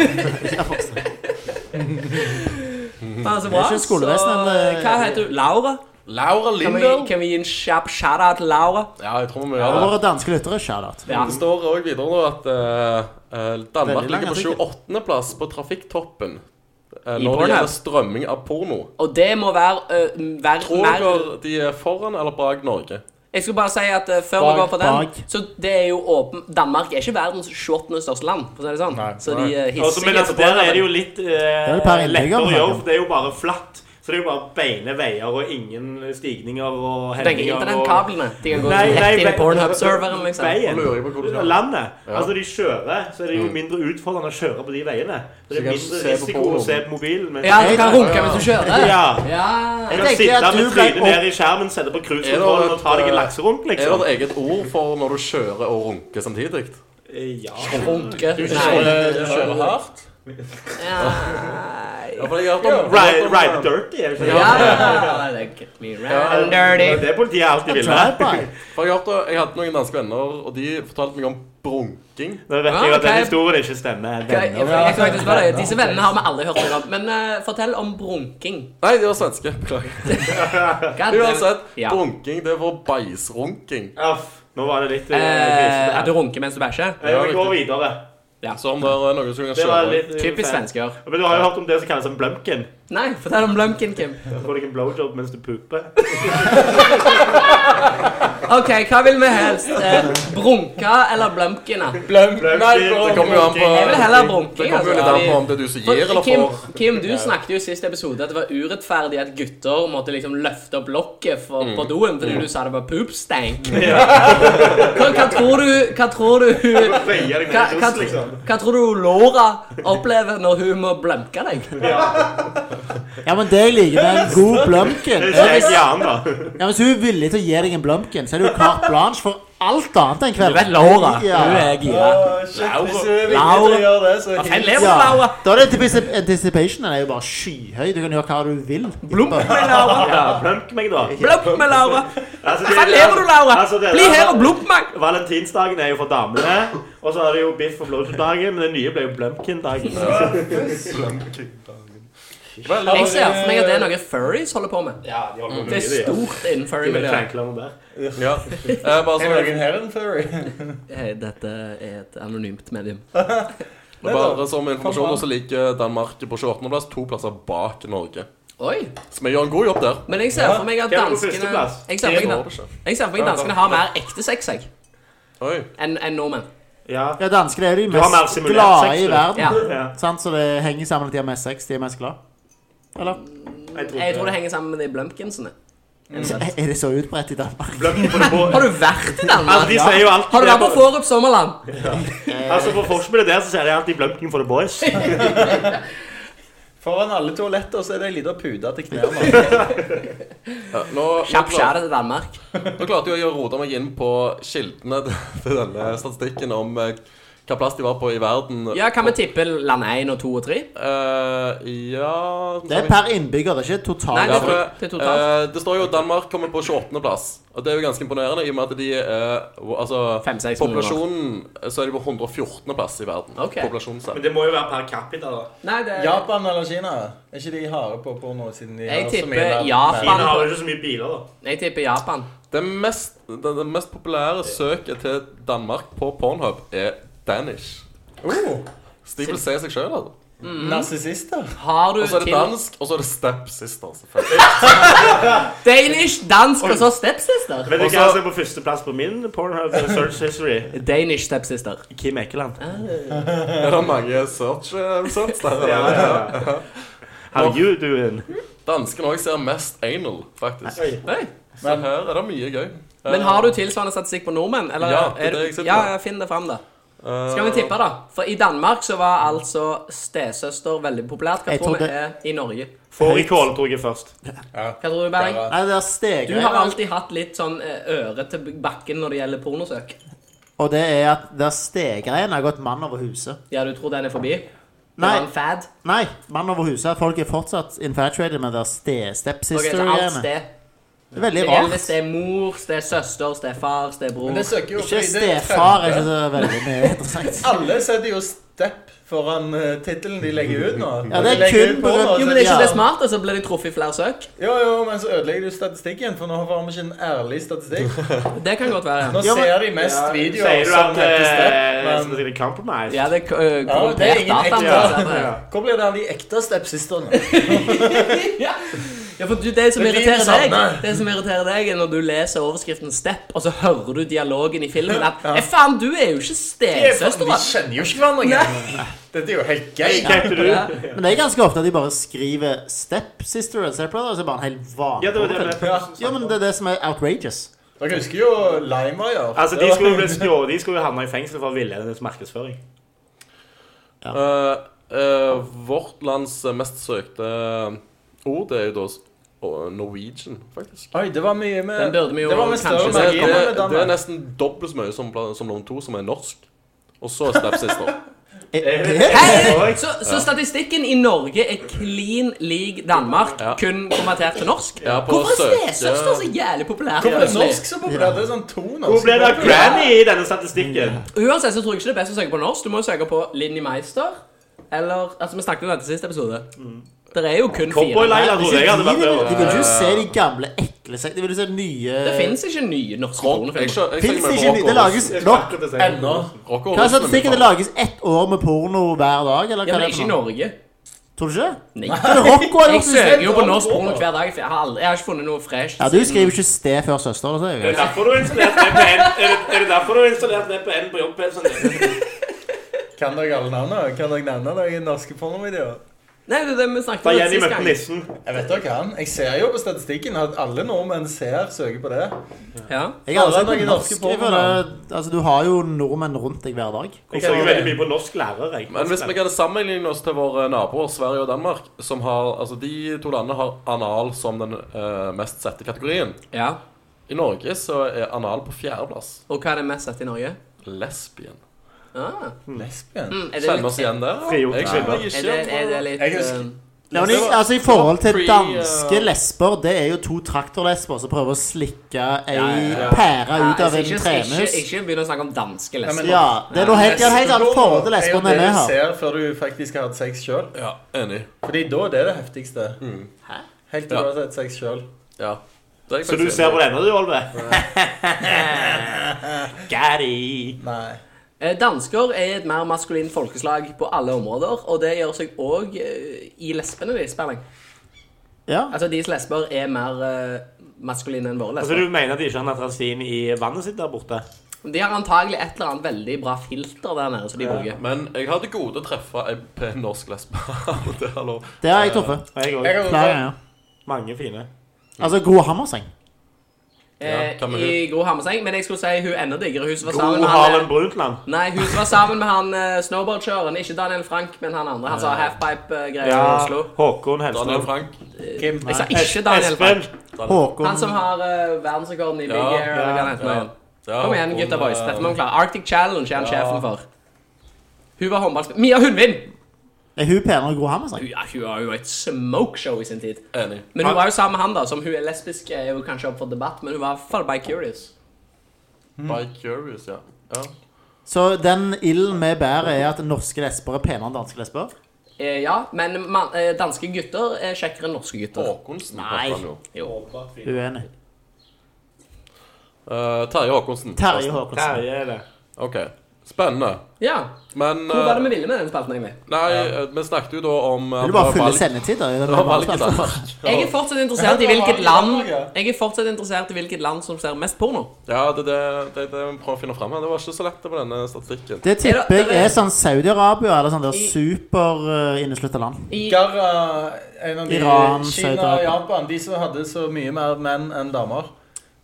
Speaker 1: faen så
Speaker 3: Det
Speaker 1: bra.
Speaker 3: er
Speaker 1: Så,
Speaker 3: ikke
Speaker 1: eh,
Speaker 3: skolevesenet, men-
Speaker 1: hva heter du? Laura?
Speaker 4: Laura
Speaker 1: Kan vi,
Speaker 4: Lindahl.
Speaker 1: kan vi gi en kjapp shout-out til Laura?
Speaker 4: Ja, jeg tror vi må
Speaker 3: Og
Speaker 4: gjøre det.
Speaker 3: våre danske lyttere, shout-out.
Speaker 1: Ja.
Speaker 4: Det står òg videre nå at eh, eh, Danmark
Speaker 3: Veldig lang
Speaker 4: ligger på
Speaker 3: artikkel.
Speaker 4: 28.-plass på trafikktoppen eh,
Speaker 1: I
Speaker 4: når det
Speaker 1: Pornhub.
Speaker 4: gjelder strømming av porno.
Speaker 1: Og det må være, øh, være
Speaker 4: Tror
Speaker 1: mer-
Speaker 4: dere de er foran eller bak Norge?
Speaker 1: Jeg skulle bare si at eh, før
Speaker 3: Bak,
Speaker 1: vi går på den
Speaker 3: bak.
Speaker 1: Så det er jo åpen Danmark er ikke verdens 28. største land, for å si det sånn. så de er hissige.
Speaker 2: Og så- men altså, der er det jo litt eh,
Speaker 3: er per innbygger,
Speaker 2: lettere å gjøre,
Speaker 3: faktisk.
Speaker 2: for det er jo bare flatt. Så det er jo bare beine veier og ingen stigninger og
Speaker 1: Så tenker jeg
Speaker 2: hendinger. og-
Speaker 1: internettkablene. De kan gå
Speaker 2: Nei, nei,
Speaker 1: rett inn i
Speaker 2: ve-
Speaker 1: Pornhub-serveren. liksom
Speaker 4: Nå lurer jeg på hvor du
Speaker 2: Veien.
Speaker 4: skal.
Speaker 2: Landet.
Speaker 4: Ja.
Speaker 2: Altså, de kjører, så er det jo mindre utfordrende å kjøre på de veiene. Så det
Speaker 4: Så
Speaker 2: er
Speaker 4: kan du
Speaker 2: mindre
Speaker 4: se på
Speaker 2: risiko å
Speaker 4: porno.
Speaker 2: se på mobilen. mens-
Speaker 1: Ja, du kan runke mens du kjører.
Speaker 2: Ja.
Speaker 1: Ja.
Speaker 3: Jeg
Speaker 2: Du kan
Speaker 3: tenker
Speaker 2: sitte
Speaker 3: at
Speaker 2: med
Speaker 3: du ble
Speaker 2: trynet ned i skjermen, sette på
Speaker 4: Er det
Speaker 2: cruisekontrollen og ta
Speaker 4: et,
Speaker 2: deg en
Speaker 4: eh,
Speaker 2: lakserunk,
Speaker 4: Er
Speaker 2: liksom.
Speaker 4: det eget ord for når du kjører og runker samtidig?
Speaker 2: Eh, Ja.
Speaker 1: Runke.
Speaker 4: Kjører,
Speaker 1: Nei.
Speaker 4: du kjører hardt?
Speaker 1: Ja.
Speaker 4: Ja, for jeg har hørt om
Speaker 2: Ride, ride dirty, er det ikke det?
Speaker 1: Ja, det get me round
Speaker 2: Det er
Speaker 1: dirty.
Speaker 2: det politiet alltid ville.
Speaker 3: Trapeye.
Speaker 4: For jeg, har hørt, jeg hadde noen danske venner, og de fortalte meg om brunking.
Speaker 2: Nå vet jeg
Speaker 1: Ja,
Speaker 2: at den
Speaker 1: ok.
Speaker 2: historien ikke stemmer.
Speaker 1: Jeg, jeg,
Speaker 2: venner.
Speaker 1: jeg skal faktisk spørre deg, Disse vennene har vi alle hørt noe om. Men eh, fortell om brunking.
Speaker 4: Nei, de var svenske. Beklager.
Speaker 1: God
Speaker 4: Uansett,
Speaker 1: Ja.
Speaker 4: brunking det var bæsjrunking.
Speaker 2: Aff, Nå var det litt eh,
Speaker 1: Eh,
Speaker 2: grisete
Speaker 1: at du
Speaker 2: her.
Speaker 1: runker mens du bæsjer?
Speaker 2: Eh, Vi går videre.
Speaker 4: Så om det er noen som kan
Speaker 2: Det var
Speaker 4: kjøre
Speaker 2: litt eh,
Speaker 1: Typisk svensker.
Speaker 2: Men du har jo hørt om det som kalles en blumken.
Speaker 1: Nei, fortell om Lumpkin, Kim.
Speaker 2: Får deg en blowjob mens du puper.
Speaker 1: Ok, hva vil vi helst? Eh, brunke eller Blumpkin? da?
Speaker 4: Bløm. Nei, bro. Det kommer jo an på
Speaker 1: Jeg vil heller brunke. altså,
Speaker 4: Det kommer jo litt an på om det er du som gir, eller
Speaker 1: Kim,
Speaker 4: får.
Speaker 1: Kim, du snakket jo i siste episode at det var urettferdig at gutter måtte liksom løfte opp lokket for, på doen fordi du sa det var poopstank.
Speaker 2: Mm.
Speaker 1: Hva, hva tror du Hva tror du
Speaker 2: Veier deg
Speaker 1: hva,
Speaker 2: ned i
Speaker 1: hva,
Speaker 2: russ, liksom.
Speaker 1: hva tror du Laura opplever når hun må blømke deg?
Speaker 3: Ja, men det jeg liker med en god blumken
Speaker 2: Det
Speaker 3: er
Speaker 2: er
Speaker 3: hvis,
Speaker 2: ikke gjerne, da.
Speaker 3: ja, hvis hun er villig til å gi deg en blumken, så er det jo carte blanche for alt annet enn kveld.
Speaker 1: Laura.
Speaker 3: Ja.
Speaker 5: Å, shit, hvis du er villig til å gjøre det, så er
Speaker 1: Jeg
Speaker 5: det
Speaker 1: lever
Speaker 3: Ja.
Speaker 1: med Laura.
Speaker 3: Da er det anticip- anticipationen er jo bare skyhøy. Du kan gjøre hva du vil.
Speaker 1: Blump med Laura.
Speaker 2: Ja, plump meg, da.
Speaker 1: Blump med Laura.
Speaker 2: Altså, det-
Speaker 1: Hva lever du, Laura?
Speaker 2: Altså, det-
Speaker 1: Bli her og blump meg.
Speaker 2: Valentinsdagen er jo for damene, og så er det jo biff- og blowjob-dagen, men det nye ble jo blumkin-dagen.
Speaker 4: Vel,
Speaker 1: Jeg ser for meg at det er noe furries holder på med.
Speaker 2: Ja, de holder på med
Speaker 1: Det er
Speaker 2: mye, de, altså.
Speaker 1: stort innen
Speaker 2: De vil
Speaker 1: furry-miljøet.
Speaker 2: krenkle om det.
Speaker 4: Ja. Eh, Bare
Speaker 5: Er
Speaker 4: så
Speaker 5: noen her en furry?
Speaker 1: Hei, Dette er et anonymt medium.
Speaker 4: Bare som informasjon, så ligger Danmark på 28.-plass, to plasser bak Norge.
Speaker 1: Oi!
Speaker 4: Så vi gjør en god jobb der.
Speaker 1: Men jeg ser for meg at
Speaker 2: Hvem er på
Speaker 1: danskene
Speaker 2: førsteplass?
Speaker 1: Jeg ser for meg,
Speaker 4: Det er
Speaker 1: dan- jeg ser for meg at danskene har mer ekte sex jeg,
Speaker 4: Oi.
Speaker 1: enn enn nordmenn.
Speaker 2: Ja.
Speaker 3: Ja, danskene er de
Speaker 2: Du har mer
Speaker 3: mest
Speaker 2: simulert
Speaker 3: glade
Speaker 2: sex,
Speaker 3: i
Speaker 2: du.
Speaker 3: verden.
Speaker 1: Ja.
Speaker 2: ja.
Speaker 3: Sant? Så det henger sammen at de har mest sex. De er mest glad. Eller?
Speaker 2: Jeg tror
Speaker 1: Jeg tror det henger sammen med de blumpkinsene. Eventuelt.
Speaker 3: Er det så utbredt i Danmark?
Speaker 2: Blumkin på det på.
Speaker 1: Har du vært i
Speaker 2: Altså, de
Speaker 1: Danmark?
Speaker 2: sier jo alltid
Speaker 1: Har du
Speaker 2: det
Speaker 1: vært på Forup Sommerland?
Speaker 2: Altså, på forspillet der så sier de alltid blumkin for the boys.
Speaker 5: Foran alle toaletter så er det ei lita pute til knærne.
Speaker 4: Ja, nå, nå,
Speaker 1: Kjapp
Speaker 4: klarte,
Speaker 1: skjære til Danmark.
Speaker 4: nå klarte jeg å rote meg inn på kildene til- til denne statistikken om eh, hva plass de var på i verden.
Speaker 1: Ja, Kan vi tippe land 1 og 2 og 3?
Speaker 4: Eh, ja
Speaker 3: Det er per innbygger, det er ikke
Speaker 1: Nei,
Speaker 3: totalt.
Speaker 1: det
Speaker 4: Ja,
Speaker 1: er
Speaker 4: for,
Speaker 1: totalt. Det er totalt.
Speaker 4: eh, det står jo at Danmark kommer på 28. plass. Og det er jo ganske imponerende, i og med at de er Altså,
Speaker 1: Fem, seks millioner.
Speaker 4: populasjonen Så er de på 114. plass i verden.
Speaker 1: Ok.
Speaker 4: Populasjonen selv.
Speaker 2: Men det må jo være per capita, da.
Speaker 1: Nei, det er
Speaker 5: Japan eller Kina? Er ikke de harde på porno siden de
Speaker 1: Jeg
Speaker 5: har så
Speaker 1: tipper
Speaker 5: mye verden?
Speaker 1: Japan.
Speaker 2: Kina har jo ikke så mye biler, da.
Speaker 1: Jeg tipper Japan.
Speaker 4: Det mest, det, det mest populære søket til Danmark på Pornhub er Danish.
Speaker 5: Oh,
Speaker 4: Så de vil se seg sjøl, altså.
Speaker 5: Narsissister?
Speaker 1: Har du
Speaker 4: Og så er det
Speaker 1: til
Speaker 4: dansk, og så er det stepsister, selvfølgelig.
Speaker 1: Danish, dansk og så stepsister?
Speaker 2: Vet du
Speaker 4: Også-
Speaker 2: hva som er på førsteplass på min Pornhub search history?
Speaker 1: Danish stepsister.
Speaker 2: Kim Eikeland.
Speaker 1: Ah.
Speaker 4: Er det mange search eh, results der?
Speaker 2: Ja,
Speaker 4: eller?
Speaker 2: ja, ja. How you doing?
Speaker 4: Danskene òg ser mest anal, faktisk.
Speaker 2: Oi.
Speaker 1: Oi.
Speaker 4: Så her er det mye gøy.
Speaker 1: Men har du tilsvarende statistikk på nordmenn? Eller
Speaker 4: Ja, det er
Speaker 1: du-
Speaker 4: det jeg sitter
Speaker 1: ja,
Speaker 4: med.
Speaker 1: ja, finn det fram, da. Skal vi tippe, da? For i Danmark så var altså stesøster veldig populært. Hva
Speaker 3: Jeg
Speaker 1: tror
Speaker 3: tror
Speaker 1: vi er i Norge?
Speaker 2: Fårikål tok jeg først.
Speaker 1: Hva tror du, Berling?
Speaker 5: Bare-
Speaker 3: Nei, det er
Speaker 1: Du har
Speaker 3: stegreier.
Speaker 1: alltid hatt litt sånn eh, øre til bakken når det gjelder pornosøk.
Speaker 3: Og det er at det er stegreiene har gått mann over huset.
Speaker 1: Ja, du tror den er forbi? Det
Speaker 3: Nei.
Speaker 1: var en fad?
Speaker 3: Nei, mann over huset. Folk er fortsatt infatuated med det ste
Speaker 1: Ok, så alt
Speaker 3: stepsister-greiene.
Speaker 1: ste.
Speaker 3: Det er veldig
Speaker 1: Det gjelder
Speaker 3: rart.
Speaker 1: stemor, stesøster, stefar, stebror.
Speaker 5: Men det søker jo
Speaker 3: Ikke
Speaker 5: fordi det er
Speaker 3: stefar er
Speaker 5: trender.
Speaker 3: ikke så veldig mye interessant.
Speaker 5: Alle setter jo step foran eh, tittelen de legger ut nå.
Speaker 3: Ja, det er
Speaker 5: De legger
Speaker 3: kun
Speaker 5: ut
Speaker 3: på
Speaker 5: porno,
Speaker 3: grunn-
Speaker 5: så-
Speaker 1: Jo, men er ikke
Speaker 3: Ja.
Speaker 1: det smart? Og så blir de truffet i flere søk?
Speaker 5: Jo, jo, men så ødelegger du statistikken, for nå har vi ikke en ærlig statistikk.
Speaker 1: Det kan godt være.
Speaker 5: Nå
Speaker 3: Ja, men-
Speaker 5: ser de mest videoer
Speaker 2: Sier du
Speaker 5: som
Speaker 2: at
Speaker 5: heter step,
Speaker 2: eh, som
Speaker 5: men
Speaker 2: sier compromise?
Speaker 1: Ja, det er eh,
Speaker 5: Ja, det er
Speaker 1: korrumpert
Speaker 5: ingen
Speaker 1: data. må
Speaker 5: ekte-
Speaker 1: jeg si på det.
Speaker 2: Ja.
Speaker 5: hvor blir det av de ekte stepsisterne?
Speaker 1: ja. ja, for du, det som
Speaker 5: Det blir
Speaker 1: irriterer
Speaker 5: det
Speaker 1: deg,
Speaker 5: samme.
Speaker 1: det som irriterer deg, er når du leser overskriften 'Step', og så hører du dialogen i filmen at «Eh, faen, du er jo ikke
Speaker 5: De
Speaker 1: stesøstera'.
Speaker 5: kjenner jo ikke hverandre engang. Dette er jo helt gøy.
Speaker 2: Tenkte du?
Speaker 1: Ja.
Speaker 3: Men det er ganske ofte at de bare skriver stepsister og stepbrother, og så er det bare en helt
Speaker 2: Ja, det var
Speaker 3: vanlig
Speaker 2: det med
Speaker 3: Jo, men det er det som er outrageous.
Speaker 5: Dere husker jo LimeWire.
Speaker 2: Altså, de skulle jo bli skjå, de skulle jo havne i fengsel for villedende markedsføring.
Speaker 4: Eh, eh, vårt lands eh, mest søkte eh, ord er jo da s- å, Norwegian, faktisk.
Speaker 5: Oi, det var mye med
Speaker 1: Den burde vi jo
Speaker 5: Det var med
Speaker 1: kanskje
Speaker 5: større
Speaker 4: Det,
Speaker 5: marginer med
Speaker 4: det, er
Speaker 5: Danmark.
Speaker 4: nesten dobbelt så mye som, pla- som nummer to, som er norsk. Og så er stepsister.
Speaker 3: Eh, eh,
Speaker 1: Hei, så, så statistikken i Norge er clean lik Danmark,
Speaker 4: Ja.
Speaker 1: kun konvertert til norsk?
Speaker 4: Ja, på
Speaker 1: Hvorfor er
Speaker 4: søke-
Speaker 1: stesøster så jævlig populær?
Speaker 5: Hvorfor er
Speaker 1: plutselig?
Speaker 5: norsk så populært? Det er sånn to norske
Speaker 2: Hvor ble det av
Speaker 5: populære.
Speaker 2: Granny i denne statistikken?
Speaker 1: Uansett så tror jeg ikke det er best å søke på norsk. Du må jo søke på Linni Meister. Eller Altså, vi snakket om dette i siste episode. Det er jo kun
Speaker 2: Cowboy
Speaker 1: fire.
Speaker 2: Leila trodde jeg hadde
Speaker 3: De
Speaker 2: vært
Speaker 3: vil de
Speaker 2: der.
Speaker 3: vil ikke se de gamle, ekle seg. De vil jo se nye
Speaker 1: Det fins ikke nye norske
Speaker 4: Rock, jeg,
Speaker 1: pornofilmer.
Speaker 4: skjø- jeg
Speaker 3: Fins
Speaker 4: snakker
Speaker 3: det
Speaker 4: med
Speaker 3: ikke nye? Det
Speaker 4: rock og-
Speaker 3: lages nok.
Speaker 5: Ennå.
Speaker 4: rock og
Speaker 3: Hva er
Speaker 4: russen,
Speaker 3: statistikken? Det
Speaker 4: faen.
Speaker 3: lages ett år med porno hver dag? Eller
Speaker 1: Ja,
Speaker 3: hva
Speaker 1: men
Speaker 3: er det
Speaker 1: ikke i
Speaker 3: for noe?
Speaker 1: Norge.
Speaker 3: Tror du ikke det?
Speaker 1: Nei.
Speaker 3: Hva er det Rocco har
Speaker 1: Jeg
Speaker 3: gjort? i
Speaker 1: søker jo
Speaker 3: stedet?
Speaker 1: på norsk porno hver dag. For jeg, har aldri, jeg har ikke funnet noe fresh.
Speaker 3: Ja, du skriver ikke 'ste' før 'søster'. Det ser
Speaker 2: Er
Speaker 3: jeg.
Speaker 2: det derfor du har installert VPN? Er det, er det derfor du har installert VPN på jobb? Sånn,
Speaker 5: Kan dere alle navnene? Kan dere nevne dere norske pornovideoer?
Speaker 1: Nei, det er det vi snakket
Speaker 2: da
Speaker 1: om
Speaker 2: Jenny
Speaker 1: sist
Speaker 2: møtte
Speaker 1: gang.
Speaker 2: nissen.
Speaker 5: Jeg vet dere kan. Jeg ser jo på statistikken at alle nordmenn ser søker på det.
Speaker 1: Ja.
Speaker 3: Jeg har aldri
Speaker 5: Alle
Speaker 3: sett
Speaker 5: noen
Speaker 3: på norsk.
Speaker 5: norske
Speaker 3: Jeg føler, altså, du har jo nordmenn rundt deg hver dag.
Speaker 2: Jeg så jo veldig mye på norsk lærer. Jeg.
Speaker 4: Men hvis vi kan sammenligne oss til våre naboer Sverige og Danmark, som har, altså de to landene har anal som den eh, mest sette kategorien.
Speaker 1: ja.
Speaker 4: I Norge så er anal på fjerdeplass.
Speaker 1: Og hva er det mest sett i Norge?
Speaker 4: Lesbien.
Speaker 1: Ah.
Speaker 5: Lesbien?
Speaker 1: Mm, er det
Speaker 4: Kjenner
Speaker 1: litt-
Speaker 4: oss igjen der? eller?
Speaker 2: Frigjort
Speaker 4: Jeg
Speaker 2: kvinner.
Speaker 4: kjenner meg
Speaker 1: Er det, er det
Speaker 4: ikke igjen.
Speaker 1: litt
Speaker 5: Jeg husker-
Speaker 1: eh,
Speaker 3: Ja, men jeg, altså I forhold til danske lesber Det er jo to traktorlesber som prøver å slikke ei pære ut
Speaker 1: ja,
Speaker 3: av
Speaker 1: altså,
Speaker 3: en
Speaker 1: ikke,
Speaker 3: tremus.
Speaker 1: ikke, ikke begynn å snakke om danske
Speaker 5: Nei, men-
Speaker 1: lesber.
Speaker 3: Ja, Det er noe helt, ja, helt annet forhold til lesber enn
Speaker 5: det
Speaker 3: vi
Speaker 5: du
Speaker 3: har.
Speaker 5: ser før du faktisk har hatt sex sjøl.
Speaker 4: Ja, enig.
Speaker 5: Fordi da det er det heftigste. Helt til
Speaker 4: Ja.
Speaker 5: du har hatt sex sjøl.
Speaker 4: Ja. Det er jeg
Speaker 2: Så du
Speaker 4: faktisk
Speaker 2: ser
Speaker 4: enig
Speaker 2: på
Speaker 4: i.
Speaker 2: denne, du, Olve?
Speaker 5: Nei.
Speaker 1: Eh, Dansker er et mer maskulin folkeslag på alle områder, og det gjør seg òg i lesbene deres, Berling.
Speaker 3: Ja.
Speaker 1: Altså, deres lesber er mer eh, maskuline enn våre
Speaker 2: Altså,
Speaker 1: lesber.
Speaker 2: du mener at de ikke har natrasin i vannet sitt der borte?
Speaker 1: De har antagelig et eller annet veldig bra filter der nede som de bruker.
Speaker 4: Men jeg hadde gode til å treffe en pen norsk lesbe. Og det er lov.
Speaker 3: Det har jeg truffet.
Speaker 2: Og jeg
Speaker 5: Jeg
Speaker 2: òg.
Speaker 5: har
Speaker 3: Flere ganger.
Speaker 2: Mange fine.
Speaker 3: Altså Gro Hammerseng.
Speaker 1: Eh,
Speaker 4: Ja, hva med
Speaker 1: I Gro Hammerseng. Men jeg skulle si hun enda diggere. Hun som var
Speaker 2: God
Speaker 1: sammen med han
Speaker 2: Harlem
Speaker 1: eh,
Speaker 2: Brundtland.
Speaker 1: Nei, hun som var sammen med han eh, snowboardkjøreren. Ikke Daniel Frank, men han andre. Han sa halfpipe-greier
Speaker 2: Ja,
Speaker 1: i Oslo.
Speaker 2: Håkon
Speaker 4: Daniel
Speaker 2: Helstad.
Speaker 4: Frank.
Speaker 5: Kim.
Speaker 1: Jeg sa ikke Daniel
Speaker 2: Espen.
Speaker 1: Frank. Han
Speaker 3: Håkon
Speaker 1: som har eh, verdensrekorden i big
Speaker 4: Ja,
Speaker 1: air. eller hva det heter nå
Speaker 4: ja.
Speaker 1: igjen.
Speaker 4: Ja,
Speaker 1: Kom igjen,
Speaker 4: hun,
Speaker 1: gutta boys. Dette må
Speaker 4: eh,
Speaker 1: vi klare. Arctic Challenge er han sjefen for. Hun var håndballspiller Mia Hundvin!
Speaker 3: Er hun penere enn Gro Hammerseng?
Speaker 1: Hun- Ja, hun var jo et smokeshow i sin tid.
Speaker 4: Enig.
Speaker 1: Men hun var jo sammen med han, da. Som hun er lesbisk, er jo kanskje opp for debatt, men hun var i hvert fall bi-curious.
Speaker 4: By Curious, ja. ja.
Speaker 3: Så den ilden vi bærer, er at norske lesber er penere enn danske lesber?
Speaker 1: Eh, ja, men man, eh, danske gutter er kjekkere enn norske gutter.
Speaker 4: Håkonsen
Speaker 1: Nei.
Speaker 4: heter han jo.
Speaker 1: Jo.
Speaker 3: Uenig.
Speaker 4: Eh, Terje Håkonsen.
Speaker 3: Terje Håkonsen.
Speaker 2: Terje er det.
Speaker 4: OK. Spennende.
Speaker 1: Ja.
Speaker 4: Men
Speaker 1: Hvor var det vi
Speaker 4: eh,
Speaker 1: ville med den spalten, egentlig?
Speaker 4: Nei, eh, vi snakket jo da om eh,
Speaker 3: Vil du bare
Speaker 4: at det var
Speaker 3: fylle
Speaker 4: valg-
Speaker 3: sendetider? i den
Speaker 4: det var valg i
Speaker 3: valgkampen?
Speaker 4: Danmark.
Speaker 1: Jeg er fortsatt interessert i
Speaker 5: Ja, det var
Speaker 1: hvilket
Speaker 5: i
Speaker 1: land
Speaker 5: Danmark, ja.
Speaker 1: Jeg er fortsatt interessert i hvilket land som ser mest porno.
Speaker 4: Ja, det er det, det, er det vi prøver å finne fram her. Det var ikke så lett på denne statistikken.
Speaker 3: Det tipper
Speaker 1: Er det-
Speaker 3: jeg er sånn Saudi-Arabia eller sånn der
Speaker 1: I-
Speaker 3: superinneslutta land.
Speaker 1: I
Speaker 5: Gara, en av de
Speaker 3: Iran,
Speaker 5: Kina
Speaker 3: Saudi-Arabia.
Speaker 5: Japan. De som hadde så mye mer menn enn damer.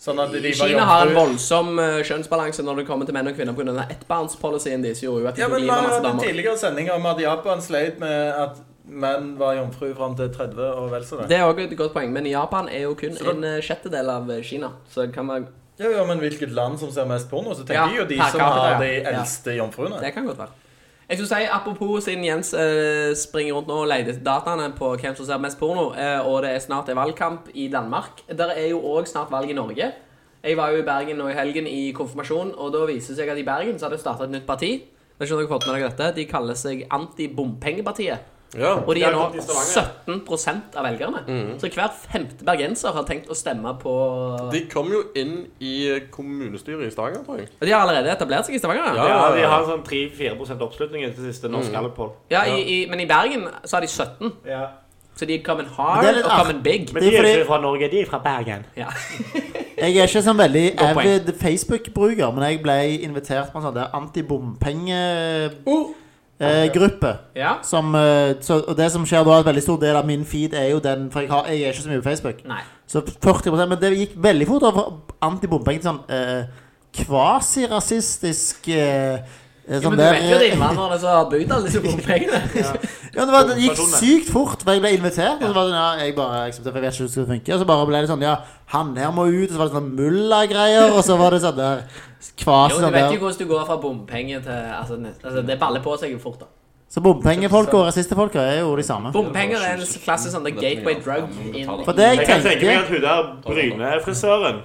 Speaker 5: Sånn at de var
Speaker 1: Kina har en
Speaker 5: jomfru.
Speaker 1: voldsom eh, kjønnsbalanse når det kommer til menn og kvinner pga. ettbarnspolicyen deres. gjorde jo at de
Speaker 5: Ja,
Speaker 1: tok
Speaker 5: men Vi
Speaker 1: livet av
Speaker 5: har
Speaker 1: masse
Speaker 5: hatt en
Speaker 1: damer.
Speaker 5: tidligere sending om at Japan sleit med at menn var jomfru fram til 30 og vel så det.
Speaker 1: Det er også et godt poeng, men Japan er jo kun en eh, sjettedel av eh, Kina. Så det kan, være,
Speaker 5: Ja, ja, men hvilket land som ser mest porno, så tenker
Speaker 1: Ja,
Speaker 5: jeg jo de
Speaker 1: per
Speaker 5: som
Speaker 1: capita,
Speaker 5: har
Speaker 1: ja.
Speaker 5: de
Speaker 1: Ja.
Speaker 5: eldste jomfruene.
Speaker 1: det kan godt være. Jeg skulle si, Apropos siden Jens eh, springer rundt nå og leter etter dataene på hvem som ser mest porno, eh, og det er snart er valgkamp i Danmark. Der er jo òg snart valg i Norge. Jeg var jo i Bergen nå i helgen i konfirmasjon, og da viser det seg at i Bergen så har det starta et nytt parti. Vet ikke om dere har fått med dere dette. De kaller seg Antibompengepartiet.
Speaker 4: Ja.
Speaker 1: Og de
Speaker 2: Jeg
Speaker 1: er
Speaker 2: har
Speaker 1: nå
Speaker 2: kommet i Stavanger.
Speaker 1: 17 av velgerne. Så hver femte bergenser har tenkt å stemme på
Speaker 4: De kom jo inn i kommunestyret i Stavanger, tror jeg.
Speaker 1: De har allerede etablert seg i Stavanger?
Speaker 4: Ja,
Speaker 1: da?
Speaker 2: Ja, de har sånn 3-4 oppslutning til siste norsk gallup-poll.
Speaker 1: Ja, i, i, men i Bergen så har de 17.
Speaker 2: Ja.
Speaker 1: Så de er coming
Speaker 3: Men det
Speaker 1: hard
Speaker 3: er litt
Speaker 1: og coming big.
Speaker 2: Men
Speaker 3: Det
Speaker 2: de
Speaker 3: er
Speaker 2: er
Speaker 3: fordi-
Speaker 2: ikke fra Norge, de er fra Bergen.
Speaker 1: Ja.
Speaker 3: Jeg er ikke sånn veldig
Speaker 1: Godt poeng.
Speaker 3: avid Facebook-bruker, men jeg ble invitert på en sånn der antibompengegruppe.
Speaker 1: Oh.
Speaker 3: Eh, gruppe.
Speaker 1: ja.
Speaker 3: som, eh, så, og det som skjer da, er at veldig stor del av min feed er jo den For jeg, har, jeg er ikke så mye på Facebook.
Speaker 1: Nei.
Speaker 3: Så 40 Men det gikk veldig fort over antibompeng til sånn eh, kvasirasistisk eh, eh,
Speaker 1: Ja,
Speaker 3: Sånn
Speaker 1: men du
Speaker 3: der eh,
Speaker 1: vet jo de innvandrerne som har bygd alle disse bompengene.
Speaker 3: ja, men det, var, det gikk
Speaker 2: Personer.
Speaker 3: sykt fort, for jeg ble invitert. Og så var det sånn, ja, jeg bare aksepterte, for jeg vet ikke hvordan det skulle funke. Og så bare ble det sånn, ja, han her må ut, og så var det sånn mulla-greier, og så var det sånn der kvasi
Speaker 1: Jo, du
Speaker 3: sånn
Speaker 1: vet jo
Speaker 3: der.
Speaker 1: hvordan du går fra bompenger til altså, nest- altså, Det baller på seg jo fort, da.
Speaker 3: Så bompengefolka og rasistefolka er jo de samme.
Speaker 1: Bompenger er en klassisk sånn the gateway drug inn
Speaker 3: For det jeg
Speaker 2: Jeg kan tenke meg
Speaker 3: tenker
Speaker 2: at hun der Bryne-frisøren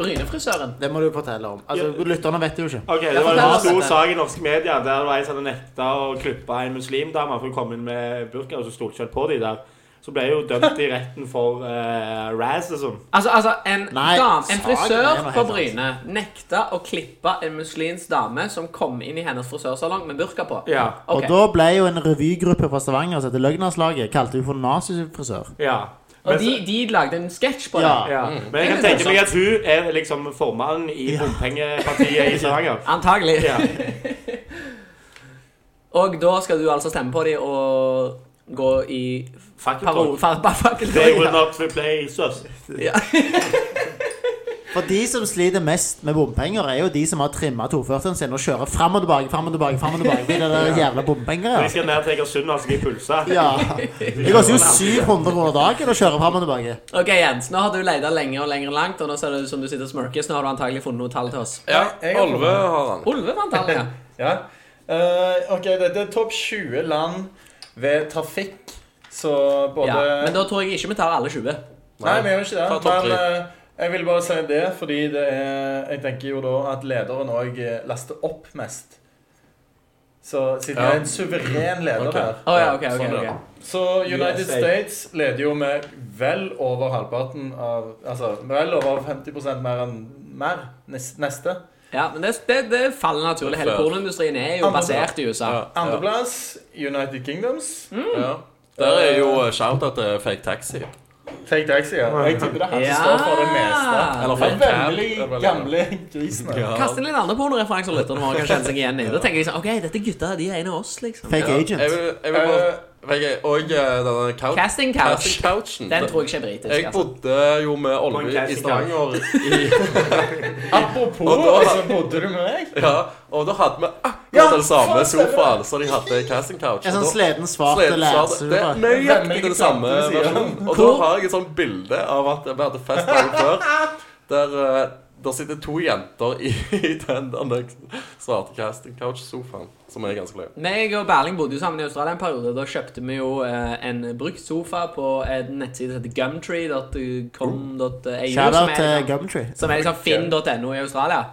Speaker 1: Brynefrisøren.
Speaker 3: Det må du fortelle om. Altså,
Speaker 2: Ja.
Speaker 3: lytterne vet jo ikke.
Speaker 2: Ok, Det
Speaker 1: Ja,
Speaker 2: var
Speaker 1: fortell
Speaker 2: en
Speaker 1: oss
Speaker 2: stor
Speaker 1: dette.
Speaker 2: sak i norske medier der det var en som hadde nekta å klippe en muslimdame for å komme inn med burka, og så stolte ikke helt på de der. Så ble jeg jo dømt i retten for eh, racism.
Speaker 1: Altså, altså en,
Speaker 3: Nei,
Speaker 1: dam, en
Speaker 3: saken er noe
Speaker 1: frisør
Speaker 3: helt
Speaker 1: på
Speaker 3: annet.
Speaker 1: Bryne nekta å klippe en muslimsk dame som kom inn i hennes frisørsalong med burka på.
Speaker 2: Ja.
Speaker 1: Ok.
Speaker 3: Og da ble jo en revygruppe fra Stavanger som heter Løgnerslaget, kalte hun for nazifrisør.
Speaker 2: Ja.
Speaker 1: Og
Speaker 2: Men,
Speaker 1: de, de lagde en sketsj på det.
Speaker 3: Ja.
Speaker 2: ja. Men jeg kan tenke meg at hun er liksom formannen i bompengepartiet i Stavanger.
Speaker 1: Antagelig.
Speaker 2: Ja.
Speaker 1: Og da skal du altså stemme på dem og gå i
Speaker 2: Fakkeltog. They will
Speaker 1: parolfarbafakeltog.
Speaker 2: not replace us.
Speaker 1: Ja.
Speaker 3: For de som sliter mest med bompenger, er jo de som har trimma 240-en sin og kjører fram og tilbake, fram og tilbake, fram og tilbake. Det er det jævla bompenger,
Speaker 2: Jeg skal ned til Egersund altså, og skal jeg pulse.
Speaker 3: ja. Det koster jo 700 kroner dagen å kjøre fram og tilbake.
Speaker 1: Ok, Jens, nå har du leita lenge og lenger langt, og nå ser det ut som du sitter og smirker. Så nå har du antagelig funnet noe tall til oss.
Speaker 4: Ja,
Speaker 5: Jeg har
Speaker 4: Olve har han.
Speaker 1: Olve fant tallet, ja.
Speaker 5: Ja. Eh, ok, dette er topp 20 land ved trafikk, så både
Speaker 1: ja. Men da tror jeg ikke vi tar alle 20.
Speaker 5: Nei, vi gjør ikke
Speaker 4: Ta
Speaker 5: det.
Speaker 4: topp
Speaker 5: Men eh, jeg vil bare si det, fordi det er Jeg tenker jo da at lederen òg laster opp mest. Så siden
Speaker 4: Ja.
Speaker 5: jeg er en suveren leder
Speaker 4: Ok.
Speaker 5: her
Speaker 1: Å ja, ok, ok,
Speaker 4: Sånn,
Speaker 1: ok.
Speaker 4: ja.
Speaker 5: Så United
Speaker 2: USA.
Speaker 5: States leder jo med vel over halvparten av Altså vel over 50 mer enn mer. nes- Neste.
Speaker 1: Ja, men det, det, det faller naturlig. Hele pornoindustrien er jo
Speaker 5: Andre-
Speaker 1: basert i USA.
Speaker 4: Ja, ja. Mm.
Speaker 5: Andreplass United Kingdoms.
Speaker 4: Ja. Der er jo eh, shout-out til Fake Taxi.
Speaker 5: Fake taxi, ja. Jeg tipper det er han som står for det meste.
Speaker 4: Eller
Speaker 5: Det
Speaker 4: Fake
Speaker 5: er
Speaker 4: Cab.
Speaker 5: veldig gamle grisen.
Speaker 4: Ja.
Speaker 1: Kast inn litt andre pornoreferanser litt, og lytterne våre kan kjenne seg igjen i. Da tenker jeg sånn, ok, dette er gutta, de er en av oss, liksom.
Speaker 3: Fake
Speaker 4: Jeg
Speaker 3: agent.
Speaker 4: vil, jeg vil bare
Speaker 5: Eh,
Speaker 4: jeg, er- Og eh, denne couch,
Speaker 1: Casting couch.
Speaker 4: casting couchen.
Speaker 1: Den tror jeg ikke er britisk.
Speaker 4: Jeg
Speaker 1: altså.
Speaker 4: bodde jo med
Speaker 2: På en
Speaker 4: Olve i
Speaker 2: casting
Speaker 4: Stavanger i
Speaker 5: Apropos,
Speaker 4: Og da-
Speaker 5: så bodde du med meg.
Speaker 4: Ja, og da hadde vi
Speaker 5: Ja,
Speaker 4: akkurat den samme
Speaker 5: faen, stemmer det.
Speaker 4: sofaen som de hadde i casting couch.
Speaker 3: En sånn
Speaker 4: og da-
Speaker 3: sleden, svart
Speaker 4: Sleden svart. Det er
Speaker 3: lærsure.
Speaker 4: nøyaktig den samme
Speaker 5: Hvem er det
Speaker 4: versjonen. Og da har jeg et sånt bilde av at vi hadde fest dagen før, der eh, der sitter to jenter i, i den der svarte casting couch-sofaen, som er ganske løy.
Speaker 1: Meg og Berling bodde jo sammen i Australia en periode. Da kjøpte vi jo eh, en brukt sofa på en nettside som heter gumtree.com.au. som
Speaker 3: Shout-out
Speaker 1: er
Speaker 3: til
Speaker 1: liksom-
Speaker 3: Gumtree.
Speaker 1: Som er liksom finn.no i Australia.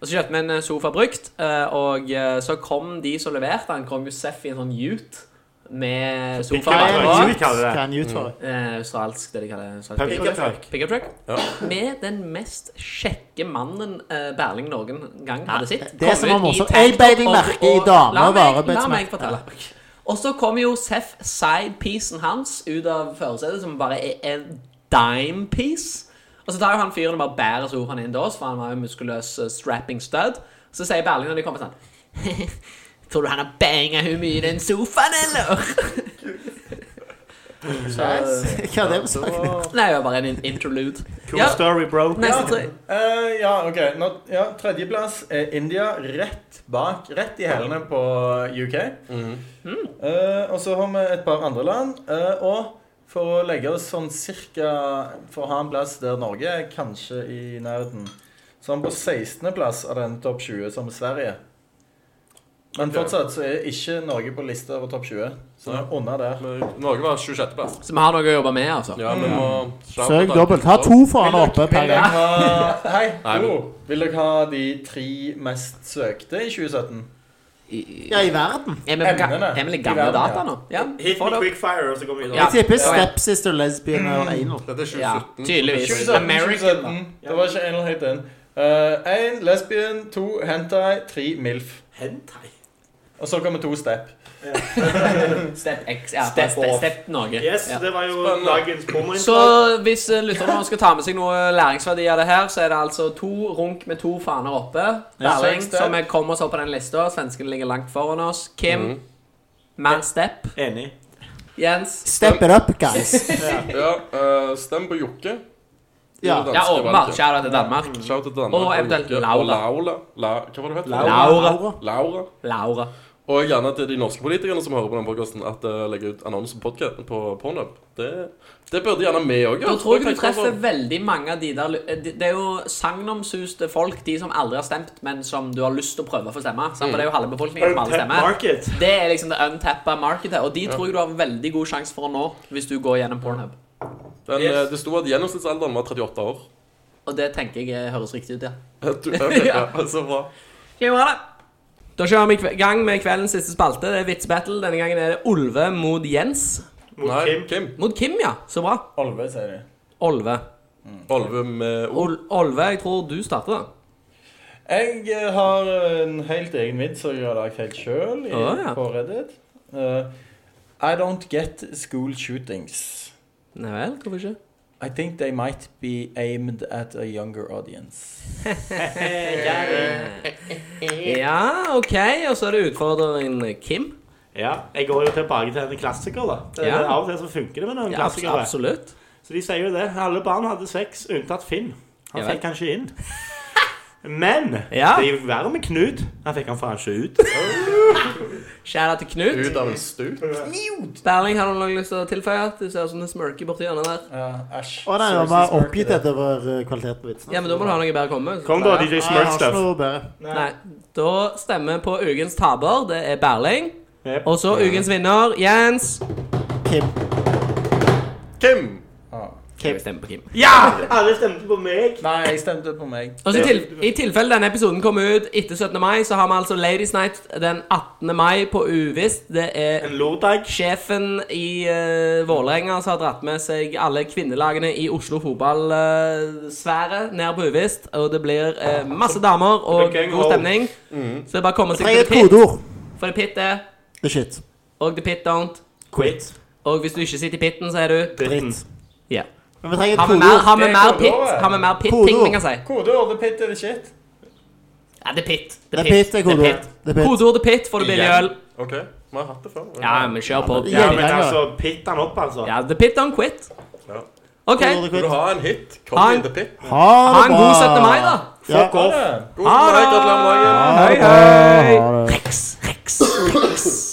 Speaker 1: Og så kjøpte vi en sofa brukt, eh, og eh, så kom de som leverte den, kom jo Seff i en sånn ute med sofa
Speaker 3: Hva er
Speaker 2: Hva
Speaker 3: en
Speaker 2: er det de
Speaker 3: ute?
Speaker 2: kaller det?
Speaker 3: Hva er en ute for?
Speaker 1: Eh, australsk, det de kaller en australsk
Speaker 2: Pickup truck.
Speaker 1: Pickup truck.
Speaker 4: Ja.
Speaker 1: Med den mest kjekke mannen eh, Berling noen gang hadde sett.
Speaker 3: det
Speaker 1: Kom
Speaker 3: som
Speaker 1: ut
Speaker 3: var morsomt,
Speaker 1: i tanktop
Speaker 3: jeg beit meg
Speaker 1: og-
Speaker 3: merke i
Speaker 1: og-
Speaker 3: damer
Speaker 1: La meg-
Speaker 3: bare beit
Speaker 1: La
Speaker 3: seg
Speaker 1: meg
Speaker 3: merke-
Speaker 1: fortelle. Og så kom jo Seff sidepiecen hans ut av førersetet, som bare er en dime piece. Og så tar jo han fyren og bare bærer sofaen inn til oss, for han var jo muskuløs eh, strapping stud. Så sier Berling når de kommer sånn Tror du han har banga hun mye i den sofaen, eller? eh,
Speaker 3: Hva er det for sak?
Speaker 1: Nei, det var bare en interlude.
Speaker 2: Cool
Speaker 1: Ja.
Speaker 2: story, bro.
Speaker 1: Neste tre.
Speaker 5: Eh, ja, ok. Nå, ja, Tredjeplass er India, rett bak, rett i hælene på UK. Eh, og så har vi et par andre land. eh, og for å legge oss sånn cirka For å ha en plass der Norge er kanskje i nærheten. Så er vi på 16.-plass av den topp 20, som er Sverige. Men fortsatt så er ikke Norge på lista over topp 20. Så det er under der.
Speaker 4: Men Norge var 26. plass. Mm.
Speaker 1: Så vi har noe å jobbe med, altså.
Speaker 4: Ja, vi må
Speaker 3: Søk dobbelt. Ha to foran og oppe per
Speaker 5: Vil dere
Speaker 3: gang.
Speaker 5: ha Hei,
Speaker 4: Nei, men-
Speaker 5: Olo. Vil dere ha de tre mest søkte i 2017?
Speaker 1: I,
Speaker 3: Ja, i verden.
Speaker 1: er, vi på, ga-
Speaker 5: Emnene.
Speaker 1: er vi litt
Speaker 5: I
Speaker 1: gamle
Speaker 5: verden,
Speaker 1: data
Speaker 5: ja.
Speaker 1: nå? Ja,
Speaker 2: Hit
Speaker 1: få
Speaker 2: me
Speaker 1: det opp.
Speaker 2: quickfire, og så går vi videre.
Speaker 1: Ja.
Speaker 3: Jeg tipper
Speaker 1: Ja, ja.
Speaker 3: stepsister, lesbiene og anal.
Speaker 4: Dette er 2017.
Speaker 1: Ja, tydeligvis.
Speaker 5: 2017,
Speaker 1: American,
Speaker 5: 2017. Det var ikke en eller helt den. Én Eh, lesbien, to hentai, tre milf.
Speaker 2: Hentai.
Speaker 5: Og så kommer to step.
Speaker 1: Step X. Ja, step,
Speaker 5: Step
Speaker 1: step,
Speaker 5: off.
Speaker 1: step Norge.
Speaker 2: Yes,
Speaker 1: ja.
Speaker 2: det var jo
Speaker 4: Spennende.
Speaker 2: dagens bommer.
Speaker 1: Så hvis eh, lytterne skal ta med seg noe læringsverdi av det her, så er det altså to runk med to faner oppe.
Speaker 5: Ja,
Speaker 1: Berling,
Speaker 5: step.
Speaker 1: som er kom oss opp på den lista. Svenskene ligger langt foran oss. Kim,
Speaker 4: Mhm.
Speaker 1: mer step.
Speaker 2: Enig.
Speaker 1: Jens.
Speaker 3: Step it up, guys.
Speaker 4: Ja, eh, stem på Jokke.
Speaker 3: Ja.
Speaker 1: Ja, åpenbart. Kjære til Danmark.
Speaker 4: Shout til Danmark.
Speaker 1: Og eventuelt
Speaker 4: Jokke.
Speaker 1: Laura.
Speaker 4: Og Laula. La, hva var det du het?
Speaker 1: Laura.
Speaker 4: Laura.
Speaker 1: Laura.
Speaker 4: Og gjerne til de norske politikerne som hører på den podcasten at uh, legger ut annonser på, podca- på Pornhub. Det, det burde gjerne vi òg
Speaker 1: Da tror jeg du treffer veldig mange av de der Det det er jo sagnomsuste folk, de som aldri har stemt, men som du har lyst til å prøve å få stemme. Sant? For det er jo halve befolkningen som aldri
Speaker 2: Untapped
Speaker 1: stemmer.
Speaker 2: market.
Speaker 1: Det er liksom det untappa markedet, og de tror jeg du har veldig god sjanse for å nå hvis du går gjennom Pornhub.
Speaker 4: Den, eh, Det sto at gjennomsnittsalderen var 38 år.
Speaker 1: Og det tenker jeg eh, høres riktig ut, ja.
Speaker 4: Du, ok, ja, så bra.
Speaker 1: Skal vi ha det? Da kjører vi i kve- gang med kveldens siste spalte. Det er vitsbattle. Denne gangen er det Olve mot Jens.
Speaker 2: mot
Speaker 4: Nei,
Speaker 2: Kim.
Speaker 4: Kim.
Speaker 1: Mot Kim, ja. Så bra.
Speaker 5: Olve, sier de.
Speaker 1: Olve.
Speaker 4: Olve med O.
Speaker 1: Ol Olve, jeg tror du starter, da.
Speaker 5: Jeg eh, har en helt egen vits som jeg har lagd helt sjøl
Speaker 1: Å, ja.
Speaker 5: på Reddit. Eh, I don't get school shootings.
Speaker 1: Nei vel, hvorfor ikke?
Speaker 5: I think they might be aimed at a younger audience.
Speaker 1: Ja, OK. Og så er det utfordringen Kim.
Speaker 2: Ja, jeg går jo tilbake til en klassiker, da. Det,
Speaker 1: Ja.
Speaker 2: Av og til så funker det med noen
Speaker 1: Ja, abs
Speaker 2: klassikere.
Speaker 1: absolutt.
Speaker 2: Så de sier jo det. Alle barn hadde sex, unntatt Finn. Han
Speaker 1: Ja vel.
Speaker 2: fikk han ikke inn. Men
Speaker 1: Ja.
Speaker 2: det gikk verre med Knut. Han fikk han faen ikke ut.
Speaker 1: Skjæra til Knut.
Speaker 4: Ut av en stup.
Speaker 1: Berling, har du noe lyst til å tilføye? Du ser ut som en smirky borti hjørnet der.
Speaker 5: Ja, Æsj.
Speaker 3: Å nei, jeg var bare oppgitt over eh, kvaliteten på vitsene.
Speaker 1: Ja, men da må du ha noe bedre å komme med.
Speaker 2: Kom da, DJ
Speaker 3: Nei, jeg
Speaker 2: Smart
Speaker 3: har ikke
Speaker 2: Stuff.
Speaker 3: noe bedre.
Speaker 1: Nei. Da stemmer på ukens taper. Det er Berling.
Speaker 2: Jep.
Speaker 1: Og så ukens vinner, Jens.
Speaker 3: Kim.
Speaker 4: Kim!
Speaker 1: Jeg stemmer på Kim.
Speaker 2: Ja! Alle stemte på meg.
Speaker 5: Ah. Nei, jeg stemte på meg.
Speaker 1: Og så i, til, I tilfelle denne episoden kommer ut etter 17. mai, så har vi altså Ladies Night den 18. mai på Uvisst. Det er
Speaker 2: En lordag.
Speaker 1: Sjefen i uh, Vålerenga som har dratt med seg alle kvinnelagene i Oslo fotballsfære ned på Uvisst. Og det blir eh, masse damer og
Speaker 2: Gang
Speaker 1: god
Speaker 2: home.
Speaker 1: stemning. Så det er bare å komme seg
Speaker 3: Trenger
Speaker 1: til
Speaker 3: et
Speaker 1: The Pit.
Speaker 3: kodeord.
Speaker 1: For The Pit er
Speaker 3: Det er shit.
Speaker 1: Og The Pit don't.
Speaker 2: Quit.
Speaker 1: Og hvis du ikke sitter i pitten, så er du
Speaker 3: Dritt.
Speaker 1: Ja.
Speaker 3: Men vi trenger
Speaker 1: Har
Speaker 3: et
Speaker 1: vi mer,
Speaker 3: kodeord.
Speaker 1: har vi
Speaker 5: Det er
Speaker 1: mer
Speaker 5: kodeord,
Speaker 1: pit?
Speaker 5: ja.
Speaker 1: Har vi mer pit-ting vi
Speaker 3: Kodeord.
Speaker 1: kan si?
Speaker 5: Kodeordet pitt er det shit.
Speaker 1: Ja, The Pit.
Speaker 3: Det er pit, det er kodeord. Det er pit.
Speaker 1: Kodeord The Pit får du billig
Speaker 4: Igjen.
Speaker 1: øl.
Speaker 4: OK, vi har hatt det før.
Speaker 1: Ja, men kjør på.
Speaker 3: det-
Speaker 2: Ja, men
Speaker 3: Gjenganger.
Speaker 2: altså, pitt han opp, altså.
Speaker 1: Ja, The Pit don't quit.
Speaker 4: Ja.
Speaker 1: OK.
Speaker 3: Kodeordet
Speaker 4: Vil du
Speaker 3: kvitt.
Speaker 4: ha en hit? Kom
Speaker 1: Ha en-
Speaker 4: in the pit.
Speaker 3: Ha
Speaker 1: Ha
Speaker 3: det
Speaker 1: en
Speaker 3: bra.
Speaker 1: god 17. mai, da.
Speaker 3: Ja.
Speaker 2: Fuck off.
Speaker 5: Ja.
Speaker 4: God night, gratulerer med dagen.
Speaker 3: Ha det bra. Ha det.
Speaker 1: Rex, Rex, Rex.